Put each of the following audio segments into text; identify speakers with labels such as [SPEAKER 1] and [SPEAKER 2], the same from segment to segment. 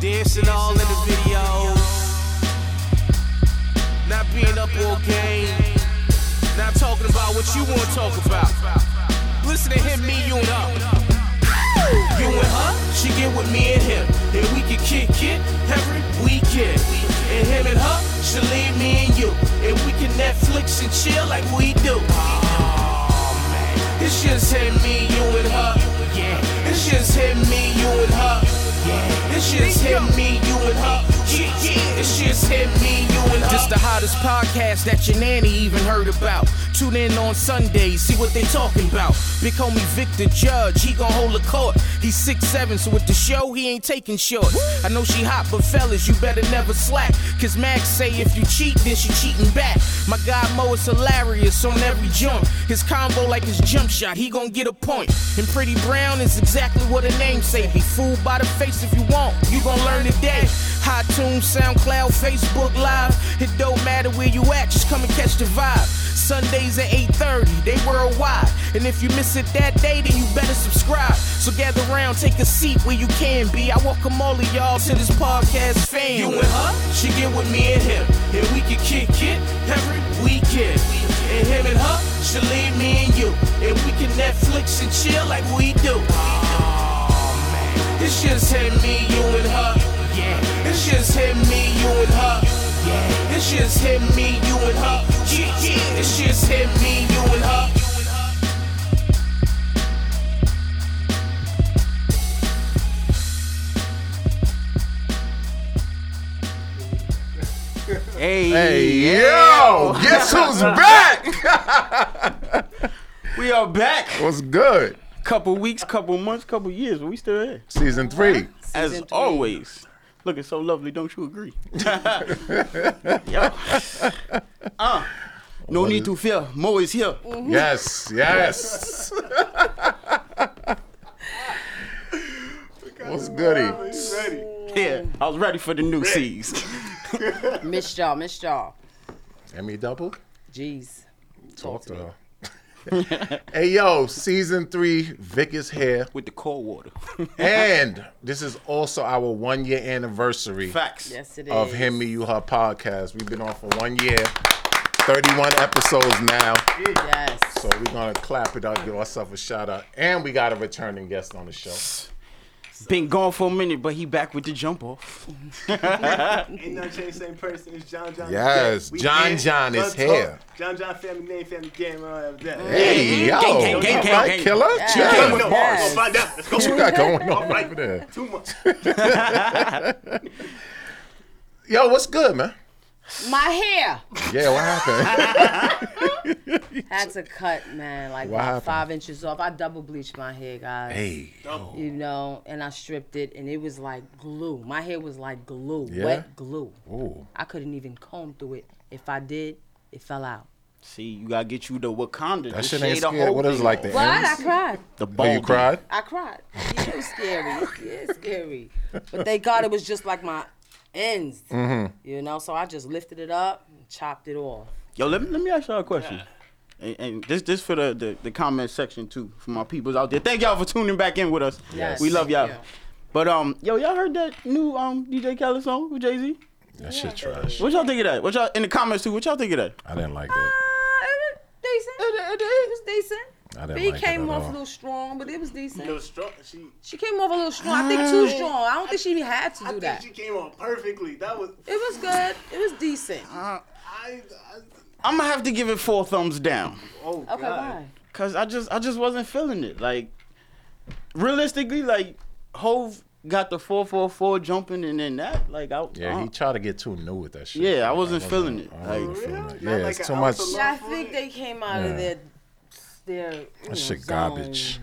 [SPEAKER 1] dancing all in the videos. Not being up all game. Not talking about what you want to talk about. Listen to him, me, you, and up. You and her, she get with me and him. And we can kick it every weekend. And him and her, she leave me and you. And we can Netflix and chill like we do. Oh, man. It's just him, me, you and her. Yeah. It's just him, me, you and her. Yeah. It's just him, me, you and her. Yeah, yeah. It's just him, me, you and her. This the hottest podcast that your nanny even heard about. Tune in on Sundays, see what they talking about. Big homie Victor Judge, he gon' hold a court. He's six seven, so with the show, he ain't taking short. I know she hot, but fellas, you better never slack. Cause Max say if you cheat, then she cheating back. My guy Mo is hilarious on every jump. His combo like his jump shot, he gon' get a point. And Pretty Brown is exactly what her name say. Be fooled by the face if you want, you gon' learn today. High tune, SoundCloud, Facebook Live. It don't matter where you at, just come and catch the vibe. Sundays at 8:30, they worldwide. And if you miss it that day, then you better subscribe. So gather round, take a seat where you can be. I welcome all of y'all to this podcast fam. You and her, she get with me and him, and we can kick it every weekend. And him and her, she leave me and you, and we can Netflix and chill like we do. Oh, man. It's just him, me, you and her. Yeah. It's just him, me, you and her. Yeah. It's just him, me, you and her. Yeah, yeah. It's just him, me, you and her.
[SPEAKER 2] Hey,
[SPEAKER 3] Hey, yo, guess who's back?
[SPEAKER 2] we are back.
[SPEAKER 3] What's good?
[SPEAKER 2] Couple weeks, couple months, couple years, but we still here.
[SPEAKER 3] Season three.
[SPEAKER 2] As
[SPEAKER 4] Season three.
[SPEAKER 2] always, looking so lovely. Don't you agree? Yo. Uh, no need to fear. Mo is here.
[SPEAKER 3] Mm-hmm. Yes, yes. What's goody?
[SPEAKER 2] Yeah, I was ready for the new C's.
[SPEAKER 4] Missed y'all, missed y'all.
[SPEAKER 3] Emmy Double?
[SPEAKER 4] Jeez.
[SPEAKER 3] Talk to her. hey, yo, season three, Vic is here.
[SPEAKER 2] With the cold water.
[SPEAKER 3] And this is also our one year anniversary
[SPEAKER 2] Facts.
[SPEAKER 4] Yes, it is.
[SPEAKER 3] of Him, Me, You, Her podcast. We've been on for one year, 31 episodes now.
[SPEAKER 4] Yes.
[SPEAKER 3] So we're going to clap it up, give ourselves a shout out. And we got a returning guest on the show.
[SPEAKER 2] Been gone for a minute, but he back with the jump off.
[SPEAKER 5] Ain't no change, same person. It's John John.
[SPEAKER 3] Yes,
[SPEAKER 5] We
[SPEAKER 3] John
[SPEAKER 5] in.
[SPEAKER 3] John is
[SPEAKER 5] Let's
[SPEAKER 3] here.
[SPEAKER 5] talk. John John, family name, family game, all of that.
[SPEAKER 3] Hey, yo.
[SPEAKER 2] gang, gang, gang,
[SPEAKER 3] All right,
[SPEAKER 2] gang.
[SPEAKER 3] killer.
[SPEAKER 4] Yeah.
[SPEAKER 3] Yeah.
[SPEAKER 5] Hey, no,
[SPEAKER 4] Yes.
[SPEAKER 5] Go find out. Let's go.
[SPEAKER 3] What you got going on over there?
[SPEAKER 5] Two months.
[SPEAKER 3] Yo, what's good, man?
[SPEAKER 4] My hair
[SPEAKER 3] Yeah, what happened?
[SPEAKER 4] had to cut, man, like
[SPEAKER 3] What
[SPEAKER 4] about
[SPEAKER 3] happened?
[SPEAKER 4] five inches off. I double bleached my hair, guys.
[SPEAKER 3] hey.
[SPEAKER 4] You know, and I stripped it, and it was like glue. My hair was like glue,
[SPEAKER 3] Yeah?
[SPEAKER 4] wet glue.
[SPEAKER 3] Ooh.
[SPEAKER 4] I couldn't even comb through it. If I did, it fell out.
[SPEAKER 2] See, you gotta get you the Wakanda. to
[SPEAKER 3] That shit
[SPEAKER 2] shade
[SPEAKER 3] ain't
[SPEAKER 2] the
[SPEAKER 3] scared.
[SPEAKER 2] whole
[SPEAKER 3] What is it
[SPEAKER 2] thing
[SPEAKER 3] like
[SPEAKER 2] off.
[SPEAKER 3] the
[SPEAKER 4] But I
[SPEAKER 3] ends?
[SPEAKER 4] cried.
[SPEAKER 2] The
[SPEAKER 3] Oh, you
[SPEAKER 2] bald-
[SPEAKER 3] cried?
[SPEAKER 4] I cried. It was scary. It was scary. But thank God it was just like my ends.
[SPEAKER 3] Mm-hmm.
[SPEAKER 4] You know, so I just lifted it up, and chopped it off.
[SPEAKER 2] Yo, let me let me ask y'all a question. And, and this this for the, the the comment section too for my peoples out there. Thank y'all for tuning back in with us.
[SPEAKER 4] Yes.
[SPEAKER 2] we love y'all.
[SPEAKER 4] Yeah.
[SPEAKER 2] But um, yo, y'all heard that new um DJ Khaled song with Jay Z?
[SPEAKER 3] That shit trash.
[SPEAKER 2] What y'all think of that? What y'all in the comments too? What y'all think of that?
[SPEAKER 3] I didn't like that.
[SPEAKER 4] Uh, it was decent. It was decent.
[SPEAKER 3] I didn't
[SPEAKER 4] B
[SPEAKER 3] like it
[SPEAKER 4] came
[SPEAKER 3] at
[SPEAKER 4] off
[SPEAKER 3] all.
[SPEAKER 4] a little strong, but it was decent.
[SPEAKER 5] No strong. She,
[SPEAKER 4] She came off a little strong. I think too strong. I don't think she even had to
[SPEAKER 5] I
[SPEAKER 4] do
[SPEAKER 5] think
[SPEAKER 4] that.
[SPEAKER 5] she came on perfectly. That was.
[SPEAKER 4] It was good. It was decent.
[SPEAKER 5] I. I
[SPEAKER 2] I'm gonna have to give it four thumbs down.
[SPEAKER 5] oh God.
[SPEAKER 4] Okay, why?
[SPEAKER 2] Cause I just I just wasn't feeling it. Like realistically, like Hove got the four four four jumping and then that like I
[SPEAKER 3] Yeah,
[SPEAKER 2] I-
[SPEAKER 3] he tried to get too new with that shit.
[SPEAKER 2] Uh, Yeah, I wasn't feeling it.
[SPEAKER 3] I wasn't
[SPEAKER 2] Like-
[SPEAKER 3] feeling
[SPEAKER 5] Really?
[SPEAKER 3] it.
[SPEAKER 5] Not
[SPEAKER 3] Yeah,
[SPEAKER 5] like
[SPEAKER 3] it's
[SPEAKER 5] an
[SPEAKER 3] too much.
[SPEAKER 5] alpha-
[SPEAKER 4] Yeah, I think they came out
[SPEAKER 3] Yeah.
[SPEAKER 4] of their their you know,
[SPEAKER 3] That shit
[SPEAKER 4] zone.
[SPEAKER 3] garbage.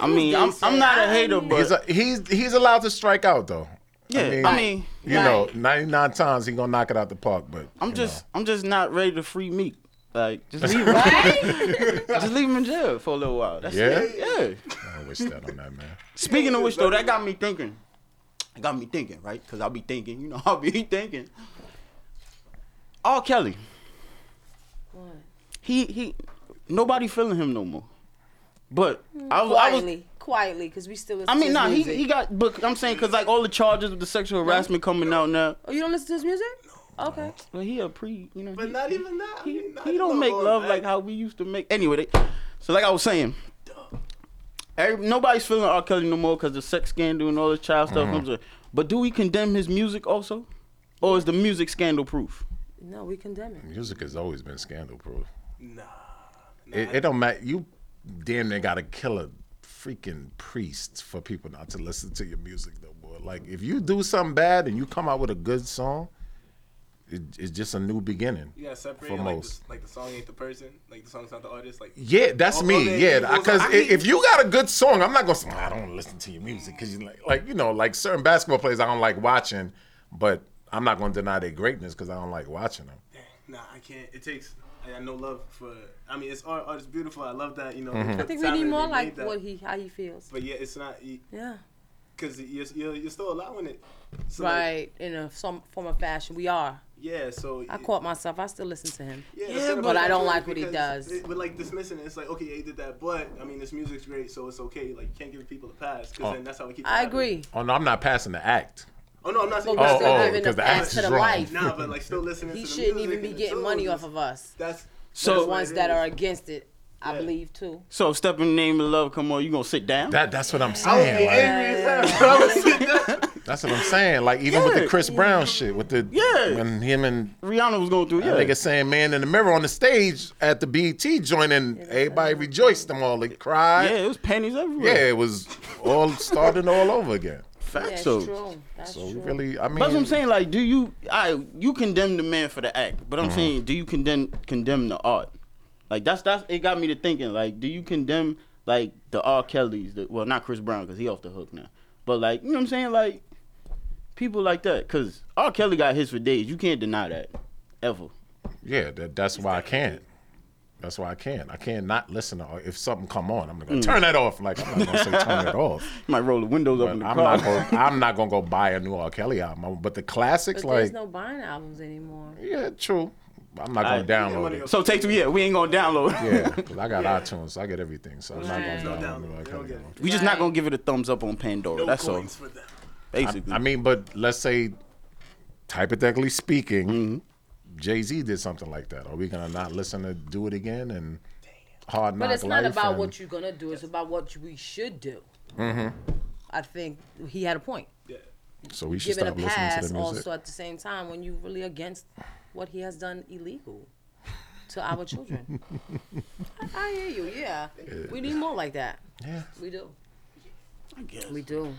[SPEAKER 2] I mean I'm I'm not a hater, but
[SPEAKER 3] He's, a, he's he's allowed to strike out though.
[SPEAKER 2] yeah, I mean
[SPEAKER 3] you know, ninety nine times he gonna knock it out the park, but
[SPEAKER 2] I'm
[SPEAKER 3] you
[SPEAKER 2] just I'm just not ready to free Meek. Like just leave him, just leave him in jail for a little while. That's
[SPEAKER 3] Yeah?
[SPEAKER 2] it. Yeah.
[SPEAKER 3] know, I wish that on that man.
[SPEAKER 2] Speaking of which, though, that got me thinking. It got me thinking, right? Because I'll be thinking, you know, I'll be thinking. R. Kelly,
[SPEAKER 4] What?
[SPEAKER 2] he he, nobody feeling him no more. But I was I was
[SPEAKER 4] Mm. Quietly, quietly because we still. Listen
[SPEAKER 2] I mean,
[SPEAKER 4] to
[SPEAKER 2] nah, he,
[SPEAKER 4] his music.
[SPEAKER 2] he got, but I'm saying, cause like all the charges with the sexual harassment coming out now.
[SPEAKER 4] Oh, you don't listen to his music? Okay.
[SPEAKER 2] Well, he a pre, you know.
[SPEAKER 5] But
[SPEAKER 2] he-
[SPEAKER 5] not even that. I
[SPEAKER 2] he,
[SPEAKER 5] mean, not
[SPEAKER 2] he don't
[SPEAKER 5] even
[SPEAKER 2] make
[SPEAKER 5] going
[SPEAKER 2] love
[SPEAKER 5] back.
[SPEAKER 2] like how we used to make. Anyway, they, so like I was saying, every, nobody's feeling R. Kelly no more because the sex scandal and all this child stuff.
[SPEAKER 3] Mm-hmm.
[SPEAKER 2] comes with- But do we condemn his music also, or is the music scandal proof?
[SPEAKER 4] No, we condemn it.
[SPEAKER 3] Music has always been scandal proof.
[SPEAKER 5] Nah.
[SPEAKER 3] It, it don't matter. You damn near gotta kill a freaking priest for people not to listen to your music no more. Like if you do something bad and you come out with a good song, it, it's just a new beginning.
[SPEAKER 5] You gotta separate
[SPEAKER 3] For
[SPEAKER 5] it, like,
[SPEAKER 3] most.
[SPEAKER 5] the, like the song ain't the person, like the song's not the artist. Like
[SPEAKER 3] Yeah, that's
[SPEAKER 5] Oh,
[SPEAKER 3] me.
[SPEAKER 5] okay,
[SPEAKER 3] yeah,
[SPEAKER 5] equals-
[SPEAKER 3] because
[SPEAKER 5] I mean-
[SPEAKER 3] if you got a good song, I'm not gonna say "Nah, I don't listen to your music because you like, like you know, like certain basketball players I don't like watching, but I'm not gonna deny their greatness because I don't like watching them.
[SPEAKER 5] Nah, I can't. It takes. I got no love for. I mean, it's art. Art is beautiful. I love that. You know.
[SPEAKER 3] Mm-hmm.
[SPEAKER 4] I think we need more like what he how he feels.
[SPEAKER 5] But yeah, it's not
[SPEAKER 4] Yeah.
[SPEAKER 5] because you're, you're you're still allowing it. So like,
[SPEAKER 4] Right. In a some form of fashion, we are.
[SPEAKER 5] yeah. So
[SPEAKER 4] I
[SPEAKER 5] it-
[SPEAKER 4] caught myself. I still listen to him.
[SPEAKER 5] Yeah,
[SPEAKER 2] Yeah,
[SPEAKER 5] but,
[SPEAKER 4] but I don't like what he does.
[SPEAKER 5] It, but like dismissing it, it's like okay, yeah, he did that, but I mean, this music's great, so it's okay. Like you can't give people a pass because
[SPEAKER 3] Oh.
[SPEAKER 5] then that's how we keep. it
[SPEAKER 4] I
[SPEAKER 5] happening.
[SPEAKER 4] agree.
[SPEAKER 3] Oh no, I'm not passing the act.
[SPEAKER 5] Oh no, I'm not saying.
[SPEAKER 4] But we're
[SPEAKER 3] Oh,
[SPEAKER 4] still
[SPEAKER 3] oh,
[SPEAKER 4] giving a
[SPEAKER 3] 'cause the
[SPEAKER 4] pass
[SPEAKER 3] axe
[SPEAKER 4] to
[SPEAKER 3] is
[SPEAKER 4] the
[SPEAKER 3] wrong.
[SPEAKER 4] wife.
[SPEAKER 5] Nah, but like still listening.
[SPEAKER 4] He
[SPEAKER 5] to the
[SPEAKER 4] shouldn't
[SPEAKER 5] music
[SPEAKER 4] even be
[SPEAKER 5] and the
[SPEAKER 4] getting
[SPEAKER 5] tunes,
[SPEAKER 4] money off
[SPEAKER 5] it's-
[SPEAKER 4] of us.
[SPEAKER 5] That's
[SPEAKER 4] The
[SPEAKER 2] So-
[SPEAKER 4] ones that are against it, I
[SPEAKER 5] Yeah.
[SPEAKER 4] believe too.
[SPEAKER 2] So step in the name of love, come on, you gonna sit down?
[SPEAKER 3] That that's what I'm saying. like, that's what I'm saying. Like even with
[SPEAKER 2] Yeah.
[SPEAKER 3] the Chris Brown shit, with the
[SPEAKER 2] Yeah.
[SPEAKER 3] when him and
[SPEAKER 2] Rihanna was going through, yeah.
[SPEAKER 3] That nigga saying "Man in the Mirror" on the stage at the BET joint, and everybody rejoiced. Them all they
[SPEAKER 2] yeah,
[SPEAKER 3] cried.
[SPEAKER 2] it was panties
[SPEAKER 3] Yeah,
[SPEAKER 2] everywhere.
[SPEAKER 3] it was all starting all over again.
[SPEAKER 2] facts.
[SPEAKER 4] That's
[SPEAKER 2] so,
[SPEAKER 4] true. That's
[SPEAKER 3] So we
[SPEAKER 4] true.
[SPEAKER 3] really, I mean,
[SPEAKER 2] But that's what I'm saying. Like, do you? I you condemn the man for the act, but I'm
[SPEAKER 3] Mm-hmm.
[SPEAKER 2] saying, do you condemn condemn the art? Like that's that's it got me to thinking. Like, do you condemn like the R. Kellys? The, well, not Chris Brown because he off the hook now. But like, you know what I'm saying? Like people like that because R. Kelly got hits for days. You can't deny that ever.
[SPEAKER 3] yeah, that, that's why I can't. That's why I can't. I can't not listen to if something come on. I'm gonna go, turn that off. Like I'm not gonna say turn it off.
[SPEAKER 2] Mm. You might roll the Mm. windows up
[SPEAKER 3] But
[SPEAKER 2] in the
[SPEAKER 3] I'm
[SPEAKER 2] car.
[SPEAKER 3] not. Gonna, I'm not gonna go buy a new R. Kelly album. But the classics,
[SPEAKER 4] But
[SPEAKER 3] like
[SPEAKER 4] there's no buying albums anymore.
[SPEAKER 3] yeah, true. I'm not gonna
[SPEAKER 2] I-
[SPEAKER 3] download
[SPEAKER 5] Yeah,
[SPEAKER 3] it.
[SPEAKER 2] so take two. Yeah, we ain't gonna download.
[SPEAKER 3] Yeah, 'cause I got iTunes. So I get everything. So I'm
[SPEAKER 4] Right.
[SPEAKER 3] not
[SPEAKER 5] No
[SPEAKER 3] gonna
[SPEAKER 5] download,
[SPEAKER 3] download.
[SPEAKER 5] they don't
[SPEAKER 3] it.
[SPEAKER 5] get it.
[SPEAKER 2] We just not
[SPEAKER 4] Right.
[SPEAKER 2] gonna give it a thumbs up on Pandora.
[SPEAKER 5] no
[SPEAKER 2] Oh, That's all.
[SPEAKER 5] coins for them.
[SPEAKER 2] Basically,
[SPEAKER 3] I mean, but let's say, hypothetically speaking,
[SPEAKER 5] Mm-hmm.
[SPEAKER 3] Jay Z did something like that. Are we gonna not listen to "Do It Again" and "Hard Knock
[SPEAKER 4] But it's
[SPEAKER 3] Life"?
[SPEAKER 4] not about
[SPEAKER 3] and- Mm-hmm.
[SPEAKER 4] what you're gonna do. It's about what you- we should do. I think he had a point.
[SPEAKER 5] Yeah.
[SPEAKER 3] so we should
[SPEAKER 4] Giving a
[SPEAKER 3] stop listening to
[SPEAKER 4] pass
[SPEAKER 3] the music.
[SPEAKER 4] also at the same time when you really against what he has done illegal to our children. I, I hear you. Yeah, we need more like that.
[SPEAKER 3] Yeah.
[SPEAKER 4] We do.
[SPEAKER 2] I guess.
[SPEAKER 4] We do.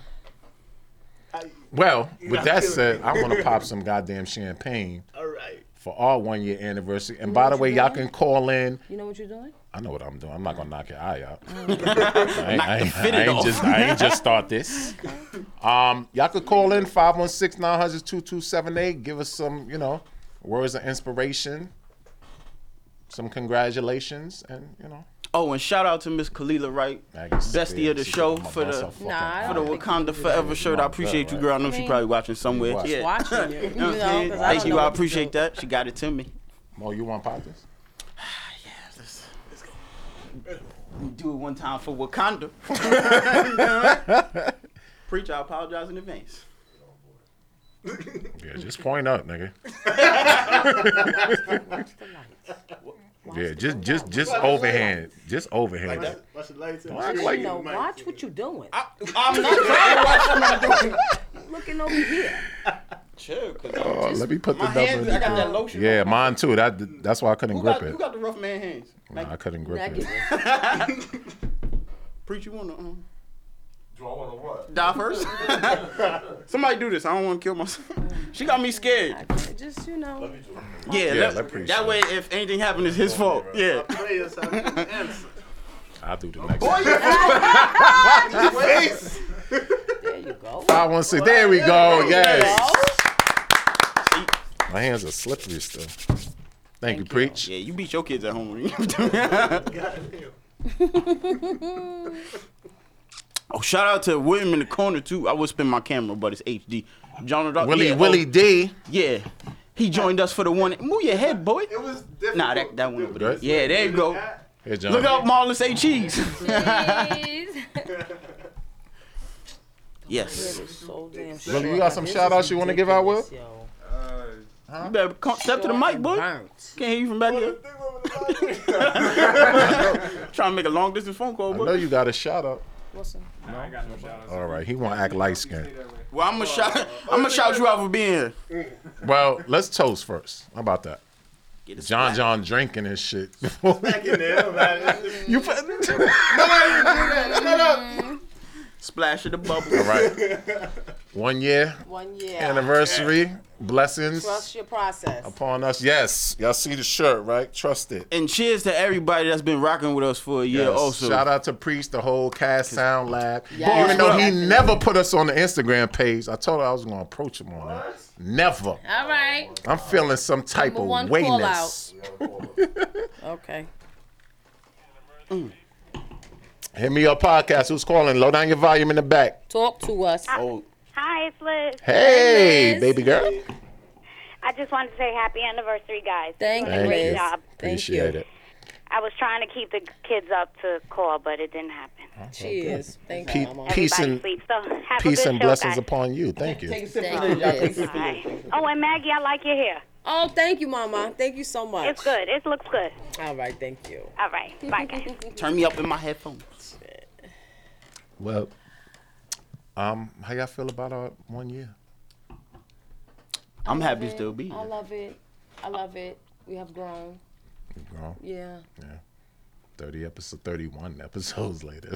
[SPEAKER 5] I,
[SPEAKER 3] Well, with
[SPEAKER 5] I
[SPEAKER 3] that
[SPEAKER 5] feel
[SPEAKER 3] said, I want to pop some goddamn champagne
[SPEAKER 5] all right.
[SPEAKER 3] for our one year anniversary. And by the
[SPEAKER 4] what
[SPEAKER 3] way,
[SPEAKER 4] you
[SPEAKER 3] y'all
[SPEAKER 4] doing?
[SPEAKER 3] can call in.
[SPEAKER 4] You know what you're doing?
[SPEAKER 3] I know what I'm doing. I'm not gonna knock your eye out. I ain't, I ain't,
[SPEAKER 2] Mm. fit
[SPEAKER 3] I
[SPEAKER 2] it
[SPEAKER 3] ain't
[SPEAKER 2] off.
[SPEAKER 3] just I ain't just start this. Um, y'all could call in 516-900-2278. Give us some, you know, words of inspiration, some congratulations, and you know,
[SPEAKER 2] Oh, and shout out to Miss Kalila Wright,
[SPEAKER 3] I can sit
[SPEAKER 2] bestie
[SPEAKER 3] there
[SPEAKER 2] of the
[SPEAKER 3] and
[SPEAKER 2] show
[SPEAKER 3] sit on my
[SPEAKER 2] for the
[SPEAKER 3] motherfucking
[SPEAKER 2] for
[SPEAKER 4] Nah, I
[SPEAKER 3] eye.
[SPEAKER 2] the
[SPEAKER 4] don't think
[SPEAKER 2] Wakanda Forever shirt. I appreciate you, girl. I know she
[SPEAKER 4] mean,
[SPEAKER 2] probably watching somewhere.
[SPEAKER 3] watch.
[SPEAKER 2] Yeah.
[SPEAKER 4] Watching you.
[SPEAKER 2] You know what I'm saying?
[SPEAKER 4] because
[SPEAKER 2] Thank
[SPEAKER 4] don't
[SPEAKER 2] you.
[SPEAKER 4] know
[SPEAKER 2] I
[SPEAKER 4] what to
[SPEAKER 2] appreciate
[SPEAKER 4] do.
[SPEAKER 2] that. She got it to me.
[SPEAKER 3] Mo, you want pop this?
[SPEAKER 2] Do it one time for Wakanda. Preacher, I apologize in advance.
[SPEAKER 3] Yeah, just point up, nigga.
[SPEAKER 4] Watch the lights.
[SPEAKER 3] Yeah, just just just overhand, just overhand. it.
[SPEAKER 5] Watch the lights. and-
[SPEAKER 3] Watch
[SPEAKER 4] You
[SPEAKER 3] like-
[SPEAKER 4] know, watch what you're doing.
[SPEAKER 2] I'm not trying to watch what I'm doing.
[SPEAKER 4] Looking over here.
[SPEAKER 2] Chill, cause
[SPEAKER 3] Oh, let me put the
[SPEAKER 2] my hands.
[SPEAKER 3] number.
[SPEAKER 2] I got
[SPEAKER 3] in.
[SPEAKER 2] that lotion.
[SPEAKER 3] Yeah,
[SPEAKER 2] on.
[SPEAKER 3] mine too. That that's why I couldn't
[SPEAKER 2] Who
[SPEAKER 3] grip
[SPEAKER 2] got,
[SPEAKER 3] it.
[SPEAKER 2] who got the rough man hands? Like,
[SPEAKER 3] Nah, I couldn't
[SPEAKER 4] Now
[SPEAKER 3] grip
[SPEAKER 4] get
[SPEAKER 3] it.
[SPEAKER 4] it.
[SPEAKER 2] preacher, you wanna um,
[SPEAKER 6] Do I want to what?
[SPEAKER 2] die first? Somebody do this. I don't want to kill myself. she got me scared.
[SPEAKER 4] Just you know.
[SPEAKER 2] Yeah,
[SPEAKER 3] Yeah,
[SPEAKER 2] let-
[SPEAKER 3] let Preach
[SPEAKER 2] that
[SPEAKER 3] do
[SPEAKER 2] way, if anything happened, it's his fault. Yeah.
[SPEAKER 5] Play yourself. Answer.
[SPEAKER 3] I'll do the next one.
[SPEAKER 5] Face.
[SPEAKER 4] There you go.
[SPEAKER 3] Five one six. There we go. Yes.
[SPEAKER 4] Go.
[SPEAKER 3] My hands are slippery still. Thank, you, preach.
[SPEAKER 2] Yeah, you beat your kids at home. when you-
[SPEAKER 5] Goddamn.
[SPEAKER 2] oh, shout out to William in the corner too. I would spin my camera, but it's HD. John Rock-
[SPEAKER 3] Willie
[SPEAKER 2] yeah,
[SPEAKER 3] Willie
[SPEAKER 2] oh,
[SPEAKER 3] D.
[SPEAKER 2] yeah, he joined us for the one. Move your head, boy.
[SPEAKER 5] It was difficult.
[SPEAKER 2] Nah, that that one over there.
[SPEAKER 3] Right?
[SPEAKER 2] Yeah, there you go.
[SPEAKER 3] Hey John.
[SPEAKER 2] Look up Marlon say cheese.
[SPEAKER 7] Cheese.
[SPEAKER 2] Yes.
[SPEAKER 4] So damn
[SPEAKER 3] Brother, you
[SPEAKER 4] short.
[SPEAKER 3] got some
[SPEAKER 4] This
[SPEAKER 3] shout-outs
[SPEAKER 4] is
[SPEAKER 3] you wanna give out, Will?
[SPEAKER 4] ridiculous, yo.
[SPEAKER 2] Uh, You better come, step to the mic, boy.
[SPEAKER 4] Burnt.
[SPEAKER 2] Can't hear you from back there. Trying to make a long distance phone call,
[SPEAKER 3] I know
[SPEAKER 2] boy.
[SPEAKER 3] you got a shout out.
[SPEAKER 4] Listen,
[SPEAKER 7] I got no shout outs.
[SPEAKER 3] All right, he want to act light skinned.
[SPEAKER 2] Well, I'm gonna shout. I'm gonna shout you out for being here.
[SPEAKER 3] Well, let's toast first. How about that?
[SPEAKER 2] Get us
[SPEAKER 3] John
[SPEAKER 2] back.
[SPEAKER 3] John drinking his shit. you put,
[SPEAKER 2] Splash of the bubble.
[SPEAKER 3] all right. One year
[SPEAKER 4] one year.
[SPEAKER 3] anniversary. Blessings
[SPEAKER 4] Trust your process.
[SPEAKER 3] upon us. Yes, y'all see the shirt, right? Trust it.
[SPEAKER 2] And cheers to everybody that's been rocking with us for a year.
[SPEAKER 3] Yes.
[SPEAKER 2] Also,
[SPEAKER 3] Shout out to Priest, the whole cast sound lab.
[SPEAKER 4] Yes.
[SPEAKER 3] Even though he
[SPEAKER 4] Boss, bro.
[SPEAKER 3] never put us on the Instagram page, I told her I was gonna approach him on that. Never.
[SPEAKER 4] All right.
[SPEAKER 3] I'm feeling some type
[SPEAKER 4] Number
[SPEAKER 3] of
[SPEAKER 4] one call
[SPEAKER 3] wayness.
[SPEAKER 4] Okay.
[SPEAKER 3] Hit me up podcast. Who's calling? Low down your volume in the back.
[SPEAKER 4] Talk to us.
[SPEAKER 2] Oh,
[SPEAKER 8] Uh, Hi, it's Liz.
[SPEAKER 3] Hey,
[SPEAKER 4] Yes.
[SPEAKER 3] baby girl.
[SPEAKER 8] I just wanted to say happy anniversary, guys.
[SPEAKER 4] Thank you,
[SPEAKER 3] Thank
[SPEAKER 8] Great
[SPEAKER 3] you.
[SPEAKER 4] Liz.
[SPEAKER 8] job.
[SPEAKER 3] Appreciate it.
[SPEAKER 8] I was trying to keep the kids up to call, but it didn't happen.
[SPEAKER 4] Cheers. Thank you,
[SPEAKER 3] Oh, Pe-
[SPEAKER 4] Mama.
[SPEAKER 3] peace
[SPEAKER 8] Everybody
[SPEAKER 3] and
[SPEAKER 8] sleeps. So have
[SPEAKER 3] peace
[SPEAKER 8] a good
[SPEAKER 3] and
[SPEAKER 8] show,
[SPEAKER 3] blessings
[SPEAKER 8] guys.
[SPEAKER 3] upon you. Thank you.
[SPEAKER 4] Thank you, Liz.
[SPEAKER 8] Bye. Oh, and Maggie, I like your hair.
[SPEAKER 4] Oh, thank you, Mama. Thank you so much.
[SPEAKER 8] It's good. It looks good.
[SPEAKER 4] All right, thank you.
[SPEAKER 8] All right. Bye, guys.
[SPEAKER 2] turn me up in my headphones.
[SPEAKER 3] Well, um, how y'all feel about our one year?
[SPEAKER 2] I'm happy to still be.
[SPEAKER 4] I
[SPEAKER 2] here.
[SPEAKER 4] love it. I love it. We have grown.
[SPEAKER 3] Girl,
[SPEAKER 4] Yeah.
[SPEAKER 3] thirty episode, thirty-one episodes later.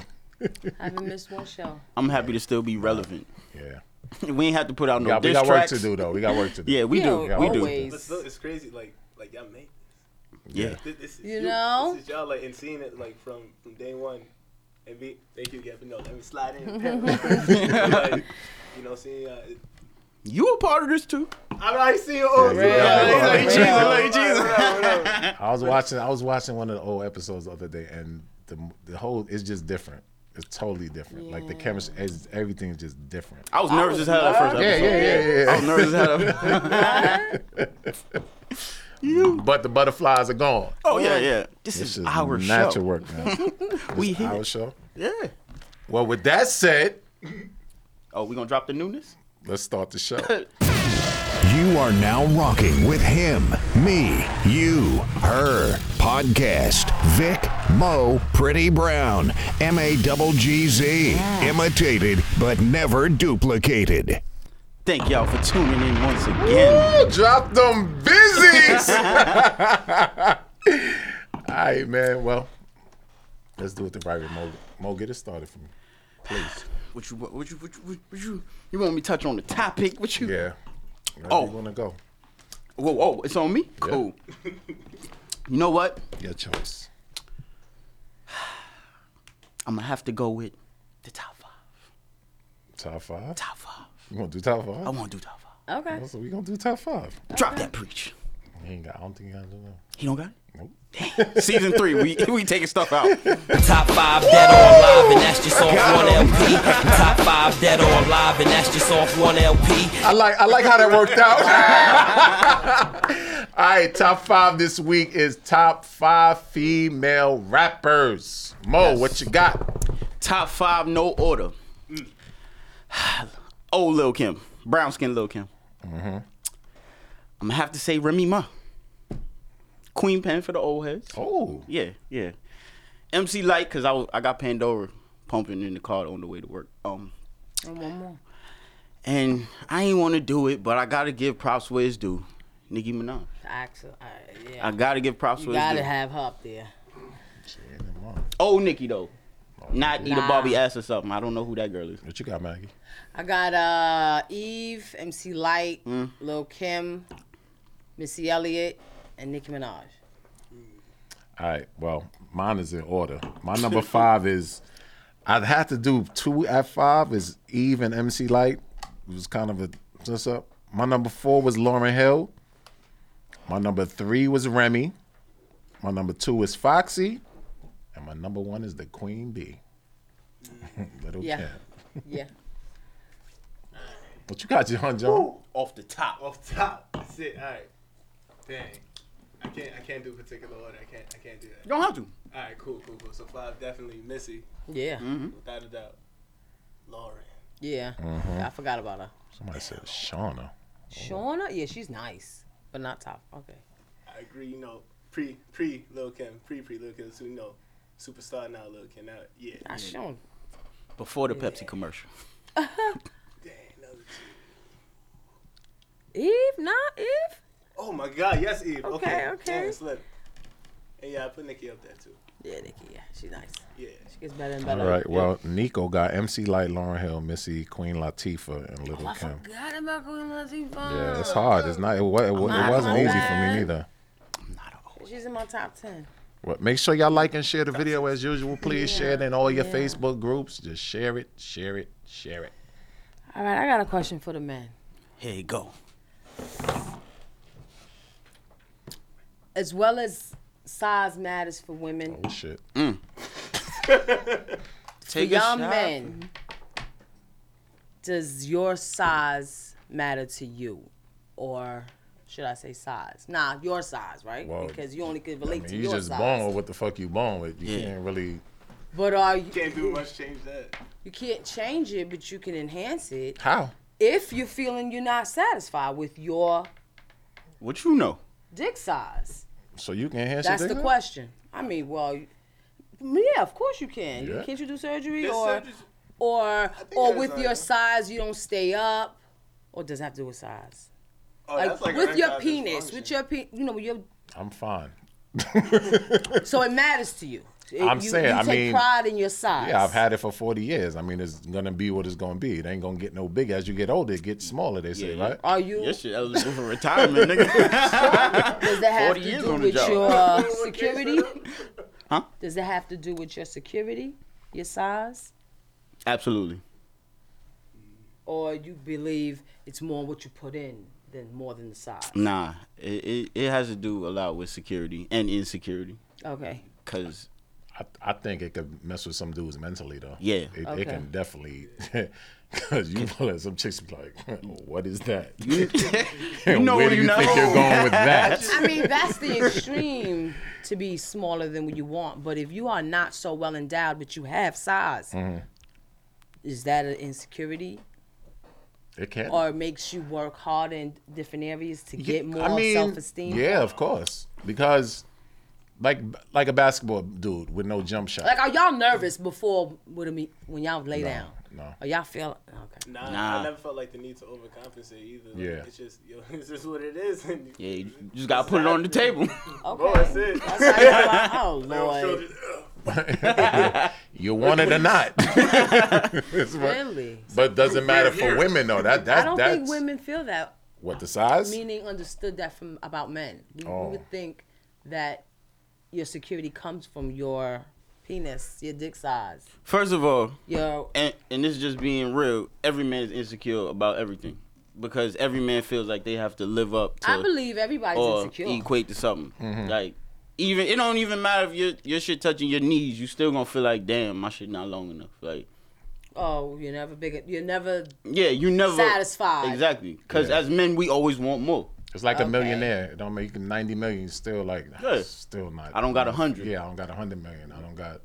[SPEAKER 4] Haven't missed one show.
[SPEAKER 2] I'm happy to still be relevant.
[SPEAKER 3] Yeah,
[SPEAKER 2] We ain't have to put out
[SPEAKER 3] we
[SPEAKER 2] no
[SPEAKER 3] got, we
[SPEAKER 2] diss
[SPEAKER 3] got work
[SPEAKER 2] tracks.
[SPEAKER 3] to do though. We got work to do.
[SPEAKER 2] Yeah, we do.
[SPEAKER 4] You know,
[SPEAKER 2] we do.
[SPEAKER 4] always.
[SPEAKER 5] But still, it's crazy. Like, like y'all made
[SPEAKER 2] Yeah.
[SPEAKER 5] this. this is
[SPEAKER 4] You know?
[SPEAKER 5] this is y'all like and seeing it like from from day one. And be thank you, Gavin. No, let me slide in. like, you know, seeing. Uh, it-
[SPEAKER 2] You a part of this too.
[SPEAKER 5] I already see you all.
[SPEAKER 3] Yeah, yeah,
[SPEAKER 5] He's
[SPEAKER 2] yeah.
[SPEAKER 5] Oh, like, he's Jesus, like, Jesus.
[SPEAKER 3] I was watching. I was watching one of the old episodes the other day, and the the whole it's just different. It's totally different. Like the cameras, it's- everything is just different.
[SPEAKER 2] I was nervous as hell at first.
[SPEAKER 3] Yeah,
[SPEAKER 2] episode.
[SPEAKER 3] yeah, yeah,
[SPEAKER 2] I
[SPEAKER 3] yeah.
[SPEAKER 2] was nervous as hell.
[SPEAKER 3] But the butterflies are gone.
[SPEAKER 2] Oh yeah, yeah. This,
[SPEAKER 3] This
[SPEAKER 2] is
[SPEAKER 3] is
[SPEAKER 2] our
[SPEAKER 3] not
[SPEAKER 2] show.
[SPEAKER 3] your work, man.
[SPEAKER 2] We hit.
[SPEAKER 3] our
[SPEAKER 2] it.
[SPEAKER 3] show.
[SPEAKER 2] Yeah.
[SPEAKER 3] Well, with that said,
[SPEAKER 2] Oh, we gonna drop the newness?
[SPEAKER 3] let's start the show.
[SPEAKER 9] You are now rocking with him, me, you, her. Podcast Vic Mo Pretty Brown M A double G Z imitated but never duplicated.
[SPEAKER 2] Thank y'all for tuning in once again.
[SPEAKER 3] Woo, drop them busies. All right, man. Well, let's do it the right way. Mo, Mo get it started for me.
[SPEAKER 2] What you, what you, what you, what you, what you, you want me to touch on the topic? What you?
[SPEAKER 3] Yeah. Where
[SPEAKER 2] Oh.
[SPEAKER 3] you want to go?
[SPEAKER 2] Whoa, whoa, it's on me. Cool. you know what?
[SPEAKER 3] Your choice.
[SPEAKER 2] I'm gonna have to go with the top five.
[SPEAKER 3] Top five.
[SPEAKER 2] Top five.
[SPEAKER 3] You want to do top
[SPEAKER 2] I
[SPEAKER 3] five? Oh,
[SPEAKER 2] want to do top five.
[SPEAKER 4] Okay.
[SPEAKER 3] So we gonna do top five.
[SPEAKER 2] Drop that preach.
[SPEAKER 3] He ain't got. I don't think he got to do that.
[SPEAKER 2] He don't got it.
[SPEAKER 3] Nope.
[SPEAKER 2] Damn. Season three, we we taking stuff out.
[SPEAKER 10] Top five dead or alive, and that's just off one LP. Top five dead or alive, and that's just off one LP.
[SPEAKER 3] I like. I like how that worked out. All right, top five this week is top five female rappers. Mo, what you got?
[SPEAKER 2] Top five, no order.
[SPEAKER 3] Mm.
[SPEAKER 2] Old Lil Kim, brown skin Lil Kim.
[SPEAKER 3] Mm-hmm.
[SPEAKER 2] I'm gonna have to say Remy Ma, Queen Pen for the old heads.
[SPEAKER 3] Oh,
[SPEAKER 2] Yeah, yeah. MC Light, cause I was, I got Pandora pumping in the car on the way to work. Um,
[SPEAKER 4] And one more.
[SPEAKER 2] and I ain't want to do it, but I gotta give props where it's due. Nicki Minaj.
[SPEAKER 3] Oh,
[SPEAKER 4] Axel. Uh, yeah.
[SPEAKER 2] I gotta give props
[SPEAKER 4] you
[SPEAKER 2] where it's
[SPEAKER 4] gotta
[SPEAKER 2] due.
[SPEAKER 4] have her up there.
[SPEAKER 2] old Nicki though, not either
[SPEAKER 4] Nah.
[SPEAKER 2] Bobby ass or something. I don't know who that girl is.
[SPEAKER 3] what you got, Maggie?
[SPEAKER 4] I got uh Eve, MC Light,
[SPEAKER 3] Mm.
[SPEAKER 4] Lil Kim, Missy Elliott, and Nicki Minaj.
[SPEAKER 3] All right. Well, mine is in order. My number five is I'd have to do two at five is Eve and MC Light. It was kind of a what's up. My number four was Lauren Hill. My number three was Remy. My number two is Foxy. And my number one is the Queen Bee. Little
[SPEAKER 4] Yeah.
[SPEAKER 3] Kim.
[SPEAKER 4] Yeah.
[SPEAKER 3] What you got, John John?
[SPEAKER 2] Off the top.
[SPEAKER 5] Off top. That's it. All right. Dang. I can't. I can't do a particular order. I can't. I can't do that.
[SPEAKER 2] You don't have to.
[SPEAKER 5] All
[SPEAKER 2] Mm-hmm.
[SPEAKER 5] right. Cool. Cool. Cool. So five definitely Missy,
[SPEAKER 4] Yeah.
[SPEAKER 5] without a doubt. Lauren.
[SPEAKER 4] Yeah, I forgot about her.
[SPEAKER 3] Mm-hmm. Somebody said Shauna.
[SPEAKER 4] Shauna, yeah, she's nice, but not top. Okay.
[SPEAKER 5] I agree. You know, pre pre Lil Kim, pre pre Lil Kim. So you know, superstar now Lil Kim. Now, yeah.
[SPEAKER 4] Not Shauna.
[SPEAKER 2] Before the Pepsi commercial.
[SPEAKER 5] Damn, that was-
[SPEAKER 4] Eve, not Eve.
[SPEAKER 5] oh my God. Yes, Eve. Okay.
[SPEAKER 4] Okay, okay.
[SPEAKER 5] Damn, slip. And yeah, I put Nikki up there too.
[SPEAKER 4] Yeah, Nikki. Yeah, she's nice.
[SPEAKER 5] Yeah.
[SPEAKER 4] She gets better and
[SPEAKER 3] All
[SPEAKER 4] better.
[SPEAKER 3] right. Well, Nico got MC Light, Lauren Hill, Missy, Queen Latifah, and Little
[SPEAKER 4] Oh, I
[SPEAKER 3] Kim.
[SPEAKER 4] forgot about Queen Latifah.
[SPEAKER 3] Yeah, it's hard. It's not. It, wa- it, wa- it wasn't easy for me neither.
[SPEAKER 4] She's in my top ten.
[SPEAKER 3] Well, make sure y'all like and share the video as usual. Please share it in all your Facebook groups. Just share it, share it, share it.
[SPEAKER 4] All right, I got a question for the men.
[SPEAKER 2] Here you go.
[SPEAKER 4] As well as size matters for women,
[SPEAKER 3] Oh shit.
[SPEAKER 2] Take
[SPEAKER 4] for
[SPEAKER 2] a
[SPEAKER 4] young
[SPEAKER 2] shot.
[SPEAKER 4] men, does your size matter to you, or should I say size? Nah, your size, right?
[SPEAKER 3] Well,
[SPEAKER 4] because you only could
[SPEAKER 3] I
[SPEAKER 4] relate
[SPEAKER 3] mean,
[SPEAKER 4] to
[SPEAKER 3] you
[SPEAKER 4] your
[SPEAKER 3] just
[SPEAKER 4] size.
[SPEAKER 3] born with what the fuck you born with. You
[SPEAKER 2] Yeah.
[SPEAKER 3] can't really.
[SPEAKER 4] But are you?
[SPEAKER 5] Can't do much change that.
[SPEAKER 4] You can't change it, but you can enhance it
[SPEAKER 3] How?
[SPEAKER 4] if you're feeling you're not satisfied with your
[SPEAKER 2] What you know?
[SPEAKER 4] dick size.
[SPEAKER 3] So you can enhance
[SPEAKER 4] That's
[SPEAKER 3] your
[SPEAKER 4] the
[SPEAKER 3] dick?
[SPEAKER 4] question. I mean, well, you- yeah, of course you can. You
[SPEAKER 3] Yeah.
[SPEAKER 4] Can't you do surgery
[SPEAKER 5] There's
[SPEAKER 4] or
[SPEAKER 5] surgeries-
[SPEAKER 4] or or
[SPEAKER 5] there's
[SPEAKER 4] with
[SPEAKER 5] a-
[SPEAKER 4] your size you don't stay up, or does it have to do with size?
[SPEAKER 5] Oh,
[SPEAKER 4] Like,
[SPEAKER 5] that's like
[SPEAKER 4] with your
[SPEAKER 5] erectile
[SPEAKER 4] penis,
[SPEAKER 5] dysfunction.
[SPEAKER 4] with your pe- you know, with your
[SPEAKER 3] I'm fine.
[SPEAKER 4] so it matters to you. It-
[SPEAKER 3] I'm
[SPEAKER 4] you,
[SPEAKER 3] saying,
[SPEAKER 4] you
[SPEAKER 3] I
[SPEAKER 4] take
[SPEAKER 3] mean,
[SPEAKER 4] pride in your size.
[SPEAKER 3] Yeah, I've had it for 40 years. I mean, it's gonna be what it's gonna be. It ain't gonna get no bigger. As you get older, it gets smaller. They say,
[SPEAKER 2] Yeah.
[SPEAKER 3] right?
[SPEAKER 4] Are you?
[SPEAKER 2] This shit eligible for retirement, nigga.
[SPEAKER 4] Does that have
[SPEAKER 2] 40
[SPEAKER 4] to
[SPEAKER 2] years
[SPEAKER 4] do
[SPEAKER 2] on the
[SPEAKER 4] with
[SPEAKER 2] job.
[SPEAKER 4] your uh, security?
[SPEAKER 2] Huh?
[SPEAKER 4] Does that have to do with your security, your size,
[SPEAKER 2] Absolutely.
[SPEAKER 4] or you believe it's more what you put in than more than the size?
[SPEAKER 2] Nah, it, it, it has to do a lot with security and insecurity.
[SPEAKER 4] Okay.
[SPEAKER 2] Cause
[SPEAKER 3] I, I think it could mess with some dudes mentally though.
[SPEAKER 2] Yeah.
[SPEAKER 3] it,
[SPEAKER 4] Okay.
[SPEAKER 3] it can definitely. Cause you let some chicks be like, what is that?
[SPEAKER 2] you,
[SPEAKER 3] And
[SPEAKER 2] know
[SPEAKER 3] where
[SPEAKER 2] where
[SPEAKER 3] do you
[SPEAKER 2] you
[SPEAKER 3] think
[SPEAKER 2] know.
[SPEAKER 3] you're going with that?
[SPEAKER 4] I mean, that's the extreme to be smaller than what you want. But if you are not so well endowed, but you have size,
[SPEAKER 3] Mm-hmm.
[SPEAKER 4] is that an insecurity?
[SPEAKER 3] It can.
[SPEAKER 4] Or it makes you work harder in different areas to
[SPEAKER 3] Yeah,
[SPEAKER 4] get more self esteem?
[SPEAKER 3] Yeah, of course. Because like like a basketball dude with no jump shot.
[SPEAKER 4] Like, are y'all nervous before with a me- when y'all lay down?
[SPEAKER 3] no.
[SPEAKER 4] Or y'all feel okay?
[SPEAKER 5] Nah,
[SPEAKER 2] Nah.
[SPEAKER 5] I never felt like the need to overcompensate either. Like,
[SPEAKER 3] Yeah.
[SPEAKER 5] It's just, yo, this is what it is. And
[SPEAKER 2] Yeah, you just gotta put it on the table.
[SPEAKER 4] Okay.
[SPEAKER 5] Oh, that's it.
[SPEAKER 4] That's how y'all like, oh
[SPEAKER 5] Shoulders,
[SPEAKER 4] lord,
[SPEAKER 5] ugh.
[SPEAKER 3] you want it or not. That's what-
[SPEAKER 4] really?
[SPEAKER 3] but doesn't matter for women though. That that
[SPEAKER 4] I don't
[SPEAKER 3] that's
[SPEAKER 4] think women feel that.
[SPEAKER 3] what the size?
[SPEAKER 4] meaning understood that from about men. We, we
[SPEAKER 3] Oh.
[SPEAKER 4] would think that your security comes from your penis, your dick size,
[SPEAKER 2] First of all,
[SPEAKER 4] your
[SPEAKER 2] and and this is just being real. Every man is insecure about everything because every man feels like they have to live up to
[SPEAKER 4] I believe everybody's
[SPEAKER 2] or
[SPEAKER 4] insecure.
[SPEAKER 2] equate to something. Like even it don't even matter if your your shit touching your knees. You still gonna feel like damn, my shit not long enough. Like
[SPEAKER 4] Oh, you're never big. You're never.
[SPEAKER 2] yeah, you never
[SPEAKER 4] Satisfied.
[SPEAKER 2] exactly because as men we always want more.
[SPEAKER 3] It's like a
[SPEAKER 4] Okay.
[SPEAKER 3] millionaire. It don't make ninety million. Still like
[SPEAKER 2] Yeah.
[SPEAKER 3] still not.
[SPEAKER 2] I don't got 100.
[SPEAKER 3] Yeah, I don't got a hundred million. I don't got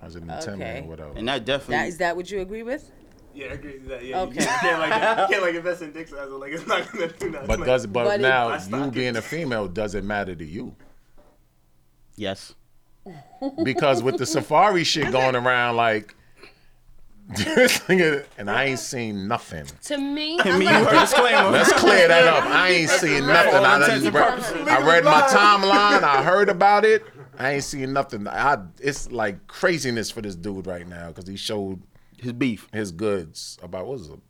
[SPEAKER 3] hundred and ten million.
[SPEAKER 4] Okay.
[SPEAKER 3] Whatever.
[SPEAKER 2] And that definitely
[SPEAKER 4] That is that what you agree with?
[SPEAKER 5] Yeah, I agree with that. Yeah, you-
[SPEAKER 4] Okay.
[SPEAKER 5] you, can't like, you can't like invest in dicks as like it's not gonna do nothing.
[SPEAKER 3] but
[SPEAKER 5] like,
[SPEAKER 3] does but,
[SPEAKER 4] But it-
[SPEAKER 3] now
[SPEAKER 5] I
[SPEAKER 3] you
[SPEAKER 5] stock
[SPEAKER 3] being a female doesn't matter to you
[SPEAKER 2] yes.
[SPEAKER 3] because with the safari shit going around like. this nigga- and I ain't seen nothing.
[SPEAKER 4] To me,
[SPEAKER 2] I mean, you heard disclaimer.
[SPEAKER 3] Let's clear that up. I ain't seen nothing. I,
[SPEAKER 2] intents
[SPEAKER 3] done
[SPEAKER 2] and
[SPEAKER 3] read,
[SPEAKER 2] purposes.
[SPEAKER 3] I read my timeline. I heard about it. I ain't seen nothing. I it's like craziness for this dude right now because he showed
[SPEAKER 2] His beef.
[SPEAKER 3] his goods about what was it?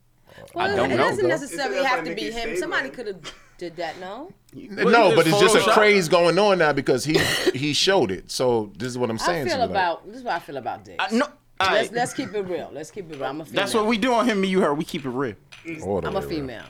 [SPEAKER 4] well,
[SPEAKER 2] don't
[SPEAKER 4] it
[SPEAKER 2] know,
[SPEAKER 4] doesn't
[SPEAKER 2] though.
[SPEAKER 4] necessarily
[SPEAKER 5] It's
[SPEAKER 4] have
[SPEAKER 5] like
[SPEAKER 4] to be
[SPEAKER 5] Nikki
[SPEAKER 4] him.
[SPEAKER 5] Sable.
[SPEAKER 4] Somebody could have did that. No,
[SPEAKER 3] no, but it's just a
[SPEAKER 2] Photoshop?
[SPEAKER 3] craze going on now because he he showed it. So this is what I'm
[SPEAKER 4] I
[SPEAKER 3] saying. to
[SPEAKER 4] feel
[SPEAKER 3] you, like,
[SPEAKER 4] about this. Is what I feel about dicks.
[SPEAKER 2] I, no, all
[SPEAKER 4] Let's
[SPEAKER 2] right.
[SPEAKER 4] let's keep it real. Let's keep it real. I'm a female.
[SPEAKER 2] that's what we do on him. Me, you heard. We keep it real.
[SPEAKER 3] order,
[SPEAKER 4] I'm a
[SPEAKER 3] bro.
[SPEAKER 4] female.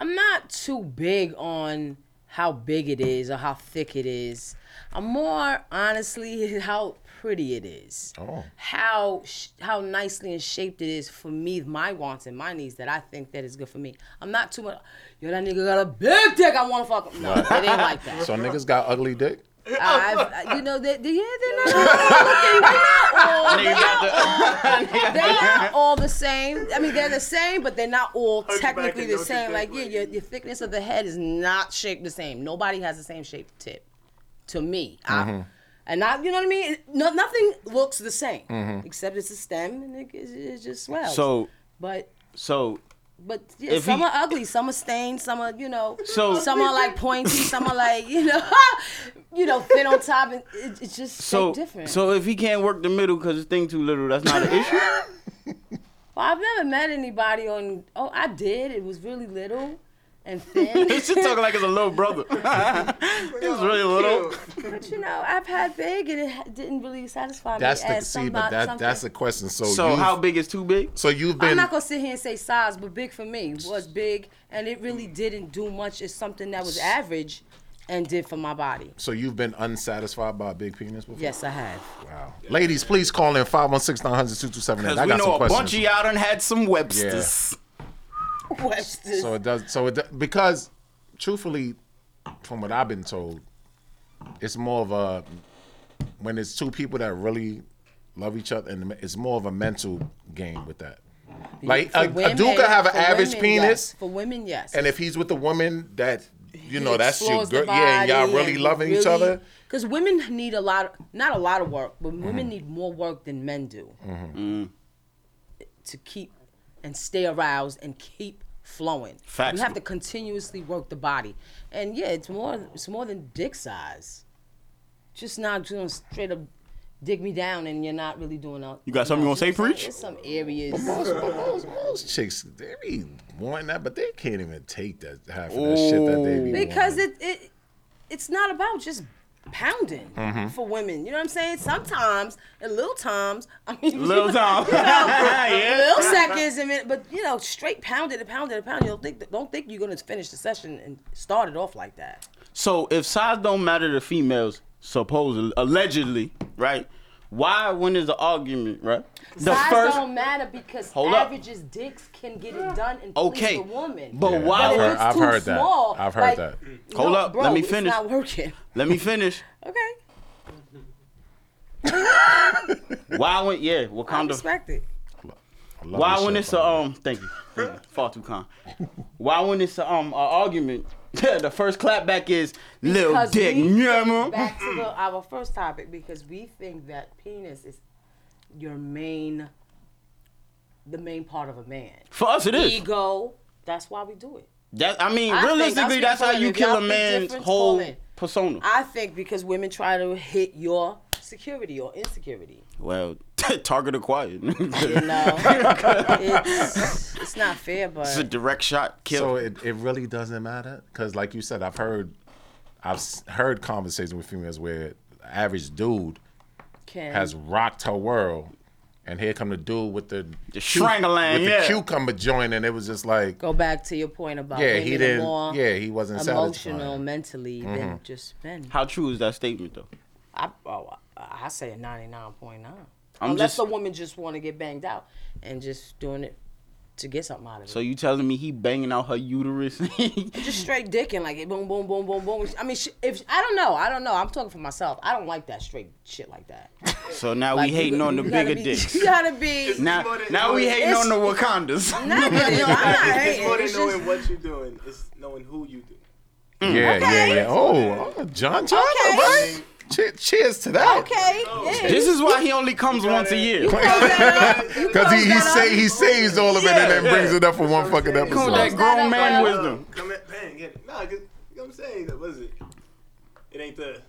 [SPEAKER 4] I'm not too big on how big it is or how thick it is. I'm more honestly how pretty it is.
[SPEAKER 3] Oh.
[SPEAKER 4] How sh- how nicely in shape it is for me, my wants and my needs that I think that is good for me. I'm not too much. Yo, that nigga got a big dick. I want to fuck him. No, it ain't like that.
[SPEAKER 3] So niggas got ugly dick.
[SPEAKER 4] I've, you know, they, they, yeah, they're not, they're not all, they're not all, they're not all the same. I mean, they're the same, but they're not all
[SPEAKER 5] you back
[SPEAKER 4] technically
[SPEAKER 5] and
[SPEAKER 4] the
[SPEAKER 5] don't you
[SPEAKER 4] same.
[SPEAKER 5] think
[SPEAKER 4] Like, yeah,
[SPEAKER 5] like-
[SPEAKER 4] your, your thickness of the head is not shaped the same. Nobody has the same shaped tip. To me,
[SPEAKER 2] Mm.
[SPEAKER 4] I- and I, you know what I mean. No, nothing looks the same except it's a stem and it, it, it just swells.
[SPEAKER 2] So,
[SPEAKER 4] but
[SPEAKER 2] so
[SPEAKER 4] but yeah,
[SPEAKER 2] If
[SPEAKER 4] some
[SPEAKER 2] he-
[SPEAKER 4] are ugly, some are stained, some are you know,
[SPEAKER 2] So-
[SPEAKER 4] some are like pointy, some are like you know, you know, thin on top, and it, it's just
[SPEAKER 2] so
[SPEAKER 4] so different.
[SPEAKER 2] so if he can't work the middle because his thing too little, that's not an issue.
[SPEAKER 4] well, I've never met anybody on. Oh, I did. It was really little and thin,
[SPEAKER 2] He's just talking like it's a little brother. He's really little.
[SPEAKER 4] but you know, I've had big, and it ha- didn't really satisfy
[SPEAKER 3] That's
[SPEAKER 4] me.
[SPEAKER 3] the
[SPEAKER 4] as
[SPEAKER 3] see,
[SPEAKER 4] somebody-
[SPEAKER 3] but that,
[SPEAKER 4] something-
[SPEAKER 3] that's the question. So
[SPEAKER 2] So
[SPEAKER 3] you've-
[SPEAKER 2] how big is too big?
[SPEAKER 3] So you've
[SPEAKER 4] I'm
[SPEAKER 3] been
[SPEAKER 4] not gonna sit here and say size, but big for me was big, and it really didn't do much. It's something that was average, and did for my body.
[SPEAKER 3] so you've been unsatisfied by a big penis before.
[SPEAKER 4] Yes, I have.
[SPEAKER 3] Wow. Ladies, please call in 516-900-2278. I
[SPEAKER 2] Because
[SPEAKER 3] got
[SPEAKER 2] we know a
[SPEAKER 3] some
[SPEAKER 2] bunch of
[SPEAKER 3] questions.
[SPEAKER 2] y'all done had some Websters.
[SPEAKER 4] Webster's.
[SPEAKER 3] So it does. So it does, because truthfully, from what I've been told, it's more of a when it's two people that really love each other, and it's more of a mental game with that. Like
[SPEAKER 4] For
[SPEAKER 3] a, a
[SPEAKER 4] women-
[SPEAKER 3] dude could have an
[SPEAKER 4] for
[SPEAKER 3] average
[SPEAKER 4] women,
[SPEAKER 3] penis,
[SPEAKER 4] yes. For women, yes.
[SPEAKER 3] and if he's with a woman that you know that's your
[SPEAKER 4] explores the
[SPEAKER 3] girl, yeah, and y'all
[SPEAKER 4] body
[SPEAKER 3] really
[SPEAKER 4] and
[SPEAKER 3] loving each other.
[SPEAKER 4] Because women need a lot, not a lot of work, but
[SPEAKER 3] Mm.
[SPEAKER 4] women need more work than men do
[SPEAKER 3] Mm-hmm.
[SPEAKER 7] Mm.
[SPEAKER 4] to keep and stay aroused and keep flowing.
[SPEAKER 2] Facts.
[SPEAKER 4] You have to continuously work the body, and yeah, it's more, it's more than dick size. Just not doing straight up. Dig me down, and you're not really doing a.
[SPEAKER 2] You got something you wanna say,
[SPEAKER 4] it's like-
[SPEAKER 2] preach?
[SPEAKER 4] It's some areas.
[SPEAKER 3] Most, most, most chicks they be wanting that, but they can't even take that half of that shit that they be
[SPEAKER 4] because
[SPEAKER 3] wanting.
[SPEAKER 4] it, it it's not about just pounding
[SPEAKER 2] Mm-hmm.
[SPEAKER 4] for women. You know what I'm saying? Sometimes and little times, I mean,
[SPEAKER 2] Little Tom.
[SPEAKER 4] you know,
[SPEAKER 2] Yeah.
[SPEAKER 4] little seconds a minute, but you know, straight pounded and pounded and pounded. You don't think don't think you're gonna finish the session and start it off like that.
[SPEAKER 2] So if size don't matter to females, supposedly, allegedly, right? Why when there's an argument, right? The
[SPEAKER 4] Size
[SPEAKER 2] first,
[SPEAKER 4] don't matter because
[SPEAKER 2] Hold up.
[SPEAKER 4] averages dicks can get it done and
[SPEAKER 2] Okay,
[SPEAKER 4] please the woman.
[SPEAKER 2] but
[SPEAKER 3] Yeah,
[SPEAKER 2] why
[SPEAKER 3] I've
[SPEAKER 4] But
[SPEAKER 2] would
[SPEAKER 3] heard,
[SPEAKER 4] it's
[SPEAKER 3] I've
[SPEAKER 4] too
[SPEAKER 3] heard that.
[SPEAKER 4] small,
[SPEAKER 3] I've heard
[SPEAKER 4] like-
[SPEAKER 3] that.
[SPEAKER 2] Hold
[SPEAKER 4] No,
[SPEAKER 2] up,
[SPEAKER 4] bro,
[SPEAKER 2] let me
[SPEAKER 4] it's
[SPEAKER 2] finish.
[SPEAKER 4] not working.
[SPEAKER 2] Let me finish.
[SPEAKER 4] Okay,
[SPEAKER 2] Why when yeah,
[SPEAKER 4] I
[SPEAKER 2] Wakanda
[SPEAKER 4] respect it.
[SPEAKER 3] I love
[SPEAKER 2] Why
[SPEAKER 3] this
[SPEAKER 2] when
[SPEAKER 3] shit,
[SPEAKER 2] it's
[SPEAKER 3] by
[SPEAKER 2] a
[SPEAKER 3] the way.
[SPEAKER 2] um thank you. Thank you. Far too kind. Why when it's a, um a argument, the first clap back is little
[SPEAKER 4] Because
[SPEAKER 2] dick.
[SPEAKER 4] we think-
[SPEAKER 2] Yeah, man.
[SPEAKER 4] Back to the, our first topic because we think that penis is your main, the main part of a man.
[SPEAKER 2] For us it is.
[SPEAKER 4] Ego. That's why we do it.
[SPEAKER 2] That I mean,
[SPEAKER 4] I think
[SPEAKER 2] realistically
[SPEAKER 4] that's
[SPEAKER 2] that's, how
[SPEAKER 4] what
[SPEAKER 2] you
[SPEAKER 4] it is.
[SPEAKER 2] kill
[SPEAKER 4] Y'all
[SPEAKER 2] a
[SPEAKER 4] think
[SPEAKER 2] man's
[SPEAKER 4] different,
[SPEAKER 2] whole
[SPEAKER 4] call it.
[SPEAKER 2] persona.
[SPEAKER 4] I think because women try to hit your security or insecurity.
[SPEAKER 2] well, target acquired.
[SPEAKER 4] You know, it's, it's not fair,
[SPEAKER 2] it's a
[SPEAKER 4] but
[SPEAKER 2] direct shot kill.
[SPEAKER 3] So it, it really doesn't matter because, like you said, I've heard I've s- heard conversations with females where the average dude
[SPEAKER 4] can
[SPEAKER 3] has rocked her world, and here come the dude with the,
[SPEAKER 2] The strangling,
[SPEAKER 3] with
[SPEAKER 2] yeah.
[SPEAKER 3] the cucumber joint, and it was just like,
[SPEAKER 4] go back to your point about
[SPEAKER 3] yeah,
[SPEAKER 4] women
[SPEAKER 3] he
[SPEAKER 4] are
[SPEAKER 3] didn't,
[SPEAKER 4] more
[SPEAKER 3] yeah, he wasn't Mm-hmm.
[SPEAKER 4] emotional
[SPEAKER 3] satisfied.
[SPEAKER 4] mentally than just men.
[SPEAKER 2] How true is that statement though?
[SPEAKER 4] I oh, I I say a ninety nine point nine.
[SPEAKER 2] I'm
[SPEAKER 4] Unless
[SPEAKER 2] just-
[SPEAKER 4] the woman just want to get banged out and just doing it to get something out of it.
[SPEAKER 2] So you telling me he banging out her uterus?
[SPEAKER 4] just straight dicking like it, boom, boom, boom, boom, boom. I mean, sh- if I don't know, I don't know. I'm talking for myself. I don't like that straight shit like that.
[SPEAKER 2] so now
[SPEAKER 4] Like,
[SPEAKER 2] we
[SPEAKER 4] you
[SPEAKER 2] hating
[SPEAKER 4] go-
[SPEAKER 2] on the
[SPEAKER 4] you gotta
[SPEAKER 2] bigger
[SPEAKER 4] be-
[SPEAKER 2] dicks.
[SPEAKER 4] You gotta be.
[SPEAKER 2] Now,
[SPEAKER 5] more than-
[SPEAKER 2] now we
[SPEAKER 5] it's-
[SPEAKER 2] hating on the Wakandas.
[SPEAKER 4] negative. I'm not
[SPEAKER 5] It's
[SPEAKER 4] hating.
[SPEAKER 5] more than
[SPEAKER 4] It's just-
[SPEAKER 5] knowing what you're doing. It's knowing who you do.
[SPEAKER 3] Yeah, yeah,
[SPEAKER 4] Okay.
[SPEAKER 3] yeah. Oh, oh, John, John,
[SPEAKER 4] Okay.
[SPEAKER 3] okay. che- cheers to that.
[SPEAKER 4] Okay. yeah.
[SPEAKER 2] This is why he only comes once a year.
[SPEAKER 3] Because he, he, say, he saves all of it
[SPEAKER 2] Yeah,
[SPEAKER 3] and then brings
[SPEAKER 2] yeah.
[SPEAKER 3] it up for one fucking
[SPEAKER 2] Come with that
[SPEAKER 3] episode.
[SPEAKER 2] grown man
[SPEAKER 4] well.
[SPEAKER 2] wisdom.
[SPEAKER 5] Come at bang, get it. Nah, cause, you know what I'm saying? That was it. It ain't the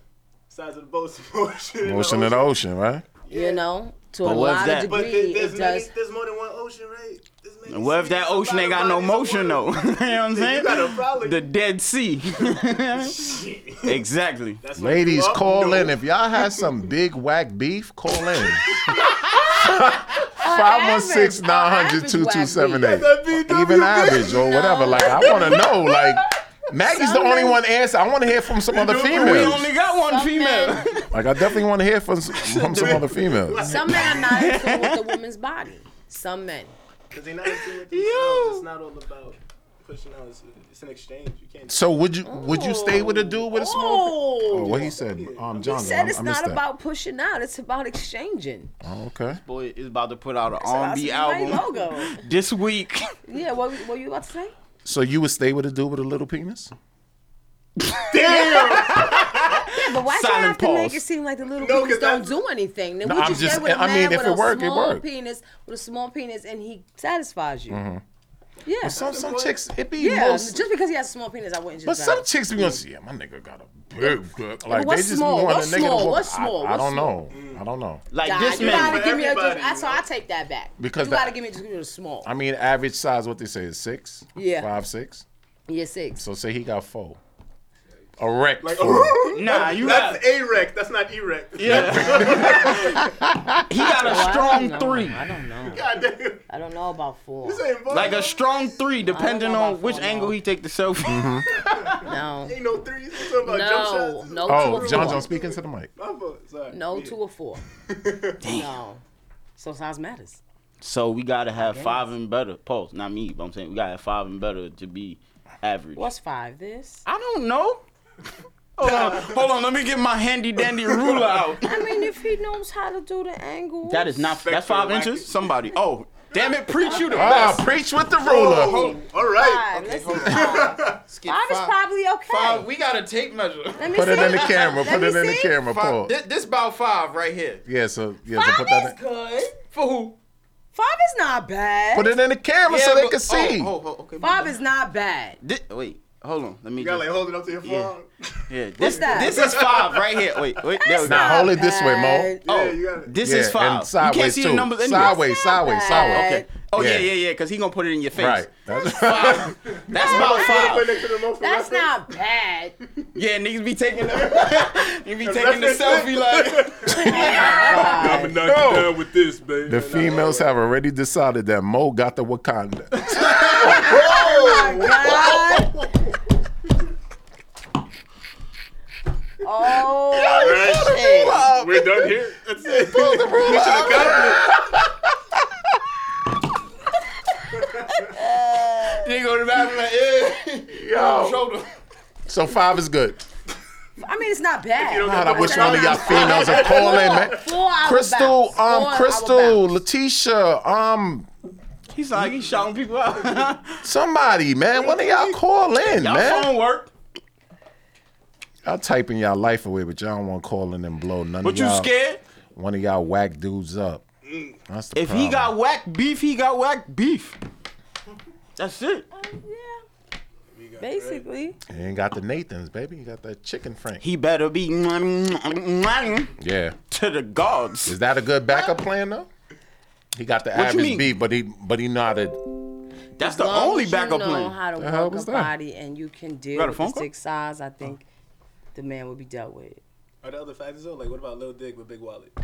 [SPEAKER 5] size of the boat's motion.
[SPEAKER 3] Motion in the ocean, right?
[SPEAKER 4] You know, to a
[SPEAKER 2] But what's
[SPEAKER 4] lot
[SPEAKER 2] that?
[SPEAKER 4] of
[SPEAKER 5] But
[SPEAKER 4] degree,
[SPEAKER 5] there, there's,
[SPEAKER 4] it
[SPEAKER 5] many,
[SPEAKER 4] does.
[SPEAKER 5] there's more than one ocean, right? There's many
[SPEAKER 2] What if
[SPEAKER 5] seas.
[SPEAKER 2] that
[SPEAKER 5] There's a
[SPEAKER 2] ocean
[SPEAKER 5] lot
[SPEAKER 2] ain't
[SPEAKER 5] of
[SPEAKER 2] got no
[SPEAKER 5] bodies of
[SPEAKER 2] motion though? you know
[SPEAKER 5] water.
[SPEAKER 2] what I'm saying?
[SPEAKER 5] got a problem.
[SPEAKER 2] The Dead Sea. exactly.
[SPEAKER 5] That's what you
[SPEAKER 3] Ladies,
[SPEAKER 5] up
[SPEAKER 3] call
[SPEAKER 5] to.
[SPEAKER 3] in. If y'all had some big whack beef, call in. 516 900
[SPEAKER 5] That be
[SPEAKER 3] 2278.
[SPEAKER 5] the
[SPEAKER 3] Even average or whatever. Like, I want to know. Like, Maggie's the only one answer. I want to hear from some other
[SPEAKER 2] We
[SPEAKER 3] females.
[SPEAKER 2] only got one
[SPEAKER 4] Some
[SPEAKER 2] female.
[SPEAKER 4] men-
[SPEAKER 3] Like, I definitely want to hear from, s- from some other females.
[SPEAKER 4] Some men are not in tune with the woman's body. Some men.
[SPEAKER 5] Cause they not into it themselves. It's not all about pushing out. It's, it's an exchange. You can't.
[SPEAKER 3] So would you would you stay with a dude with a small?
[SPEAKER 4] Oh.
[SPEAKER 3] Oh, what he said, um, John.
[SPEAKER 4] He said it's
[SPEAKER 3] I, I missed
[SPEAKER 4] not
[SPEAKER 3] that.
[SPEAKER 4] about pushing out. It's about exchanging.
[SPEAKER 3] Oh, okay.
[SPEAKER 2] Boy is about to put out an
[SPEAKER 4] So that's
[SPEAKER 2] R&B
[SPEAKER 4] my
[SPEAKER 2] album
[SPEAKER 4] logo.
[SPEAKER 2] this week.
[SPEAKER 4] Yeah, what, what were you about to say?
[SPEAKER 3] So you would stay with a dude with a little penis?
[SPEAKER 4] Yeah, but why do I
[SPEAKER 2] Silent
[SPEAKER 4] have to
[SPEAKER 2] pause.
[SPEAKER 4] make it seem like the little
[SPEAKER 5] No,
[SPEAKER 4] penis
[SPEAKER 5] 'cause
[SPEAKER 4] don't
[SPEAKER 5] that's-
[SPEAKER 4] do anything? Then
[SPEAKER 3] No,
[SPEAKER 4] we
[SPEAKER 3] I'm
[SPEAKER 4] just,
[SPEAKER 3] just-
[SPEAKER 4] get with a
[SPEAKER 3] I
[SPEAKER 4] man
[SPEAKER 3] mean, if
[SPEAKER 4] with
[SPEAKER 3] it
[SPEAKER 4] a
[SPEAKER 3] work, it
[SPEAKER 4] small
[SPEAKER 3] work. Mm-hmm.
[SPEAKER 4] penis, with a small penis, and he satisfies you. Yeah.
[SPEAKER 3] Some some chicks it be
[SPEAKER 4] yeah,
[SPEAKER 3] most.
[SPEAKER 4] just because he has a small penis, I wouldn't just.
[SPEAKER 3] But
[SPEAKER 4] drive.
[SPEAKER 3] some chicks be gonna say, yeah, my nigga got a big dick. Like
[SPEAKER 4] what's
[SPEAKER 3] they just
[SPEAKER 4] small?
[SPEAKER 3] want
[SPEAKER 4] What's
[SPEAKER 3] a nigga
[SPEAKER 4] small?
[SPEAKER 3] to walk.
[SPEAKER 4] What's small? Mm.
[SPEAKER 3] I, I don't
[SPEAKER 4] What's
[SPEAKER 3] know. I don't know.
[SPEAKER 2] Like
[SPEAKER 4] Nah,
[SPEAKER 2] this
[SPEAKER 4] you
[SPEAKER 2] man,
[SPEAKER 4] gotta give me a.
[SPEAKER 5] Everybody,
[SPEAKER 4] Just, so I take that back.
[SPEAKER 3] Because
[SPEAKER 4] you
[SPEAKER 3] that-
[SPEAKER 4] gotta give me just give me a small.
[SPEAKER 3] I mean, average size, what they say is six.
[SPEAKER 4] Yeah.
[SPEAKER 3] Five, six.
[SPEAKER 4] yeah, six.
[SPEAKER 3] So say he got four. Erect.
[SPEAKER 5] Like,
[SPEAKER 3] four.
[SPEAKER 2] nah, you got
[SPEAKER 5] that's erect. That's not E erect.
[SPEAKER 2] yeah. he got
[SPEAKER 4] Well,
[SPEAKER 2] a
[SPEAKER 4] I
[SPEAKER 2] strong
[SPEAKER 4] don't know.
[SPEAKER 2] three.
[SPEAKER 4] I don't know.
[SPEAKER 5] God damn.
[SPEAKER 4] I don't know about four.
[SPEAKER 5] This ain't
[SPEAKER 2] Like a
[SPEAKER 5] volleyball.
[SPEAKER 2] strong three, depending
[SPEAKER 4] know
[SPEAKER 2] on
[SPEAKER 4] about
[SPEAKER 2] which
[SPEAKER 4] four,
[SPEAKER 2] angle
[SPEAKER 4] no.
[SPEAKER 2] he take the selfie.
[SPEAKER 4] No.
[SPEAKER 5] Ain't no threes. It's something about jump
[SPEAKER 4] No.
[SPEAKER 5] shots.
[SPEAKER 4] No two
[SPEAKER 3] oh,
[SPEAKER 4] or
[SPEAKER 3] John's
[SPEAKER 4] four.
[SPEAKER 3] on speaking to the mic.
[SPEAKER 5] My fault. Sorry.
[SPEAKER 4] No two or four. No. So size matters.
[SPEAKER 2] So we gotta have five and better. Pulse, not me, but I'm saying we gotta have five and better to be average.
[SPEAKER 4] What's five? This.
[SPEAKER 2] I don't know. Hold on, hold on. Let me get my handy dandy ruler out.
[SPEAKER 4] I mean, if he knows how to do the angle.
[SPEAKER 2] That is not. That's
[SPEAKER 5] Spectrum
[SPEAKER 2] five
[SPEAKER 5] like
[SPEAKER 2] inches.
[SPEAKER 5] it.
[SPEAKER 2] Somebody. Oh, damn it! Preach you the
[SPEAKER 3] Ah,
[SPEAKER 2] best.
[SPEAKER 3] preach with the ruler.
[SPEAKER 5] Oh, all right.
[SPEAKER 4] Five. Let's see five.
[SPEAKER 2] Let's get
[SPEAKER 4] Five is probably okay.
[SPEAKER 2] Five. We got a tape measure.
[SPEAKER 4] Let me
[SPEAKER 3] Put it
[SPEAKER 4] see.
[SPEAKER 3] in the camera.
[SPEAKER 4] Let
[SPEAKER 3] Put
[SPEAKER 4] me
[SPEAKER 3] it in the
[SPEAKER 4] see.
[SPEAKER 3] camera. Paul.
[SPEAKER 2] Five. This, this about five right here.
[SPEAKER 3] Yeah, so yeah, so
[SPEAKER 4] Five
[SPEAKER 3] put that.
[SPEAKER 4] is
[SPEAKER 3] In,
[SPEAKER 4] good.
[SPEAKER 2] For who?
[SPEAKER 4] Five is not bad.
[SPEAKER 3] put it in the camera so
[SPEAKER 2] Yeah,
[SPEAKER 3] they
[SPEAKER 2] but-
[SPEAKER 3] can see.
[SPEAKER 2] Oh, oh, okay. my
[SPEAKER 4] Five
[SPEAKER 2] bad.
[SPEAKER 4] is not bad.
[SPEAKER 2] Thi- wait. Hold on. Let me.
[SPEAKER 5] You gotta like
[SPEAKER 2] Just,
[SPEAKER 5] hold it up to your
[SPEAKER 2] Yeah.
[SPEAKER 5] phone.
[SPEAKER 2] yeah. This,
[SPEAKER 4] that?
[SPEAKER 2] this is five right here. Wait. Wait. There we go.
[SPEAKER 3] Nah, hold it this way, Mo.
[SPEAKER 4] Bad.
[SPEAKER 5] Yeah,
[SPEAKER 2] Oh,
[SPEAKER 5] you gotta.
[SPEAKER 2] this
[SPEAKER 3] yeah,
[SPEAKER 2] is five.
[SPEAKER 3] And sideways
[SPEAKER 2] you can't see
[SPEAKER 3] too.
[SPEAKER 2] the numbers. anyway.
[SPEAKER 3] sideways, sideways,
[SPEAKER 4] bad.
[SPEAKER 3] sideways.
[SPEAKER 2] Okay. Oh yeah,
[SPEAKER 3] Yeah.
[SPEAKER 2] yeah, yeah. Because he gonna put it in your face.
[SPEAKER 3] Right. That's
[SPEAKER 2] That's about
[SPEAKER 5] Put it
[SPEAKER 2] five.
[SPEAKER 5] next to the remote for
[SPEAKER 4] That's
[SPEAKER 5] reference.
[SPEAKER 4] not bad.
[SPEAKER 2] Yeah, niggas be taking the, you be taking the selfie like.
[SPEAKER 5] I'ma knock you
[SPEAKER 3] No.
[SPEAKER 5] down with this, baby.
[SPEAKER 3] the females have already decided that Mo got the Wakanda.
[SPEAKER 2] Oh
[SPEAKER 4] God. Oh, shit.
[SPEAKER 5] We're done here. That's it. Mission accomplished.
[SPEAKER 2] They go to the bathroom like, yeah,
[SPEAKER 3] Yo.
[SPEAKER 2] shoulder.
[SPEAKER 3] So five is good.
[SPEAKER 4] I mean, it's not bad.
[SPEAKER 5] don't
[SPEAKER 3] God, I wish
[SPEAKER 4] It's
[SPEAKER 3] one of
[SPEAKER 4] not
[SPEAKER 3] y'all females
[SPEAKER 4] bad.
[SPEAKER 3] would call in, man.
[SPEAKER 4] Four hour
[SPEAKER 3] Crystal,
[SPEAKER 4] bounce. Four
[SPEAKER 3] um,
[SPEAKER 4] hour
[SPEAKER 3] Crystal,
[SPEAKER 4] bounce.
[SPEAKER 3] Letitia, um,
[SPEAKER 2] He's like, he's shouting people out.
[SPEAKER 3] somebody, man. One of y'all call in,
[SPEAKER 2] Y'all
[SPEAKER 3] man.
[SPEAKER 2] phone work,
[SPEAKER 3] Y'all typing y'all life away, but y'all don't want to call in and blow none
[SPEAKER 2] but
[SPEAKER 3] of
[SPEAKER 2] you
[SPEAKER 3] y'all.
[SPEAKER 2] scared?
[SPEAKER 3] One of y'all whack dudes up. That's the
[SPEAKER 2] If he got whack beef, he got whack beef. That's it.
[SPEAKER 4] Yeah. Basically.
[SPEAKER 3] he ain't got the Nathans, baby. He got that chicken frank.
[SPEAKER 2] He better be to
[SPEAKER 3] yeah.
[SPEAKER 2] the gods.
[SPEAKER 3] Is that a good backup plan though? He got the
[SPEAKER 2] you
[SPEAKER 3] average
[SPEAKER 2] mean?
[SPEAKER 3] B, but he but he nodded.
[SPEAKER 2] That's the
[SPEAKER 4] As long
[SPEAKER 2] only
[SPEAKER 4] as
[SPEAKER 2] backup
[SPEAKER 4] you know
[SPEAKER 2] plan.
[SPEAKER 4] how to
[SPEAKER 3] hell
[SPEAKER 4] work
[SPEAKER 3] was
[SPEAKER 4] a
[SPEAKER 3] that?
[SPEAKER 4] body and you can deal
[SPEAKER 2] got a
[SPEAKER 4] with
[SPEAKER 2] phone
[SPEAKER 4] the
[SPEAKER 2] call?
[SPEAKER 4] stick size, I think the man will be dealt with.
[SPEAKER 5] Are the other factors though? Like, what about Lil Dick with Big Wallet?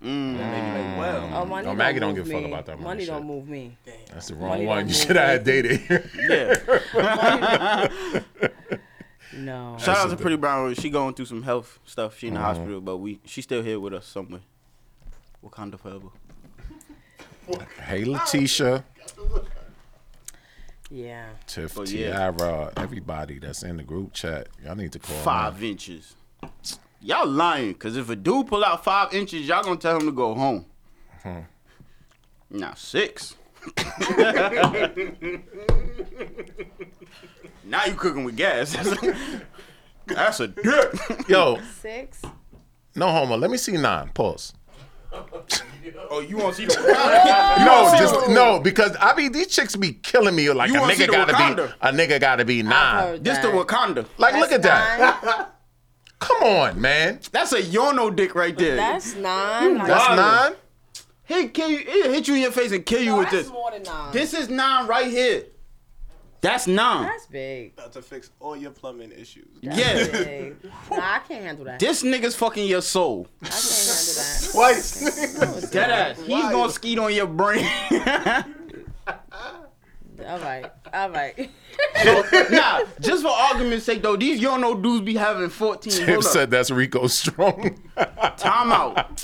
[SPEAKER 3] Mm.
[SPEAKER 5] Then they be like, wow.
[SPEAKER 4] Oh, money
[SPEAKER 3] No, Maggie
[SPEAKER 4] don't
[SPEAKER 3] don't
[SPEAKER 4] move
[SPEAKER 3] give a fuck
[SPEAKER 4] me.
[SPEAKER 3] about that money shit.
[SPEAKER 4] don't move me.
[SPEAKER 3] That's the wrong
[SPEAKER 4] Money
[SPEAKER 3] one.
[SPEAKER 4] don't
[SPEAKER 3] You
[SPEAKER 4] move,
[SPEAKER 3] should have
[SPEAKER 4] baby.
[SPEAKER 3] had dated.
[SPEAKER 2] Yeah.
[SPEAKER 4] No.
[SPEAKER 2] Shout out to Pretty Brown. She going through some health stuff. She in
[SPEAKER 3] Uh-huh.
[SPEAKER 2] the hospital, but we she still here with us somewhere. Wakanda forever.
[SPEAKER 3] hey
[SPEAKER 4] Oh.
[SPEAKER 3] Letitia,
[SPEAKER 4] Yeah.
[SPEAKER 3] Tiff,
[SPEAKER 2] Oh, yeah.
[SPEAKER 3] Tiara, everybody that's in the group chat, y'all need to call. in.
[SPEAKER 2] Five inches. Y'all lying, cause if a dude pull out five inches, y'all gonna tell him to go home.
[SPEAKER 3] Hmm.
[SPEAKER 2] Now six. now you cooking with gas. That's a dick.
[SPEAKER 3] Yo,
[SPEAKER 4] Six.
[SPEAKER 3] no homo. Let me see nine. Pause.
[SPEAKER 2] oh, you want to see the Wakanda?
[SPEAKER 3] No, just no, because I be these chicks be killing me. Like
[SPEAKER 2] You
[SPEAKER 3] a
[SPEAKER 2] wanna see
[SPEAKER 3] nigga
[SPEAKER 2] the
[SPEAKER 3] gotta
[SPEAKER 2] Wakanda?
[SPEAKER 3] be a nigga gotta be nine.
[SPEAKER 4] heard
[SPEAKER 2] this the Wakanda.
[SPEAKER 3] Like
[SPEAKER 4] That's
[SPEAKER 3] look at that.
[SPEAKER 4] nine.
[SPEAKER 3] Come on, man.
[SPEAKER 2] That's a Yono dick right there.
[SPEAKER 4] That's nine. Like,
[SPEAKER 3] That's
[SPEAKER 2] Wow.
[SPEAKER 3] nine.
[SPEAKER 2] He kill you. He hit you in your face and kill you
[SPEAKER 4] no,
[SPEAKER 2] with
[SPEAKER 4] that's
[SPEAKER 2] this.
[SPEAKER 4] more than nine.
[SPEAKER 2] This is nine right here. That's nine.
[SPEAKER 4] That's big.
[SPEAKER 5] About to fix all your plumbing issues.
[SPEAKER 2] yes.
[SPEAKER 4] Big. nah, I can't handle that.
[SPEAKER 2] This nigga's fucking your soul.
[SPEAKER 4] I can't handle that.
[SPEAKER 5] Twice.
[SPEAKER 2] Dead ass. He's gonna skeet on your brain.
[SPEAKER 4] All right. All right.
[SPEAKER 2] nah, just for argument's sake though, these yo no dudes be having 14.
[SPEAKER 3] Tiff
[SPEAKER 2] Hold up.
[SPEAKER 3] said that's Rico Strong.
[SPEAKER 2] Time out.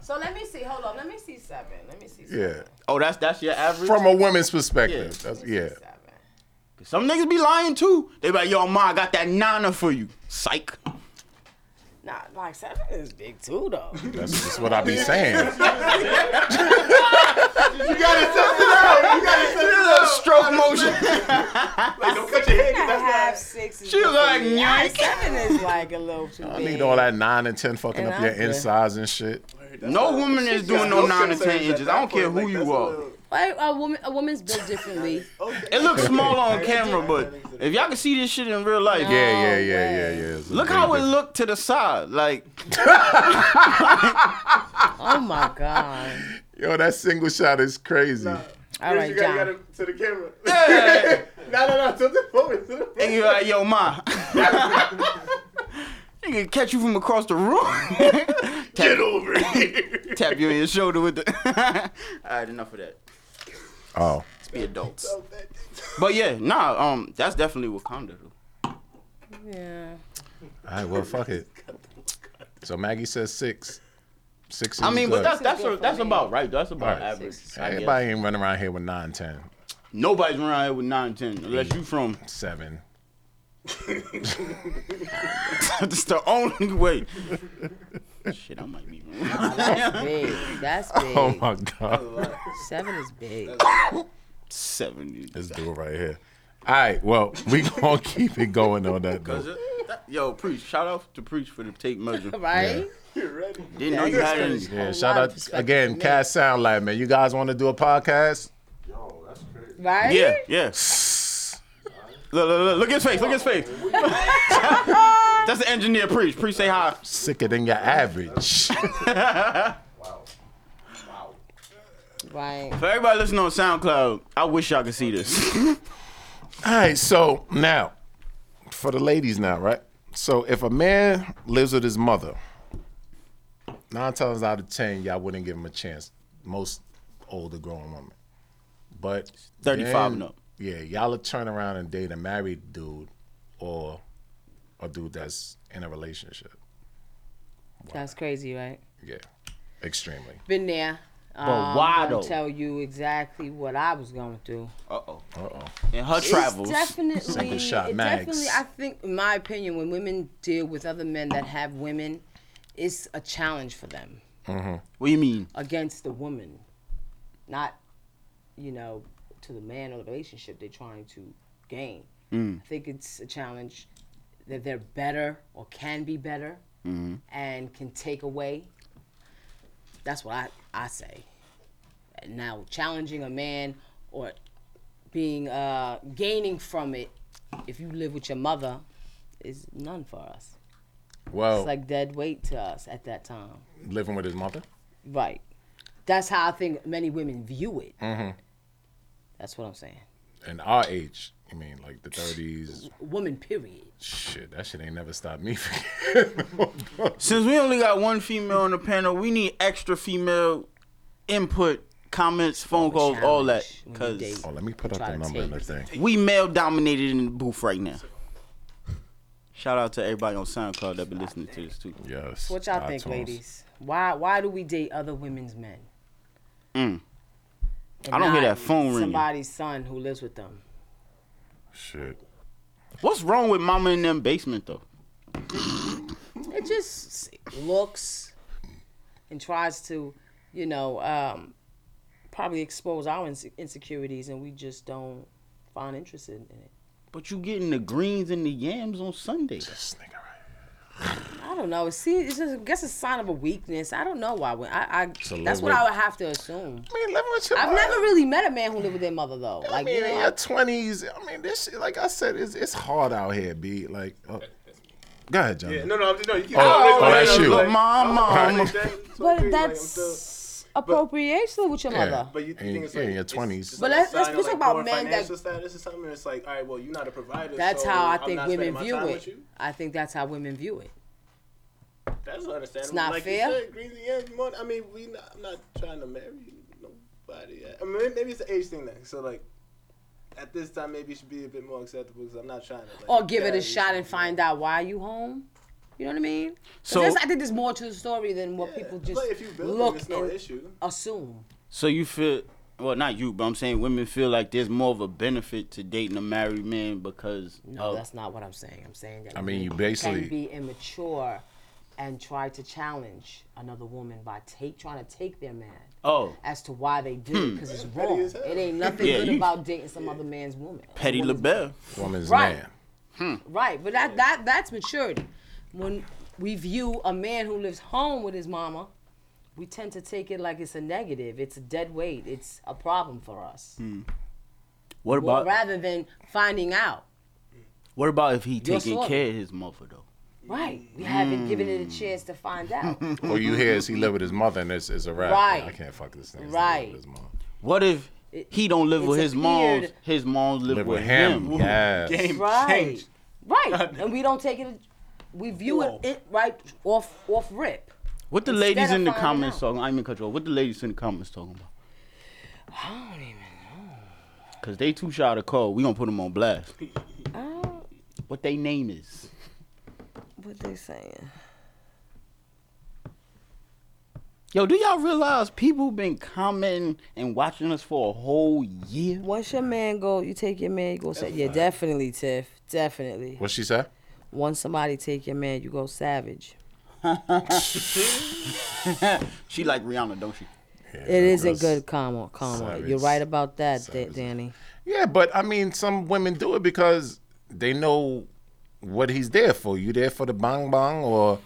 [SPEAKER 4] So let me see. Hold on. Let me see seven. Let me see seven.
[SPEAKER 3] yeah.
[SPEAKER 2] Oh, that's that's your average?
[SPEAKER 3] From a woman's perspective.
[SPEAKER 2] Yeah.
[SPEAKER 3] That's yeah.
[SPEAKER 4] Seven.
[SPEAKER 2] Cause some niggas be lying too. They be like, yo, ma, I got that nana for you. Psych.
[SPEAKER 4] Nah, like seven is big too though.
[SPEAKER 3] That's just what I be saying.
[SPEAKER 2] Stroke motion.
[SPEAKER 5] Like, don't cut your head.
[SPEAKER 4] Seven and a
[SPEAKER 5] That's not.
[SPEAKER 4] half, six. Is
[SPEAKER 2] She was like,
[SPEAKER 4] Nah,
[SPEAKER 2] yank.
[SPEAKER 4] seven is like a little too
[SPEAKER 3] I
[SPEAKER 4] big.
[SPEAKER 3] need all that nine and ten fucking
[SPEAKER 4] And
[SPEAKER 3] up
[SPEAKER 4] I'm
[SPEAKER 3] your
[SPEAKER 4] good.
[SPEAKER 3] insides and shit.
[SPEAKER 2] No woman is doing no
[SPEAKER 5] Those
[SPEAKER 2] nine and
[SPEAKER 5] concerns
[SPEAKER 2] ten
[SPEAKER 5] at
[SPEAKER 2] inches.
[SPEAKER 5] that
[SPEAKER 2] I don't care
[SPEAKER 5] point,
[SPEAKER 2] who
[SPEAKER 5] like,
[SPEAKER 2] you
[SPEAKER 5] that's a
[SPEAKER 2] are.
[SPEAKER 5] little-
[SPEAKER 4] Like, a woman, a woman's built differently.
[SPEAKER 2] It looks small on camera, but if y'all can see this shit in real life,
[SPEAKER 3] Yeah, yeah, yeah, yeah, yeah. It's a
[SPEAKER 2] Look
[SPEAKER 3] big
[SPEAKER 2] how it
[SPEAKER 3] difference.
[SPEAKER 2] looked to the side. Like
[SPEAKER 4] oh my god.
[SPEAKER 3] Yo, that single shot is crazy.
[SPEAKER 4] All
[SPEAKER 5] First, you
[SPEAKER 4] right,
[SPEAKER 5] gotta
[SPEAKER 4] John.
[SPEAKER 5] get to the camera.
[SPEAKER 2] Yeah.
[SPEAKER 5] no, no, no. To the forward. To the forward.
[SPEAKER 2] and you're like, yo, ma. They can catch you from across the room. tap, Get over here. tap you on your shoulder with the. All right, enough of that.
[SPEAKER 3] Oh,
[SPEAKER 2] Let's be adults. But yeah, nah, um, that's definitely Wakanda. Though.
[SPEAKER 4] Yeah.
[SPEAKER 3] all right. Well, fuck it. So Maggie says six. Six. Is
[SPEAKER 2] I mean,
[SPEAKER 3] good.
[SPEAKER 2] but that's that's that's about right. That's about
[SPEAKER 3] Right.
[SPEAKER 2] average. I guess.
[SPEAKER 3] everybody ain't running around here with nine, ten,
[SPEAKER 2] Nobody's around here with nine, ten, unless you from.
[SPEAKER 3] seven.
[SPEAKER 2] that's the only way. Shit, I might be wrong.
[SPEAKER 4] That's big. That's big.
[SPEAKER 3] Oh my god,
[SPEAKER 4] Seven is big.
[SPEAKER 2] Seventy.
[SPEAKER 3] this dude right here. All right, well, we gonna keep it going on that.
[SPEAKER 2] Cause
[SPEAKER 3] note.
[SPEAKER 2] it- that- yo, preach! Shout out to preach for the tape measure.
[SPEAKER 4] Right?
[SPEAKER 2] Didn't know you had any.
[SPEAKER 3] Yeah,
[SPEAKER 4] A
[SPEAKER 3] shout
[SPEAKER 4] lot of
[SPEAKER 3] out
[SPEAKER 4] perspective
[SPEAKER 3] again,
[SPEAKER 4] in
[SPEAKER 3] Cass Sound Lab, man. You guys want to do a podcast?
[SPEAKER 6] Yo, that's crazy.
[SPEAKER 4] Right?
[SPEAKER 2] Yeah, yeah. Look, look, look, look at his face. Look at his face. That's the engineer, preach. Preach, say hi.
[SPEAKER 3] Sicker than your average.
[SPEAKER 6] Wow. Wow.
[SPEAKER 4] Right.
[SPEAKER 2] For everybody listening on SoundCloud, I wish y'all could see this.
[SPEAKER 3] All right, so now for the ladies now, right? So if a man lives with his mother, nine times out of ten, y'all wouldn't give him a chance. Most older grown women, but
[SPEAKER 2] 35
[SPEAKER 3] then-
[SPEAKER 2] and up.
[SPEAKER 3] Yeah, y'all will turn around and date a married dude or a dude that's in a relationship.
[SPEAKER 4] That's crazy, right?
[SPEAKER 3] Yeah, extremely.
[SPEAKER 4] Been there.
[SPEAKER 2] But why
[SPEAKER 4] I'll tell you exactly what I was going through.
[SPEAKER 2] Uh oh.
[SPEAKER 3] Uh oh.
[SPEAKER 2] In her travels.
[SPEAKER 4] It's definitely,
[SPEAKER 3] Single shot
[SPEAKER 4] it
[SPEAKER 3] mags.
[SPEAKER 4] definitely. I think, in my opinion, when women deal with other men that have women, it's a challenge for them
[SPEAKER 3] Mm-hmm.
[SPEAKER 2] what do you mean?
[SPEAKER 4] against the woman, not, you know, to the man or the relationship they're trying to gain. I think it's a challenge that they're better or can be better and can take away. That's what I, I say. Now, challenging a man or being uh, gaining from it if you live with your mother is none for us.
[SPEAKER 3] Well,
[SPEAKER 4] It's like dead weight to us at that time.
[SPEAKER 3] living with his mother.
[SPEAKER 4] Right. That's how I think many women view it.
[SPEAKER 3] Mm-hmm.
[SPEAKER 4] That's what I'm saying.
[SPEAKER 3] And our age, I mean, like the thirties.
[SPEAKER 4] Woman, period.
[SPEAKER 3] Shit, that shit ain't never stopped me. from-
[SPEAKER 2] Since we only got one female on the panel, we need extra female input, comments, phone calls, all that.
[SPEAKER 4] Challenge when you
[SPEAKER 2] Because
[SPEAKER 4] date.
[SPEAKER 3] oh, let me put up
[SPEAKER 4] Try
[SPEAKER 3] the
[SPEAKER 4] to
[SPEAKER 3] number in the
[SPEAKER 4] take-
[SPEAKER 3] thing.
[SPEAKER 2] we male dominated in the booth right now. Shout out to everybody on SoundCloud that been listening to this too.
[SPEAKER 3] Yes.
[SPEAKER 4] What y'all think,
[SPEAKER 3] iTunes.
[SPEAKER 4] ladies? Why why do we date other women's men?
[SPEAKER 2] Mm.
[SPEAKER 4] And
[SPEAKER 2] I don't hear
[SPEAKER 4] not
[SPEAKER 2] that phone ringing.
[SPEAKER 4] Somebody's son who lives with them.
[SPEAKER 3] Shit.
[SPEAKER 2] What's wrong with mama in them basement though?
[SPEAKER 4] It just looks and tries to, you know, um, probably expose our inse- insecurities, and we just don't find interest in, in it.
[SPEAKER 2] But you getting the greens and the yams on Sunday.
[SPEAKER 3] This nigga right here.
[SPEAKER 4] I don't know. See, it's just, I guess it's a sign of a weakness. I don't know why. When I, I
[SPEAKER 3] a
[SPEAKER 4] that's
[SPEAKER 3] little
[SPEAKER 4] what I
[SPEAKER 3] bit-
[SPEAKER 4] would have to assume.
[SPEAKER 3] I mean, living with your
[SPEAKER 4] I've
[SPEAKER 3] mother.
[SPEAKER 4] never really met a man who lived with their mother though.
[SPEAKER 3] I
[SPEAKER 4] Like,
[SPEAKER 3] mean,
[SPEAKER 4] you
[SPEAKER 3] in
[SPEAKER 4] know,
[SPEAKER 3] your twenties. I mean, this shit. Like I said, it's it's hard out here, b. Like, oh. go ahead, John.
[SPEAKER 5] Yeah, no, no, I'm just, no. You keep
[SPEAKER 3] Oh,
[SPEAKER 5] I'm
[SPEAKER 3] that's
[SPEAKER 5] just-
[SPEAKER 3] you.
[SPEAKER 5] like,
[SPEAKER 2] Look, mama.
[SPEAKER 5] I'm just
[SPEAKER 4] but
[SPEAKER 5] like that. So crazy, like, I'm still-
[SPEAKER 4] that's appropriation with your
[SPEAKER 3] Yeah.
[SPEAKER 4] mother.
[SPEAKER 5] But you, you
[SPEAKER 3] And-
[SPEAKER 5] think it's
[SPEAKER 3] yeah,
[SPEAKER 5] like
[SPEAKER 3] in your
[SPEAKER 5] it's-
[SPEAKER 3] 20s.
[SPEAKER 5] it's
[SPEAKER 4] But
[SPEAKER 5] like a
[SPEAKER 4] let's- let's-
[SPEAKER 5] sign
[SPEAKER 4] let's
[SPEAKER 5] of,
[SPEAKER 4] talk about
[SPEAKER 5] poor
[SPEAKER 4] men that-
[SPEAKER 5] financial status or something. It's like, all right, well, you're not a provider.
[SPEAKER 4] That's
[SPEAKER 5] so
[SPEAKER 4] how I
[SPEAKER 5] I'm
[SPEAKER 4] think
[SPEAKER 5] not
[SPEAKER 4] women
[SPEAKER 5] spending my
[SPEAKER 4] view
[SPEAKER 5] time
[SPEAKER 4] it.
[SPEAKER 5] with you.
[SPEAKER 4] I think that's how women view it.
[SPEAKER 5] That's understandable. It's
[SPEAKER 4] not
[SPEAKER 5] like
[SPEAKER 4] fair.
[SPEAKER 5] You said, greens and yams, more- I mean, we not, I'm not trying to marry nobody. I mean, maybe it's the age thing then. So like, at this time, maybe it should be a bit more acceptable because I'm not trying to. Like,
[SPEAKER 4] Or give it
[SPEAKER 5] carry
[SPEAKER 4] a shot and
[SPEAKER 5] something.
[SPEAKER 4] find out why you home. You know what I mean?
[SPEAKER 2] So-
[SPEAKER 4] So I think there's more to the story than what
[SPEAKER 5] Yeah,
[SPEAKER 4] people
[SPEAKER 5] but
[SPEAKER 4] just
[SPEAKER 5] if you build them,
[SPEAKER 4] look
[SPEAKER 5] it's no
[SPEAKER 4] and
[SPEAKER 5] issue.
[SPEAKER 4] assume.
[SPEAKER 2] So you feel well, not you, but I'm saying women feel like there's more of a benefit to dating a married man because
[SPEAKER 4] No,
[SPEAKER 2] of-
[SPEAKER 4] that's not what I'm saying. I'm saying that
[SPEAKER 3] I mean, you
[SPEAKER 4] can
[SPEAKER 3] basically-
[SPEAKER 4] be immature and try to challenge another woman by take trying to take their man
[SPEAKER 2] oh
[SPEAKER 4] as to why they do because it's wrong.
[SPEAKER 5] as hell.
[SPEAKER 4] It ain't nothing
[SPEAKER 2] Yeah,
[SPEAKER 4] good
[SPEAKER 2] you-
[SPEAKER 4] about dating some other man's woman.
[SPEAKER 2] Petty
[SPEAKER 4] Woman's-
[SPEAKER 2] LaBelle.
[SPEAKER 3] Woman's
[SPEAKER 4] Right.
[SPEAKER 3] man.
[SPEAKER 5] Hmm.
[SPEAKER 4] Right, but that that that's maturity. When we view a man who lives home with his mama, we tend to take it like it's a negative. It's a dead weight. It's a problem for us.
[SPEAKER 2] Hmm. What
[SPEAKER 4] Well,
[SPEAKER 2] about
[SPEAKER 4] rather than finding out.
[SPEAKER 2] what about if he taking
[SPEAKER 4] sorry.
[SPEAKER 2] care of his mother though?
[SPEAKER 4] Right. We haven't
[SPEAKER 3] Hmm.
[SPEAKER 4] given it a chance to find out.
[SPEAKER 3] All you hear is he live with his mother and it's, it's a rap.
[SPEAKER 4] Right.
[SPEAKER 3] I can't fuck this thing. He's
[SPEAKER 4] Right.
[SPEAKER 3] living with his mom.
[SPEAKER 2] What if he don't live with
[SPEAKER 4] it's
[SPEAKER 2] his
[SPEAKER 4] appeared-
[SPEAKER 2] mom? His mom live,
[SPEAKER 3] Live with him. Yes.
[SPEAKER 5] Game
[SPEAKER 4] right.
[SPEAKER 5] changed.
[SPEAKER 4] Right. And we don't take it we view it, it right off off rip.
[SPEAKER 2] What the
[SPEAKER 4] Instead
[SPEAKER 2] ladies
[SPEAKER 4] of
[SPEAKER 2] in the
[SPEAKER 4] finding
[SPEAKER 2] comments
[SPEAKER 4] out.
[SPEAKER 2] talking? I mean, control. What the ladies in the comments talking about?
[SPEAKER 4] I don't even
[SPEAKER 2] Cause they too shy to call. We gonna put them on blast. What they name is?
[SPEAKER 4] what they saying.
[SPEAKER 2] Yo, do y'all realize people been commenting and watching us for a whole year?
[SPEAKER 4] Once your man go, you take your man, you go savage. Yeah, definitely, Tiff. Definitely.
[SPEAKER 3] What she say?
[SPEAKER 4] Once somebody take your man, you go savage.
[SPEAKER 2] She like Rihanna, don't she?
[SPEAKER 4] It
[SPEAKER 3] goes
[SPEAKER 4] isn't good, comma, comma. You're
[SPEAKER 3] savage.
[SPEAKER 4] right about that, Da- Danny.
[SPEAKER 3] Yeah, but I mean, some women do it because they know what he's there for. You there for the bang bang, or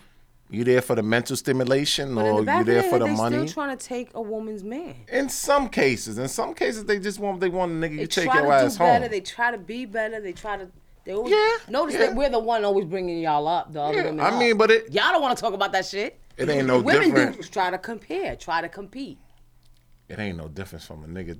[SPEAKER 3] you there for the mental stimulation,
[SPEAKER 4] But in
[SPEAKER 3] or
[SPEAKER 4] the back
[SPEAKER 3] Oh, you
[SPEAKER 4] of their
[SPEAKER 3] there for
[SPEAKER 4] head,
[SPEAKER 3] the
[SPEAKER 4] they still
[SPEAKER 3] money.
[SPEAKER 4] trying to take a woman's man.
[SPEAKER 3] in some cases, in some cases, they just want they want a nigga.
[SPEAKER 4] They
[SPEAKER 3] you take
[SPEAKER 4] try
[SPEAKER 3] your
[SPEAKER 4] to
[SPEAKER 3] ass
[SPEAKER 4] do better.
[SPEAKER 3] home.
[SPEAKER 4] They try to be better. They try to. They always,
[SPEAKER 3] Yeah,
[SPEAKER 4] Notice
[SPEAKER 3] yeah.
[SPEAKER 4] that we're the one always bringing y'all up. The other
[SPEAKER 3] Yeah,
[SPEAKER 4] women.
[SPEAKER 3] I
[SPEAKER 4] up.
[SPEAKER 3] mean, but it-
[SPEAKER 4] y'all don't want to talk about that shit.
[SPEAKER 3] it ain't no
[SPEAKER 4] Women
[SPEAKER 3] different.
[SPEAKER 4] do try to compare, try to compete.
[SPEAKER 3] It ain't no difference from a nigga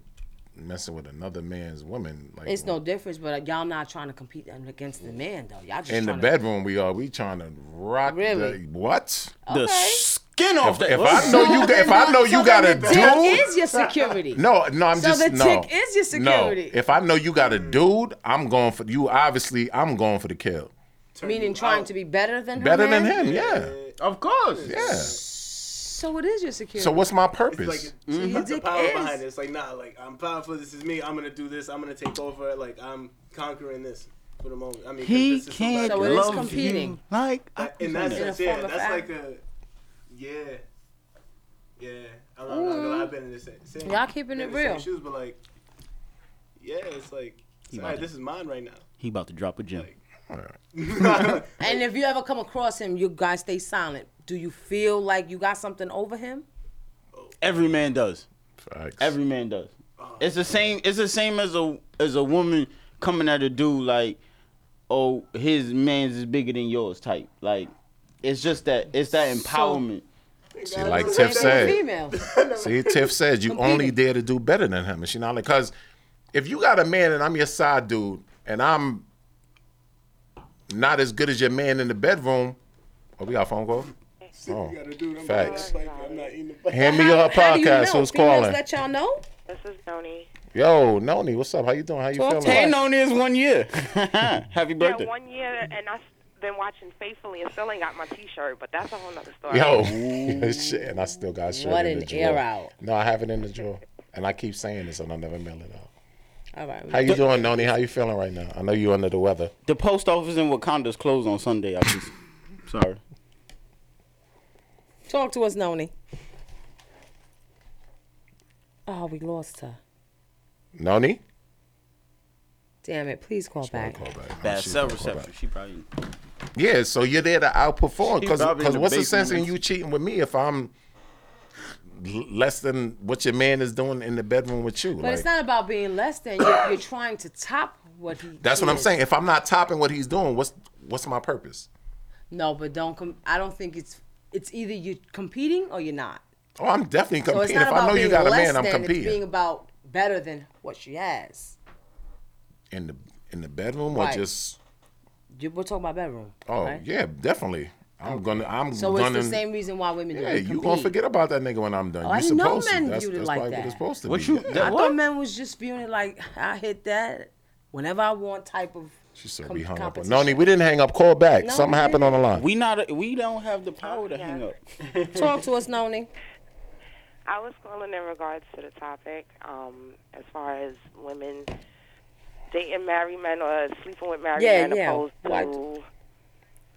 [SPEAKER 3] messing with another man's woman. Like mm.
[SPEAKER 4] It's no difference, but uh, y'all not trying to compete against the man though. Y'all just
[SPEAKER 3] in the
[SPEAKER 4] tryna-
[SPEAKER 3] bedroom we are. We trying to rock.
[SPEAKER 4] Really?
[SPEAKER 3] The, what?
[SPEAKER 2] The skin off
[SPEAKER 3] If,
[SPEAKER 2] that.
[SPEAKER 3] if I know you, if I know you
[SPEAKER 4] So
[SPEAKER 3] got a
[SPEAKER 4] then the dick
[SPEAKER 3] dude,
[SPEAKER 4] is your security.
[SPEAKER 3] No, no, I'm
[SPEAKER 4] So
[SPEAKER 3] just
[SPEAKER 4] the
[SPEAKER 3] no.
[SPEAKER 4] tick is your security.
[SPEAKER 3] No, if I know you got a dude, I'm going for you. Obviously, I'm going for the kill.
[SPEAKER 4] meaning trying to be better than her
[SPEAKER 3] Better than
[SPEAKER 4] man?
[SPEAKER 3] him, yeah,
[SPEAKER 2] Of course.
[SPEAKER 3] yeah.
[SPEAKER 4] So it is your security.
[SPEAKER 3] So what's my
[SPEAKER 5] It's like
[SPEAKER 3] purpose?
[SPEAKER 4] So your
[SPEAKER 5] that's Mm-hmm. the
[SPEAKER 4] dick
[SPEAKER 5] power
[SPEAKER 4] is.
[SPEAKER 5] behind it. It's like nah, like I'm powerful. This is me. I'm gonna do this. I'm gonna take over. Like I'm conquering this for the moment. I mean, 'cause
[SPEAKER 2] He
[SPEAKER 5] this is
[SPEAKER 2] can't
[SPEAKER 5] somebody-
[SPEAKER 4] So it is
[SPEAKER 2] love you
[SPEAKER 4] competing.
[SPEAKER 2] like I
[SPEAKER 5] That- and
[SPEAKER 2] can
[SPEAKER 5] that's
[SPEAKER 4] In a
[SPEAKER 5] just yeah,
[SPEAKER 4] form of
[SPEAKER 5] that's
[SPEAKER 4] act.
[SPEAKER 5] like a yeah, yeah. I'm not, I'm not gonna lie, I've been in the same. same
[SPEAKER 4] Mm-hmm. Y'all keeping
[SPEAKER 5] been
[SPEAKER 4] it
[SPEAKER 5] in the same
[SPEAKER 4] real.
[SPEAKER 5] Shoes, but like, yeah, it's like, it's, all
[SPEAKER 2] might
[SPEAKER 5] right,
[SPEAKER 2] be-
[SPEAKER 5] this is mine right
[SPEAKER 2] He about to drop a gem.
[SPEAKER 5] now.
[SPEAKER 4] And if you ever come across him, you guys stay silent. Do you feel like you got something over him?
[SPEAKER 2] Every man does.
[SPEAKER 3] Facts.
[SPEAKER 2] Every man does. It's the same. It's the same as a as a woman coming at a dude like, oh, his man's is bigger than yours type. Like, it's just that. It's that empowerment.
[SPEAKER 3] See, like
[SPEAKER 4] Same
[SPEAKER 3] Tiff
[SPEAKER 4] thing with
[SPEAKER 3] said.
[SPEAKER 4] Female.
[SPEAKER 3] See, Tiff said you only dare to do better than him. And she not like, cause if you got a man and I'm your side dude and I'm not as good as your man in the bedroom. Oh, we got a phone call. Oh,
[SPEAKER 5] You gotta do it. I'm
[SPEAKER 3] facts.
[SPEAKER 5] Like, I'm not eating the
[SPEAKER 3] Hand me your
[SPEAKER 4] How do you
[SPEAKER 3] podcast.
[SPEAKER 4] know?
[SPEAKER 3] Who's
[SPEAKER 4] Females
[SPEAKER 3] calling?
[SPEAKER 4] Let y'all know.
[SPEAKER 8] This is Noni.
[SPEAKER 3] Yo, Noni, what's up? How you doing? How you
[SPEAKER 4] Talk
[SPEAKER 3] feeling?
[SPEAKER 4] to us.
[SPEAKER 2] known is one year. Happy
[SPEAKER 8] Yeah,
[SPEAKER 2] birthday.
[SPEAKER 8] one year, and I've been watching faithfully and still ain't got my T-shirt, but that's a whole nother story.
[SPEAKER 3] Yo, shit, and I still got shit
[SPEAKER 4] What
[SPEAKER 3] in the
[SPEAKER 4] an air
[SPEAKER 3] drawer.
[SPEAKER 4] out.
[SPEAKER 3] No, I have it in the drawer, and I keep saying this, and I never mail it out.
[SPEAKER 4] All right.
[SPEAKER 3] How you doing, Noni? How you feeling right now? I know you under the weather.
[SPEAKER 2] the post office in Wakanda's closed on Sunday. I just, sorry.
[SPEAKER 4] Talk to us, Noni. Oh, we lost her.
[SPEAKER 3] Noni,
[SPEAKER 4] Damn it. Please call back.
[SPEAKER 3] call back.
[SPEAKER 2] Bad
[SPEAKER 3] She
[SPEAKER 2] cell
[SPEAKER 3] gonna call
[SPEAKER 2] reception. She probably.
[SPEAKER 3] back. Yeah, so you're there to outperform.
[SPEAKER 2] She
[SPEAKER 3] Because
[SPEAKER 2] probably in the
[SPEAKER 3] what's the
[SPEAKER 2] basement
[SPEAKER 3] sense in
[SPEAKER 2] with-
[SPEAKER 3] you cheating with me if I'm l- less than what your man is doing in the bedroom with you?
[SPEAKER 4] But it's
[SPEAKER 3] Like,
[SPEAKER 4] not about being less than. You're, you're trying to top what he.
[SPEAKER 3] that's what I'm
[SPEAKER 4] is.
[SPEAKER 3] saying. If I'm not topping what he's doing, what's what's my purpose?
[SPEAKER 4] No, but don't com- I don't think it's it's either you're competing or you're not.
[SPEAKER 3] Oh, I'm definitely
[SPEAKER 4] So it's
[SPEAKER 3] competing.
[SPEAKER 4] not
[SPEAKER 3] if
[SPEAKER 4] about
[SPEAKER 3] I know
[SPEAKER 4] being
[SPEAKER 3] you got a
[SPEAKER 4] less
[SPEAKER 3] man, I'm
[SPEAKER 4] than.
[SPEAKER 3] competing.
[SPEAKER 4] It's being about better than what she has.
[SPEAKER 3] in the in the bedroom
[SPEAKER 4] Right.
[SPEAKER 3] or just
[SPEAKER 4] You, we're talking about bedroom.
[SPEAKER 3] oh
[SPEAKER 4] right?
[SPEAKER 3] yeah definitely i'm gonna i'm
[SPEAKER 4] So
[SPEAKER 3] gonna
[SPEAKER 4] it's the same reason why women
[SPEAKER 3] yeah
[SPEAKER 4] do
[SPEAKER 3] you gonna forget about that nigga when i'm done
[SPEAKER 4] Oh, I
[SPEAKER 3] you
[SPEAKER 4] didn't know
[SPEAKER 3] supposed
[SPEAKER 4] men
[SPEAKER 3] to that's,
[SPEAKER 4] viewed it
[SPEAKER 3] that's
[SPEAKER 4] like
[SPEAKER 3] probably
[SPEAKER 4] that.
[SPEAKER 3] what it's supposed to
[SPEAKER 2] What
[SPEAKER 3] be
[SPEAKER 2] you?
[SPEAKER 3] Yeah.
[SPEAKER 2] that-
[SPEAKER 4] I
[SPEAKER 2] what?
[SPEAKER 4] thought men was just viewing it like I hit that whenever I want type of.
[SPEAKER 3] she said
[SPEAKER 4] com-
[SPEAKER 3] we hung up on
[SPEAKER 4] competition.
[SPEAKER 3] noni we didn't hang up call back
[SPEAKER 4] No,
[SPEAKER 3] something
[SPEAKER 4] we
[SPEAKER 3] happened on the line
[SPEAKER 2] We not. We don't have the power to hang up.
[SPEAKER 4] Talk to us, Noni.
[SPEAKER 8] I was calling in regards to the topic um, as far as women dating married men or sleeping with married
[SPEAKER 4] Yeah,
[SPEAKER 8] men
[SPEAKER 4] yeah.
[SPEAKER 8] opposed to
[SPEAKER 4] What?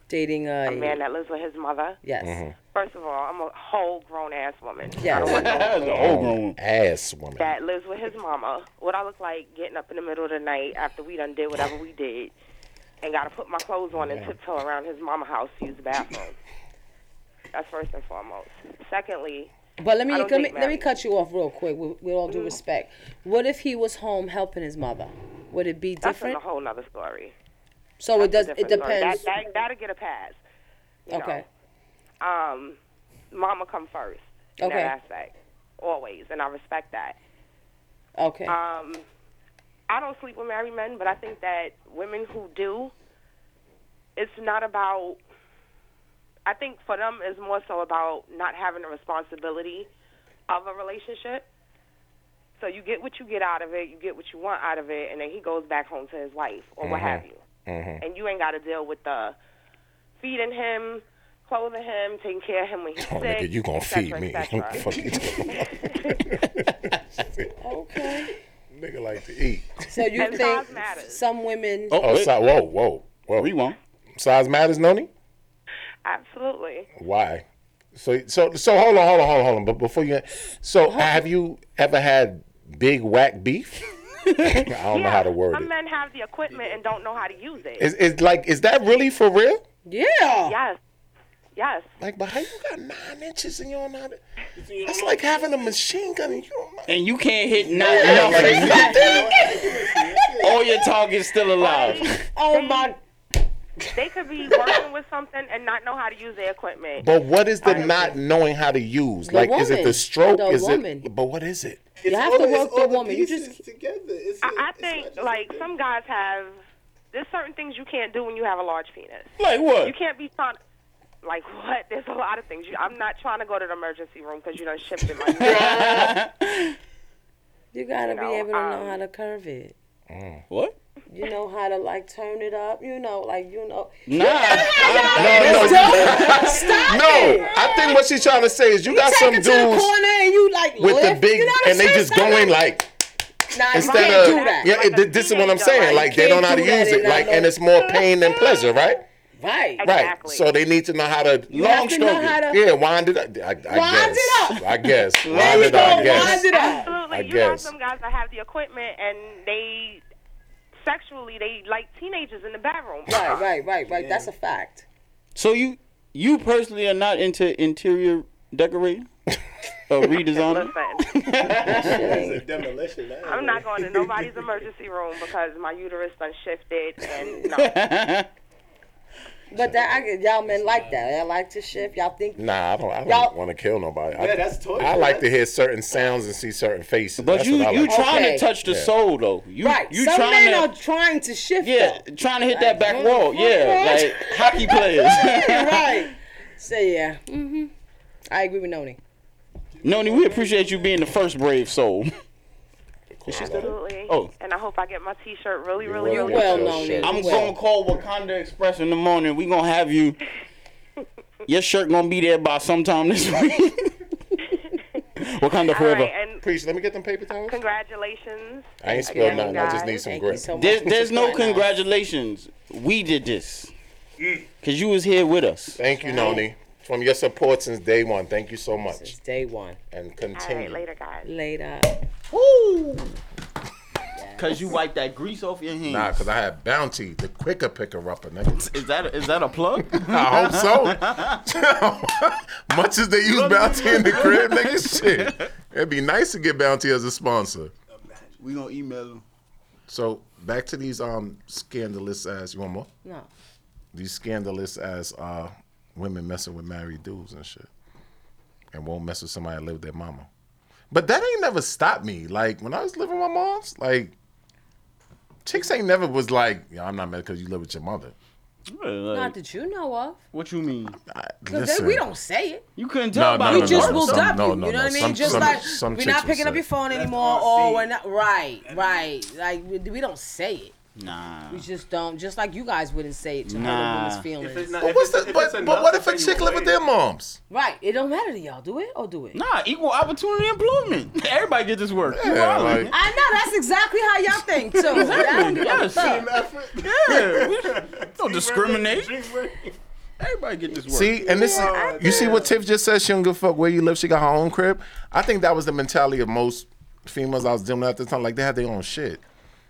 [SPEAKER 4] Dating uh,
[SPEAKER 8] a man that lives with his mother.
[SPEAKER 4] Yes.
[SPEAKER 3] Mm-hmm.
[SPEAKER 8] First of all, I'm a whole grown ass woman.
[SPEAKER 4] Yes.
[SPEAKER 8] I don't want no
[SPEAKER 2] The old grown one.
[SPEAKER 3] Oh, Ass woman.
[SPEAKER 8] that lives with his mama. What I look like getting up in the middle of the night after we done did whatever we did, and gotta put my clothes on and tiptoe around his mama house to use the bathroom. That's first and foremost. Secondly,
[SPEAKER 4] But let me
[SPEAKER 8] I don't
[SPEAKER 4] let me,
[SPEAKER 8] date
[SPEAKER 4] let me
[SPEAKER 8] men. Mm-hmm.
[SPEAKER 4] cut you off real quick. With, with all due respect, what if he was home helping his mother? Would it be
[SPEAKER 8] that's a
[SPEAKER 4] different?
[SPEAKER 8] whole nother story.
[SPEAKER 4] So it does.
[SPEAKER 8] That's a
[SPEAKER 4] It
[SPEAKER 8] different story.
[SPEAKER 4] depends.
[SPEAKER 8] That, that, that'll get a pass. you know.
[SPEAKER 4] okay.
[SPEAKER 8] Um, mama come first in
[SPEAKER 4] Okay.
[SPEAKER 8] that aspect, always, and I respect that.
[SPEAKER 4] Okay.
[SPEAKER 8] Um, I don't sleep with married men, but I think that women who do, it's not about. I think for them, it's more so about not having the responsibility of a relationship. So you get what you get out of it, you get what you want out of it, and then he goes back home to his wife or what
[SPEAKER 3] Uh-huh.
[SPEAKER 8] have you.
[SPEAKER 3] Mm-hmm.
[SPEAKER 8] And you ain't got to deal with the feeding him, clothing him, taking care of him when he's
[SPEAKER 3] Oh,
[SPEAKER 8] sick.
[SPEAKER 3] nigga, you gonna
[SPEAKER 8] et cetera,
[SPEAKER 3] feed
[SPEAKER 8] et
[SPEAKER 3] me?
[SPEAKER 8] cetera.
[SPEAKER 3] Fuck you talking about?
[SPEAKER 4] okay.
[SPEAKER 3] Nigga like to eat.
[SPEAKER 4] So you
[SPEAKER 8] And
[SPEAKER 4] think
[SPEAKER 8] size matters.
[SPEAKER 4] some women?
[SPEAKER 3] Oh, si- whoa, whoa, whoa.
[SPEAKER 2] We won't.
[SPEAKER 3] Size matters, Noni.
[SPEAKER 8] Absolutely.
[SPEAKER 3] Why? So, so, so hold on, hold on, hold on, hold on. But before you, so have you ever had big whack beef? I don't know how to word
[SPEAKER 8] Some
[SPEAKER 3] it.
[SPEAKER 8] men have the equipment and don't know how to use it.
[SPEAKER 3] Is is like is that really for real?
[SPEAKER 4] Yeah.
[SPEAKER 8] Yes. Yes.
[SPEAKER 3] Like, but how you got nine inches and you don't know? how to- That's like having a machine gun and you don't. know-
[SPEAKER 2] And you can't hit not nothing. All your talk is still alive.
[SPEAKER 4] Oh my.
[SPEAKER 8] They could be working with something and not know how to use their equipment.
[SPEAKER 3] But what is the not knowing how to use? like, is it
[SPEAKER 4] woman.
[SPEAKER 3] the stroke?
[SPEAKER 4] The
[SPEAKER 3] is
[SPEAKER 4] woman.
[SPEAKER 3] it? But what is it?
[SPEAKER 4] You have to work the woman. You just
[SPEAKER 5] together. It's a-
[SPEAKER 8] I, I
[SPEAKER 5] it's not
[SPEAKER 8] think
[SPEAKER 5] just
[SPEAKER 8] like
[SPEAKER 5] a-
[SPEAKER 8] some guys have there's certain things you can't do when you have a large penis.
[SPEAKER 2] Like
[SPEAKER 8] You
[SPEAKER 2] what?
[SPEAKER 8] can't be trying like what? There's a lot of things. You, I'm not trying to go to the emergency room because you done shipped in my
[SPEAKER 4] you gotta
[SPEAKER 8] know,
[SPEAKER 4] be able to know
[SPEAKER 8] um,
[SPEAKER 4] how to curve it.
[SPEAKER 3] Mm.
[SPEAKER 2] What?
[SPEAKER 4] You know how to like turn it up. You know, like you know.
[SPEAKER 2] Nah. I-
[SPEAKER 4] Stop it.
[SPEAKER 3] No, I think what she's trying to say is you got
[SPEAKER 4] Take
[SPEAKER 3] some
[SPEAKER 4] it to the
[SPEAKER 3] dudes
[SPEAKER 4] corner and you like
[SPEAKER 3] with
[SPEAKER 4] lift.
[SPEAKER 3] the big,
[SPEAKER 4] you know what I'm
[SPEAKER 3] and they
[SPEAKER 4] saying?
[SPEAKER 3] just
[SPEAKER 4] Stop
[SPEAKER 3] going
[SPEAKER 4] it.
[SPEAKER 3] like
[SPEAKER 4] Nah, you
[SPEAKER 3] instead
[SPEAKER 4] can't
[SPEAKER 3] of
[SPEAKER 4] do that.
[SPEAKER 3] yeah. it,
[SPEAKER 8] Like a
[SPEAKER 3] this is what I'm
[SPEAKER 8] teenager,
[SPEAKER 3] saying.
[SPEAKER 8] like,
[SPEAKER 3] Like
[SPEAKER 4] you
[SPEAKER 3] they
[SPEAKER 4] can't
[SPEAKER 3] don't know how to
[SPEAKER 4] do that
[SPEAKER 3] use it.
[SPEAKER 4] and I
[SPEAKER 3] Like, and
[SPEAKER 4] know-
[SPEAKER 3] it's more pain than pleasure, right?
[SPEAKER 4] right.
[SPEAKER 3] Right.
[SPEAKER 8] Exactly.
[SPEAKER 3] So they need to know how to long
[SPEAKER 4] have to know
[SPEAKER 3] stroke
[SPEAKER 4] how
[SPEAKER 3] it.
[SPEAKER 4] to-
[SPEAKER 3] Yeah, wind it up. I, I
[SPEAKER 4] Wind
[SPEAKER 3] guess.
[SPEAKER 4] it up.
[SPEAKER 3] I guess.
[SPEAKER 4] There
[SPEAKER 3] Wind
[SPEAKER 4] we
[SPEAKER 3] it
[SPEAKER 4] go.
[SPEAKER 3] up. I
[SPEAKER 4] Wind
[SPEAKER 3] guess.
[SPEAKER 4] it up.
[SPEAKER 8] Absolutely.
[SPEAKER 3] I
[SPEAKER 8] you got
[SPEAKER 3] guess.
[SPEAKER 8] some guys that have the equipment and they sexually they like teenagers in the bedroom.
[SPEAKER 4] Right, right, right, right. That's a fact.
[SPEAKER 2] So you you personally are not into interior decorating or redesigning?
[SPEAKER 8] Listen,
[SPEAKER 5] It's a demolition. I ain't
[SPEAKER 8] I'm
[SPEAKER 5] gonna-
[SPEAKER 8] not going to nobody's emergency room because my uterus done shifted and no.
[SPEAKER 4] But that I get- y'all men like that. Y'all like to shift. Y'all think
[SPEAKER 3] Nah, I don't. I
[SPEAKER 4] Y'all-
[SPEAKER 3] don't want to kill nobody. I,
[SPEAKER 5] Yeah, that's torture.
[SPEAKER 3] I like to hear certain sounds and see certain faces.
[SPEAKER 2] But
[SPEAKER 3] That's
[SPEAKER 2] you
[SPEAKER 3] what I
[SPEAKER 2] you
[SPEAKER 3] like.
[SPEAKER 2] trying
[SPEAKER 4] Okay.
[SPEAKER 2] to touch the
[SPEAKER 3] Yeah.
[SPEAKER 2] soul though. You
[SPEAKER 4] right.
[SPEAKER 2] you
[SPEAKER 4] Some
[SPEAKER 2] trying
[SPEAKER 4] men
[SPEAKER 2] to
[SPEAKER 4] are trying to shift.
[SPEAKER 2] yeah
[SPEAKER 4] though.
[SPEAKER 2] trying to hit that back
[SPEAKER 4] mm,
[SPEAKER 2] wall.
[SPEAKER 4] fuck
[SPEAKER 2] Yeah,
[SPEAKER 4] that.
[SPEAKER 2] like hockey players.
[SPEAKER 4] right. So yeah. Mhm.
[SPEAKER 8] Mm-hmm.
[SPEAKER 4] I agree with Noni.
[SPEAKER 2] Noni, we appreciate you being the first brave soul.
[SPEAKER 8] Absolutely.
[SPEAKER 2] Oh.
[SPEAKER 8] And I hope I get my T-shirt really, really,
[SPEAKER 3] will
[SPEAKER 8] really.
[SPEAKER 3] get
[SPEAKER 4] well
[SPEAKER 3] your
[SPEAKER 4] known
[SPEAKER 3] shirt.
[SPEAKER 4] it.
[SPEAKER 2] I'm
[SPEAKER 4] Well.
[SPEAKER 2] gonna call Wakanda Express in the morning. We gonna have you. Your shirt gonna be there by sometime this week. Wakanda
[SPEAKER 8] All
[SPEAKER 2] forever.
[SPEAKER 8] right, and
[SPEAKER 3] Preach. Let me get them paper towels.
[SPEAKER 8] congratulations.
[SPEAKER 3] I ain't spilled
[SPEAKER 8] Again,
[SPEAKER 3] nothing. I just
[SPEAKER 8] guys.
[SPEAKER 3] need some
[SPEAKER 4] Thank you
[SPEAKER 3] grip.
[SPEAKER 4] so much.
[SPEAKER 2] There's,
[SPEAKER 4] for
[SPEAKER 2] there's no
[SPEAKER 4] supporting us.
[SPEAKER 2] congratulations. We did this. Cause you was here with us.
[SPEAKER 3] Thank you, Noni, from your support since day one. Thank you so
[SPEAKER 4] It's
[SPEAKER 3] much,
[SPEAKER 4] day one.
[SPEAKER 3] and
[SPEAKER 8] All right,
[SPEAKER 3] continue.
[SPEAKER 8] later, guys.
[SPEAKER 4] Later.
[SPEAKER 2] Cause you wiped that grease off your hands.
[SPEAKER 3] Nah, cause I had Bounty, the quicker picker upper, nigga.
[SPEAKER 2] Hmm. Is that is that a plug?
[SPEAKER 3] I hope so. Much as they use Bounty in the crib, nigga, shit. It'd be nice to get Bounty as a sponsor.
[SPEAKER 2] we gonna email him.
[SPEAKER 3] So back to these um scandalous ass. You want more?
[SPEAKER 4] No.
[SPEAKER 3] These scandalous ass uh women messing with married dudes and shit, and won't mess with somebody that live with their mama. But that ain't never stopped me. Like when I was living with my mom's, like chicks ain't never was like, "Yo, I'm not mad because you live with your mother."
[SPEAKER 4] Not that you know of.
[SPEAKER 2] what you mean?
[SPEAKER 3] I,
[SPEAKER 4] Because
[SPEAKER 3] listen,
[SPEAKER 4] we don't say it.
[SPEAKER 2] You couldn't tell by
[SPEAKER 3] No,
[SPEAKER 4] We
[SPEAKER 2] the
[SPEAKER 3] no,
[SPEAKER 4] just
[SPEAKER 3] no,
[SPEAKER 4] will
[SPEAKER 3] some-
[SPEAKER 4] dub
[SPEAKER 3] no,
[SPEAKER 4] you.
[SPEAKER 3] no,
[SPEAKER 4] you know
[SPEAKER 3] no,
[SPEAKER 4] what I mean?
[SPEAKER 3] some-
[SPEAKER 4] just
[SPEAKER 3] some-
[SPEAKER 4] like
[SPEAKER 3] some
[SPEAKER 4] we're
[SPEAKER 3] chicks
[SPEAKER 4] not
[SPEAKER 3] will
[SPEAKER 4] picking up
[SPEAKER 3] say
[SPEAKER 4] your phone anymore,
[SPEAKER 5] all
[SPEAKER 4] or
[SPEAKER 5] seed.
[SPEAKER 4] we're not right, right. Like we, we don't say it.
[SPEAKER 2] Nah.
[SPEAKER 4] We just don't. Just like you guys wouldn't say it to hurt a
[SPEAKER 2] Nah.
[SPEAKER 4] woman's
[SPEAKER 5] If it's
[SPEAKER 4] feelings.
[SPEAKER 5] not,
[SPEAKER 3] But,
[SPEAKER 5] if
[SPEAKER 3] what's
[SPEAKER 5] it's,
[SPEAKER 3] the,
[SPEAKER 5] if
[SPEAKER 3] but,
[SPEAKER 5] it's
[SPEAKER 3] but
[SPEAKER 5] enough,
[SPEAKER 3] what if
[SPEAKER 5] then
[SPEAKER 3] a
[SPEAKER 5] you
[SPEAKER 3] chick live with
[SPEAKER 5] wait.
[SPEAKER 3] their moms?
[SPEAKER 4] Right. It don't matter to y'all. Do it or do it.
[SPEAKER 2] Nah, equal opportunity employment. Everybody get this work. You
[SPEAKER 3] Yeah,
[SPEAKER 2] wildin'.
[SPEAKER 3] like-
[SPEAKER 4] I know that's exactly how y'all think too. Y'all don't give a
[SPEAKER 2] Yes.
[SPEAKER 4] fuck.
[SPEAKER 2] Yeah, we- don't discriminate.
[SPEAKER 5] Drink word.
[SPEAKER 2] Everybody get this work.
[SPEAKER 3] See, and this
[SPEAKER 5] Yeah.
[SPEAKER 3] is you see what Tiff just said. She don't give a fuck where you live. She got her own crib. I think that was the mentality of most females I was dealing with at the time. Like they had their own shit,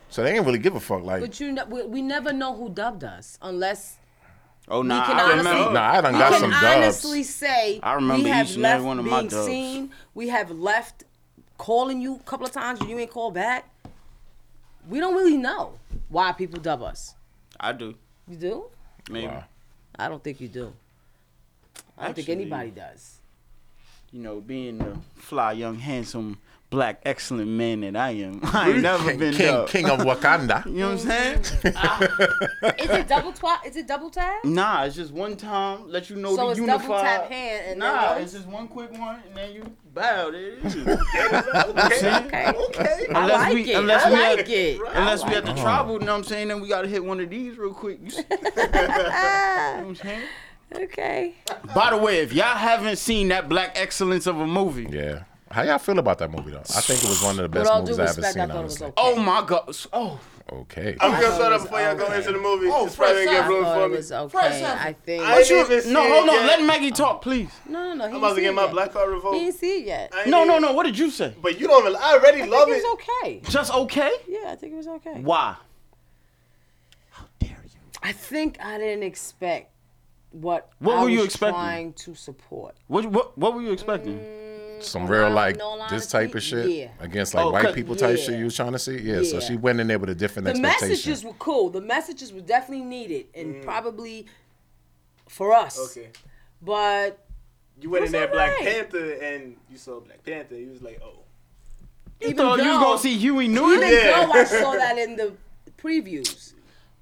[SPEAKER 3] so they ain't really give a fuck. Like,
[SPEAKER 4] But you, know, we, we never know who dubbed us unless
[SPEAKER 2] oh nah,
[SPEAKER 4] can
[SPEAKER 2] I
[SPEAKER 4] honestly-
[SPEAKER 2] remember.
[SPEAKER 3] nah, I done
[SPEAKER 4] we
[SPEAKER 3] got
[SPEAKER 4] can
[SPEAKER 3] some
[SPEAKER 4] honestly
[SPEAKER 3] dubs.
[SPEAKER 4] say
[SPEAKER 2] I remember
[SPEAKER 4] we have
[SPEAKER 2] each and
[SPEAKER 4] left
[SPEAKER 2] every one of my
[SPEAKER 4] being
[SPEAKER 2] dubs.
[SPEAKER 4] seen. We have left calling you a couple of times and you ain't called back. We don't really know why people dub us.
[SPEAKER 2] I do.
[SPEAKER 4] You do?
[SPEAKER 2] Maybe.
[SPEAKER 4] I don't think you do. I don't think
[SPEAKER 2] Actually,
[SPEAKER 4] anybody does.
[SPEAKER 2] You know, being the fly, young, handsome, black, excellent man that I am, I ain't never
[SPEAKER 3] King,
[SPEAKER 2] been
[SPEAKER 3] King,
[SPEAKER 2] dubbed.
[SPEAKER 3] King of Wakanda.
[SPEAKER 2] You know what I'm saying?
[SPEAKER 4] Is it double tap? Is it double tap?
[SPEAKER 2] Nah, it's just one time. Let you know
[SPEAKER 4] So
[SPEAKER 2] the
[SPEAKER 4] it's double
[SPEAKER 2] unified.
[SPEAKER 4] tap hand and then
[SPEAKER 2] nah,
[SPEAKER 4] one?
[SPEAKER 2] it's just one quick one, and then you bow. There it is.
[SPEAKER 4] Okay.
[SPEAKER 5] Okay.
[SPEAKER 4] I
[SPEAKER 2] Unless
[SPEAKER 4] like
[SPEAKER 2] we-
[SPEAKER 4] it.
[SPEAKER 2] unless
[SPEAKER 4] I
[SPEAKER 2] we
[SPEAKER 4] like
[SPEAKER 2] had-
[SPEAKER 4] it.
[SPEAKER 2] Unless we have to travel, you know what I'm saying? Then we gotta hit one of these real quick. You see- you know what I'm saying?
[SPEAKER 4] Okay.
[SPEAKER 2] By the way, if y'all haven't seen that black excellence of a movie,
[SPEAKER 3] Yeah. How y'all feel about that movie though? I think it was one of the
[SPEAKER 4] With
[SPEAKER 3] best
[SPEAKER 4] all
[SPEAKER 3] movies
[SPEAKER 4] due
[SPEAKER 3] I ever
[SPEAKER 4] respect,
[SPEAKER 3] seen.
[SPEAKER 4] I thought it was
[SPEAKER 3] honestly.
[SPEAKER 4] okay.
[SPEAKER 2] oh my god, oh
[SPEAKER 3] Okay.
[SPEAKER 5] I'm gonna start up before y'all go into the movie.
[SPEAKER 2] Oh,
[SPEAKER 5] It's probably
[SPEAKER 2] fresh
[SPEAKER 5] gonna
[SPEAKER 4] I
[SPEAKER 5] get room
[SPEAKER 4] thought
[SPEAKER 5] for
[SPEAKER 4] it
[SPEAKER 5] me.
[SPEAKER 4] was okay.
[SPEAKER 2] Fresh up.
[SPEAKER 4] I think.
[SPEAKER 5] I ain't
[SPEAKER 2] Sure.
[SPEAKER 5] even seen
[SPEAKER 2] No,
[SPEAKER 5] it
[SPEAKER 2] hold on.
[SPEAKER 5] yet.
[SPEAKER 2] Let Maggie talk, please.
[SPEAKER 4] No, no, no. He
[SPEAKER 5] I'm
[SPEAKER 4] didn't
[SPEAKER 5] about to
[SPEAKER 4] see
[SPEAKER 5] get
[SPEAKER 4] it
[SPEAKER 5] my
[SPEAKER 4] yet.
[SPEAKER 5] black card
[SPEAKER 4] He
[SPEAKER 5] revoked.
[SPEAKER 4] didn't see it yet.
[SPEAKER 5] I ain't
[SPEAKER 2] No,
[SPEAKER 5] even-
[SPEAKER 2] no, no. What did you say?
[SPEAKER 5] But you don't. I already
[SPEAKER 4] I
[SPEAKER 5] love
[SPEAKER 4] think
[SPEAKER 5] it.
[SPEAKER 4] it was okay.
[SPEAKER 2] Just okay?
[SPEAKER 4] Yeah, I think it was okay.
[SPEAKER 2] Why?
[SPEAKER 4] I think I didn't expect what,
[SPEAKER 2] What
[SPEAKER 4] I
[SPEAKER 2] were you
[SPEAKER 4] was
[SPEAKER 2] expecting?
[SPEAKER 4] trying to support.
[SPEAKER 2] What what, what were you expecting?
[SPEAKER 3] Mm, Some real like
[SPEAKER 4] no line
[SPEAKER 3] this
[SPEAKER 4] of
[SPEAKER 3] type
[SPEAKER 4] pe-
[SPEAKER 3] of shit
[SPEAKER 4] yeah.
[SPEAKER 3] against like
[SPEAKER 2] Oh,
[SPEAKER 3] white
[SPEAKER 2] 'cause-
[SPEAKER 3] people type
[SPEAKER 4] yeah.
[SPEAKER 3] shit you was trying to see. Yeah, So
[SPEAKER 4] Yeah.
[SPEAKER 3] she went in there with a different
[SPEAKER 4] The
[SPEAKER 3] expectation.
[SPEAKER 4] messages were cool. The messages were definitely needed and probably for us.
[SPEAKER 5] Mm. Okay.
[SPEAKER 4] But
[SPEAKER 5] You went in
[SPEAKER 4] That's
[SPEAKER 5] there, Black
[SPEAKER 4] alright.
[SPEAKER 5] Panther, and you saw Black Panther. You was like, oh.
[SPEAKER 2] You
[SPEAKER 4] Even
[SPEAKER 2] thought you was
[SPEAKER 4] though-
[SPEAKER 2] gonna see Huey
[SPEAKER 4] even
[SPEAKER 2] Newton?
[SPEAKER 5] Yeah.
[SPEAKER 4] though I saw that in the previews,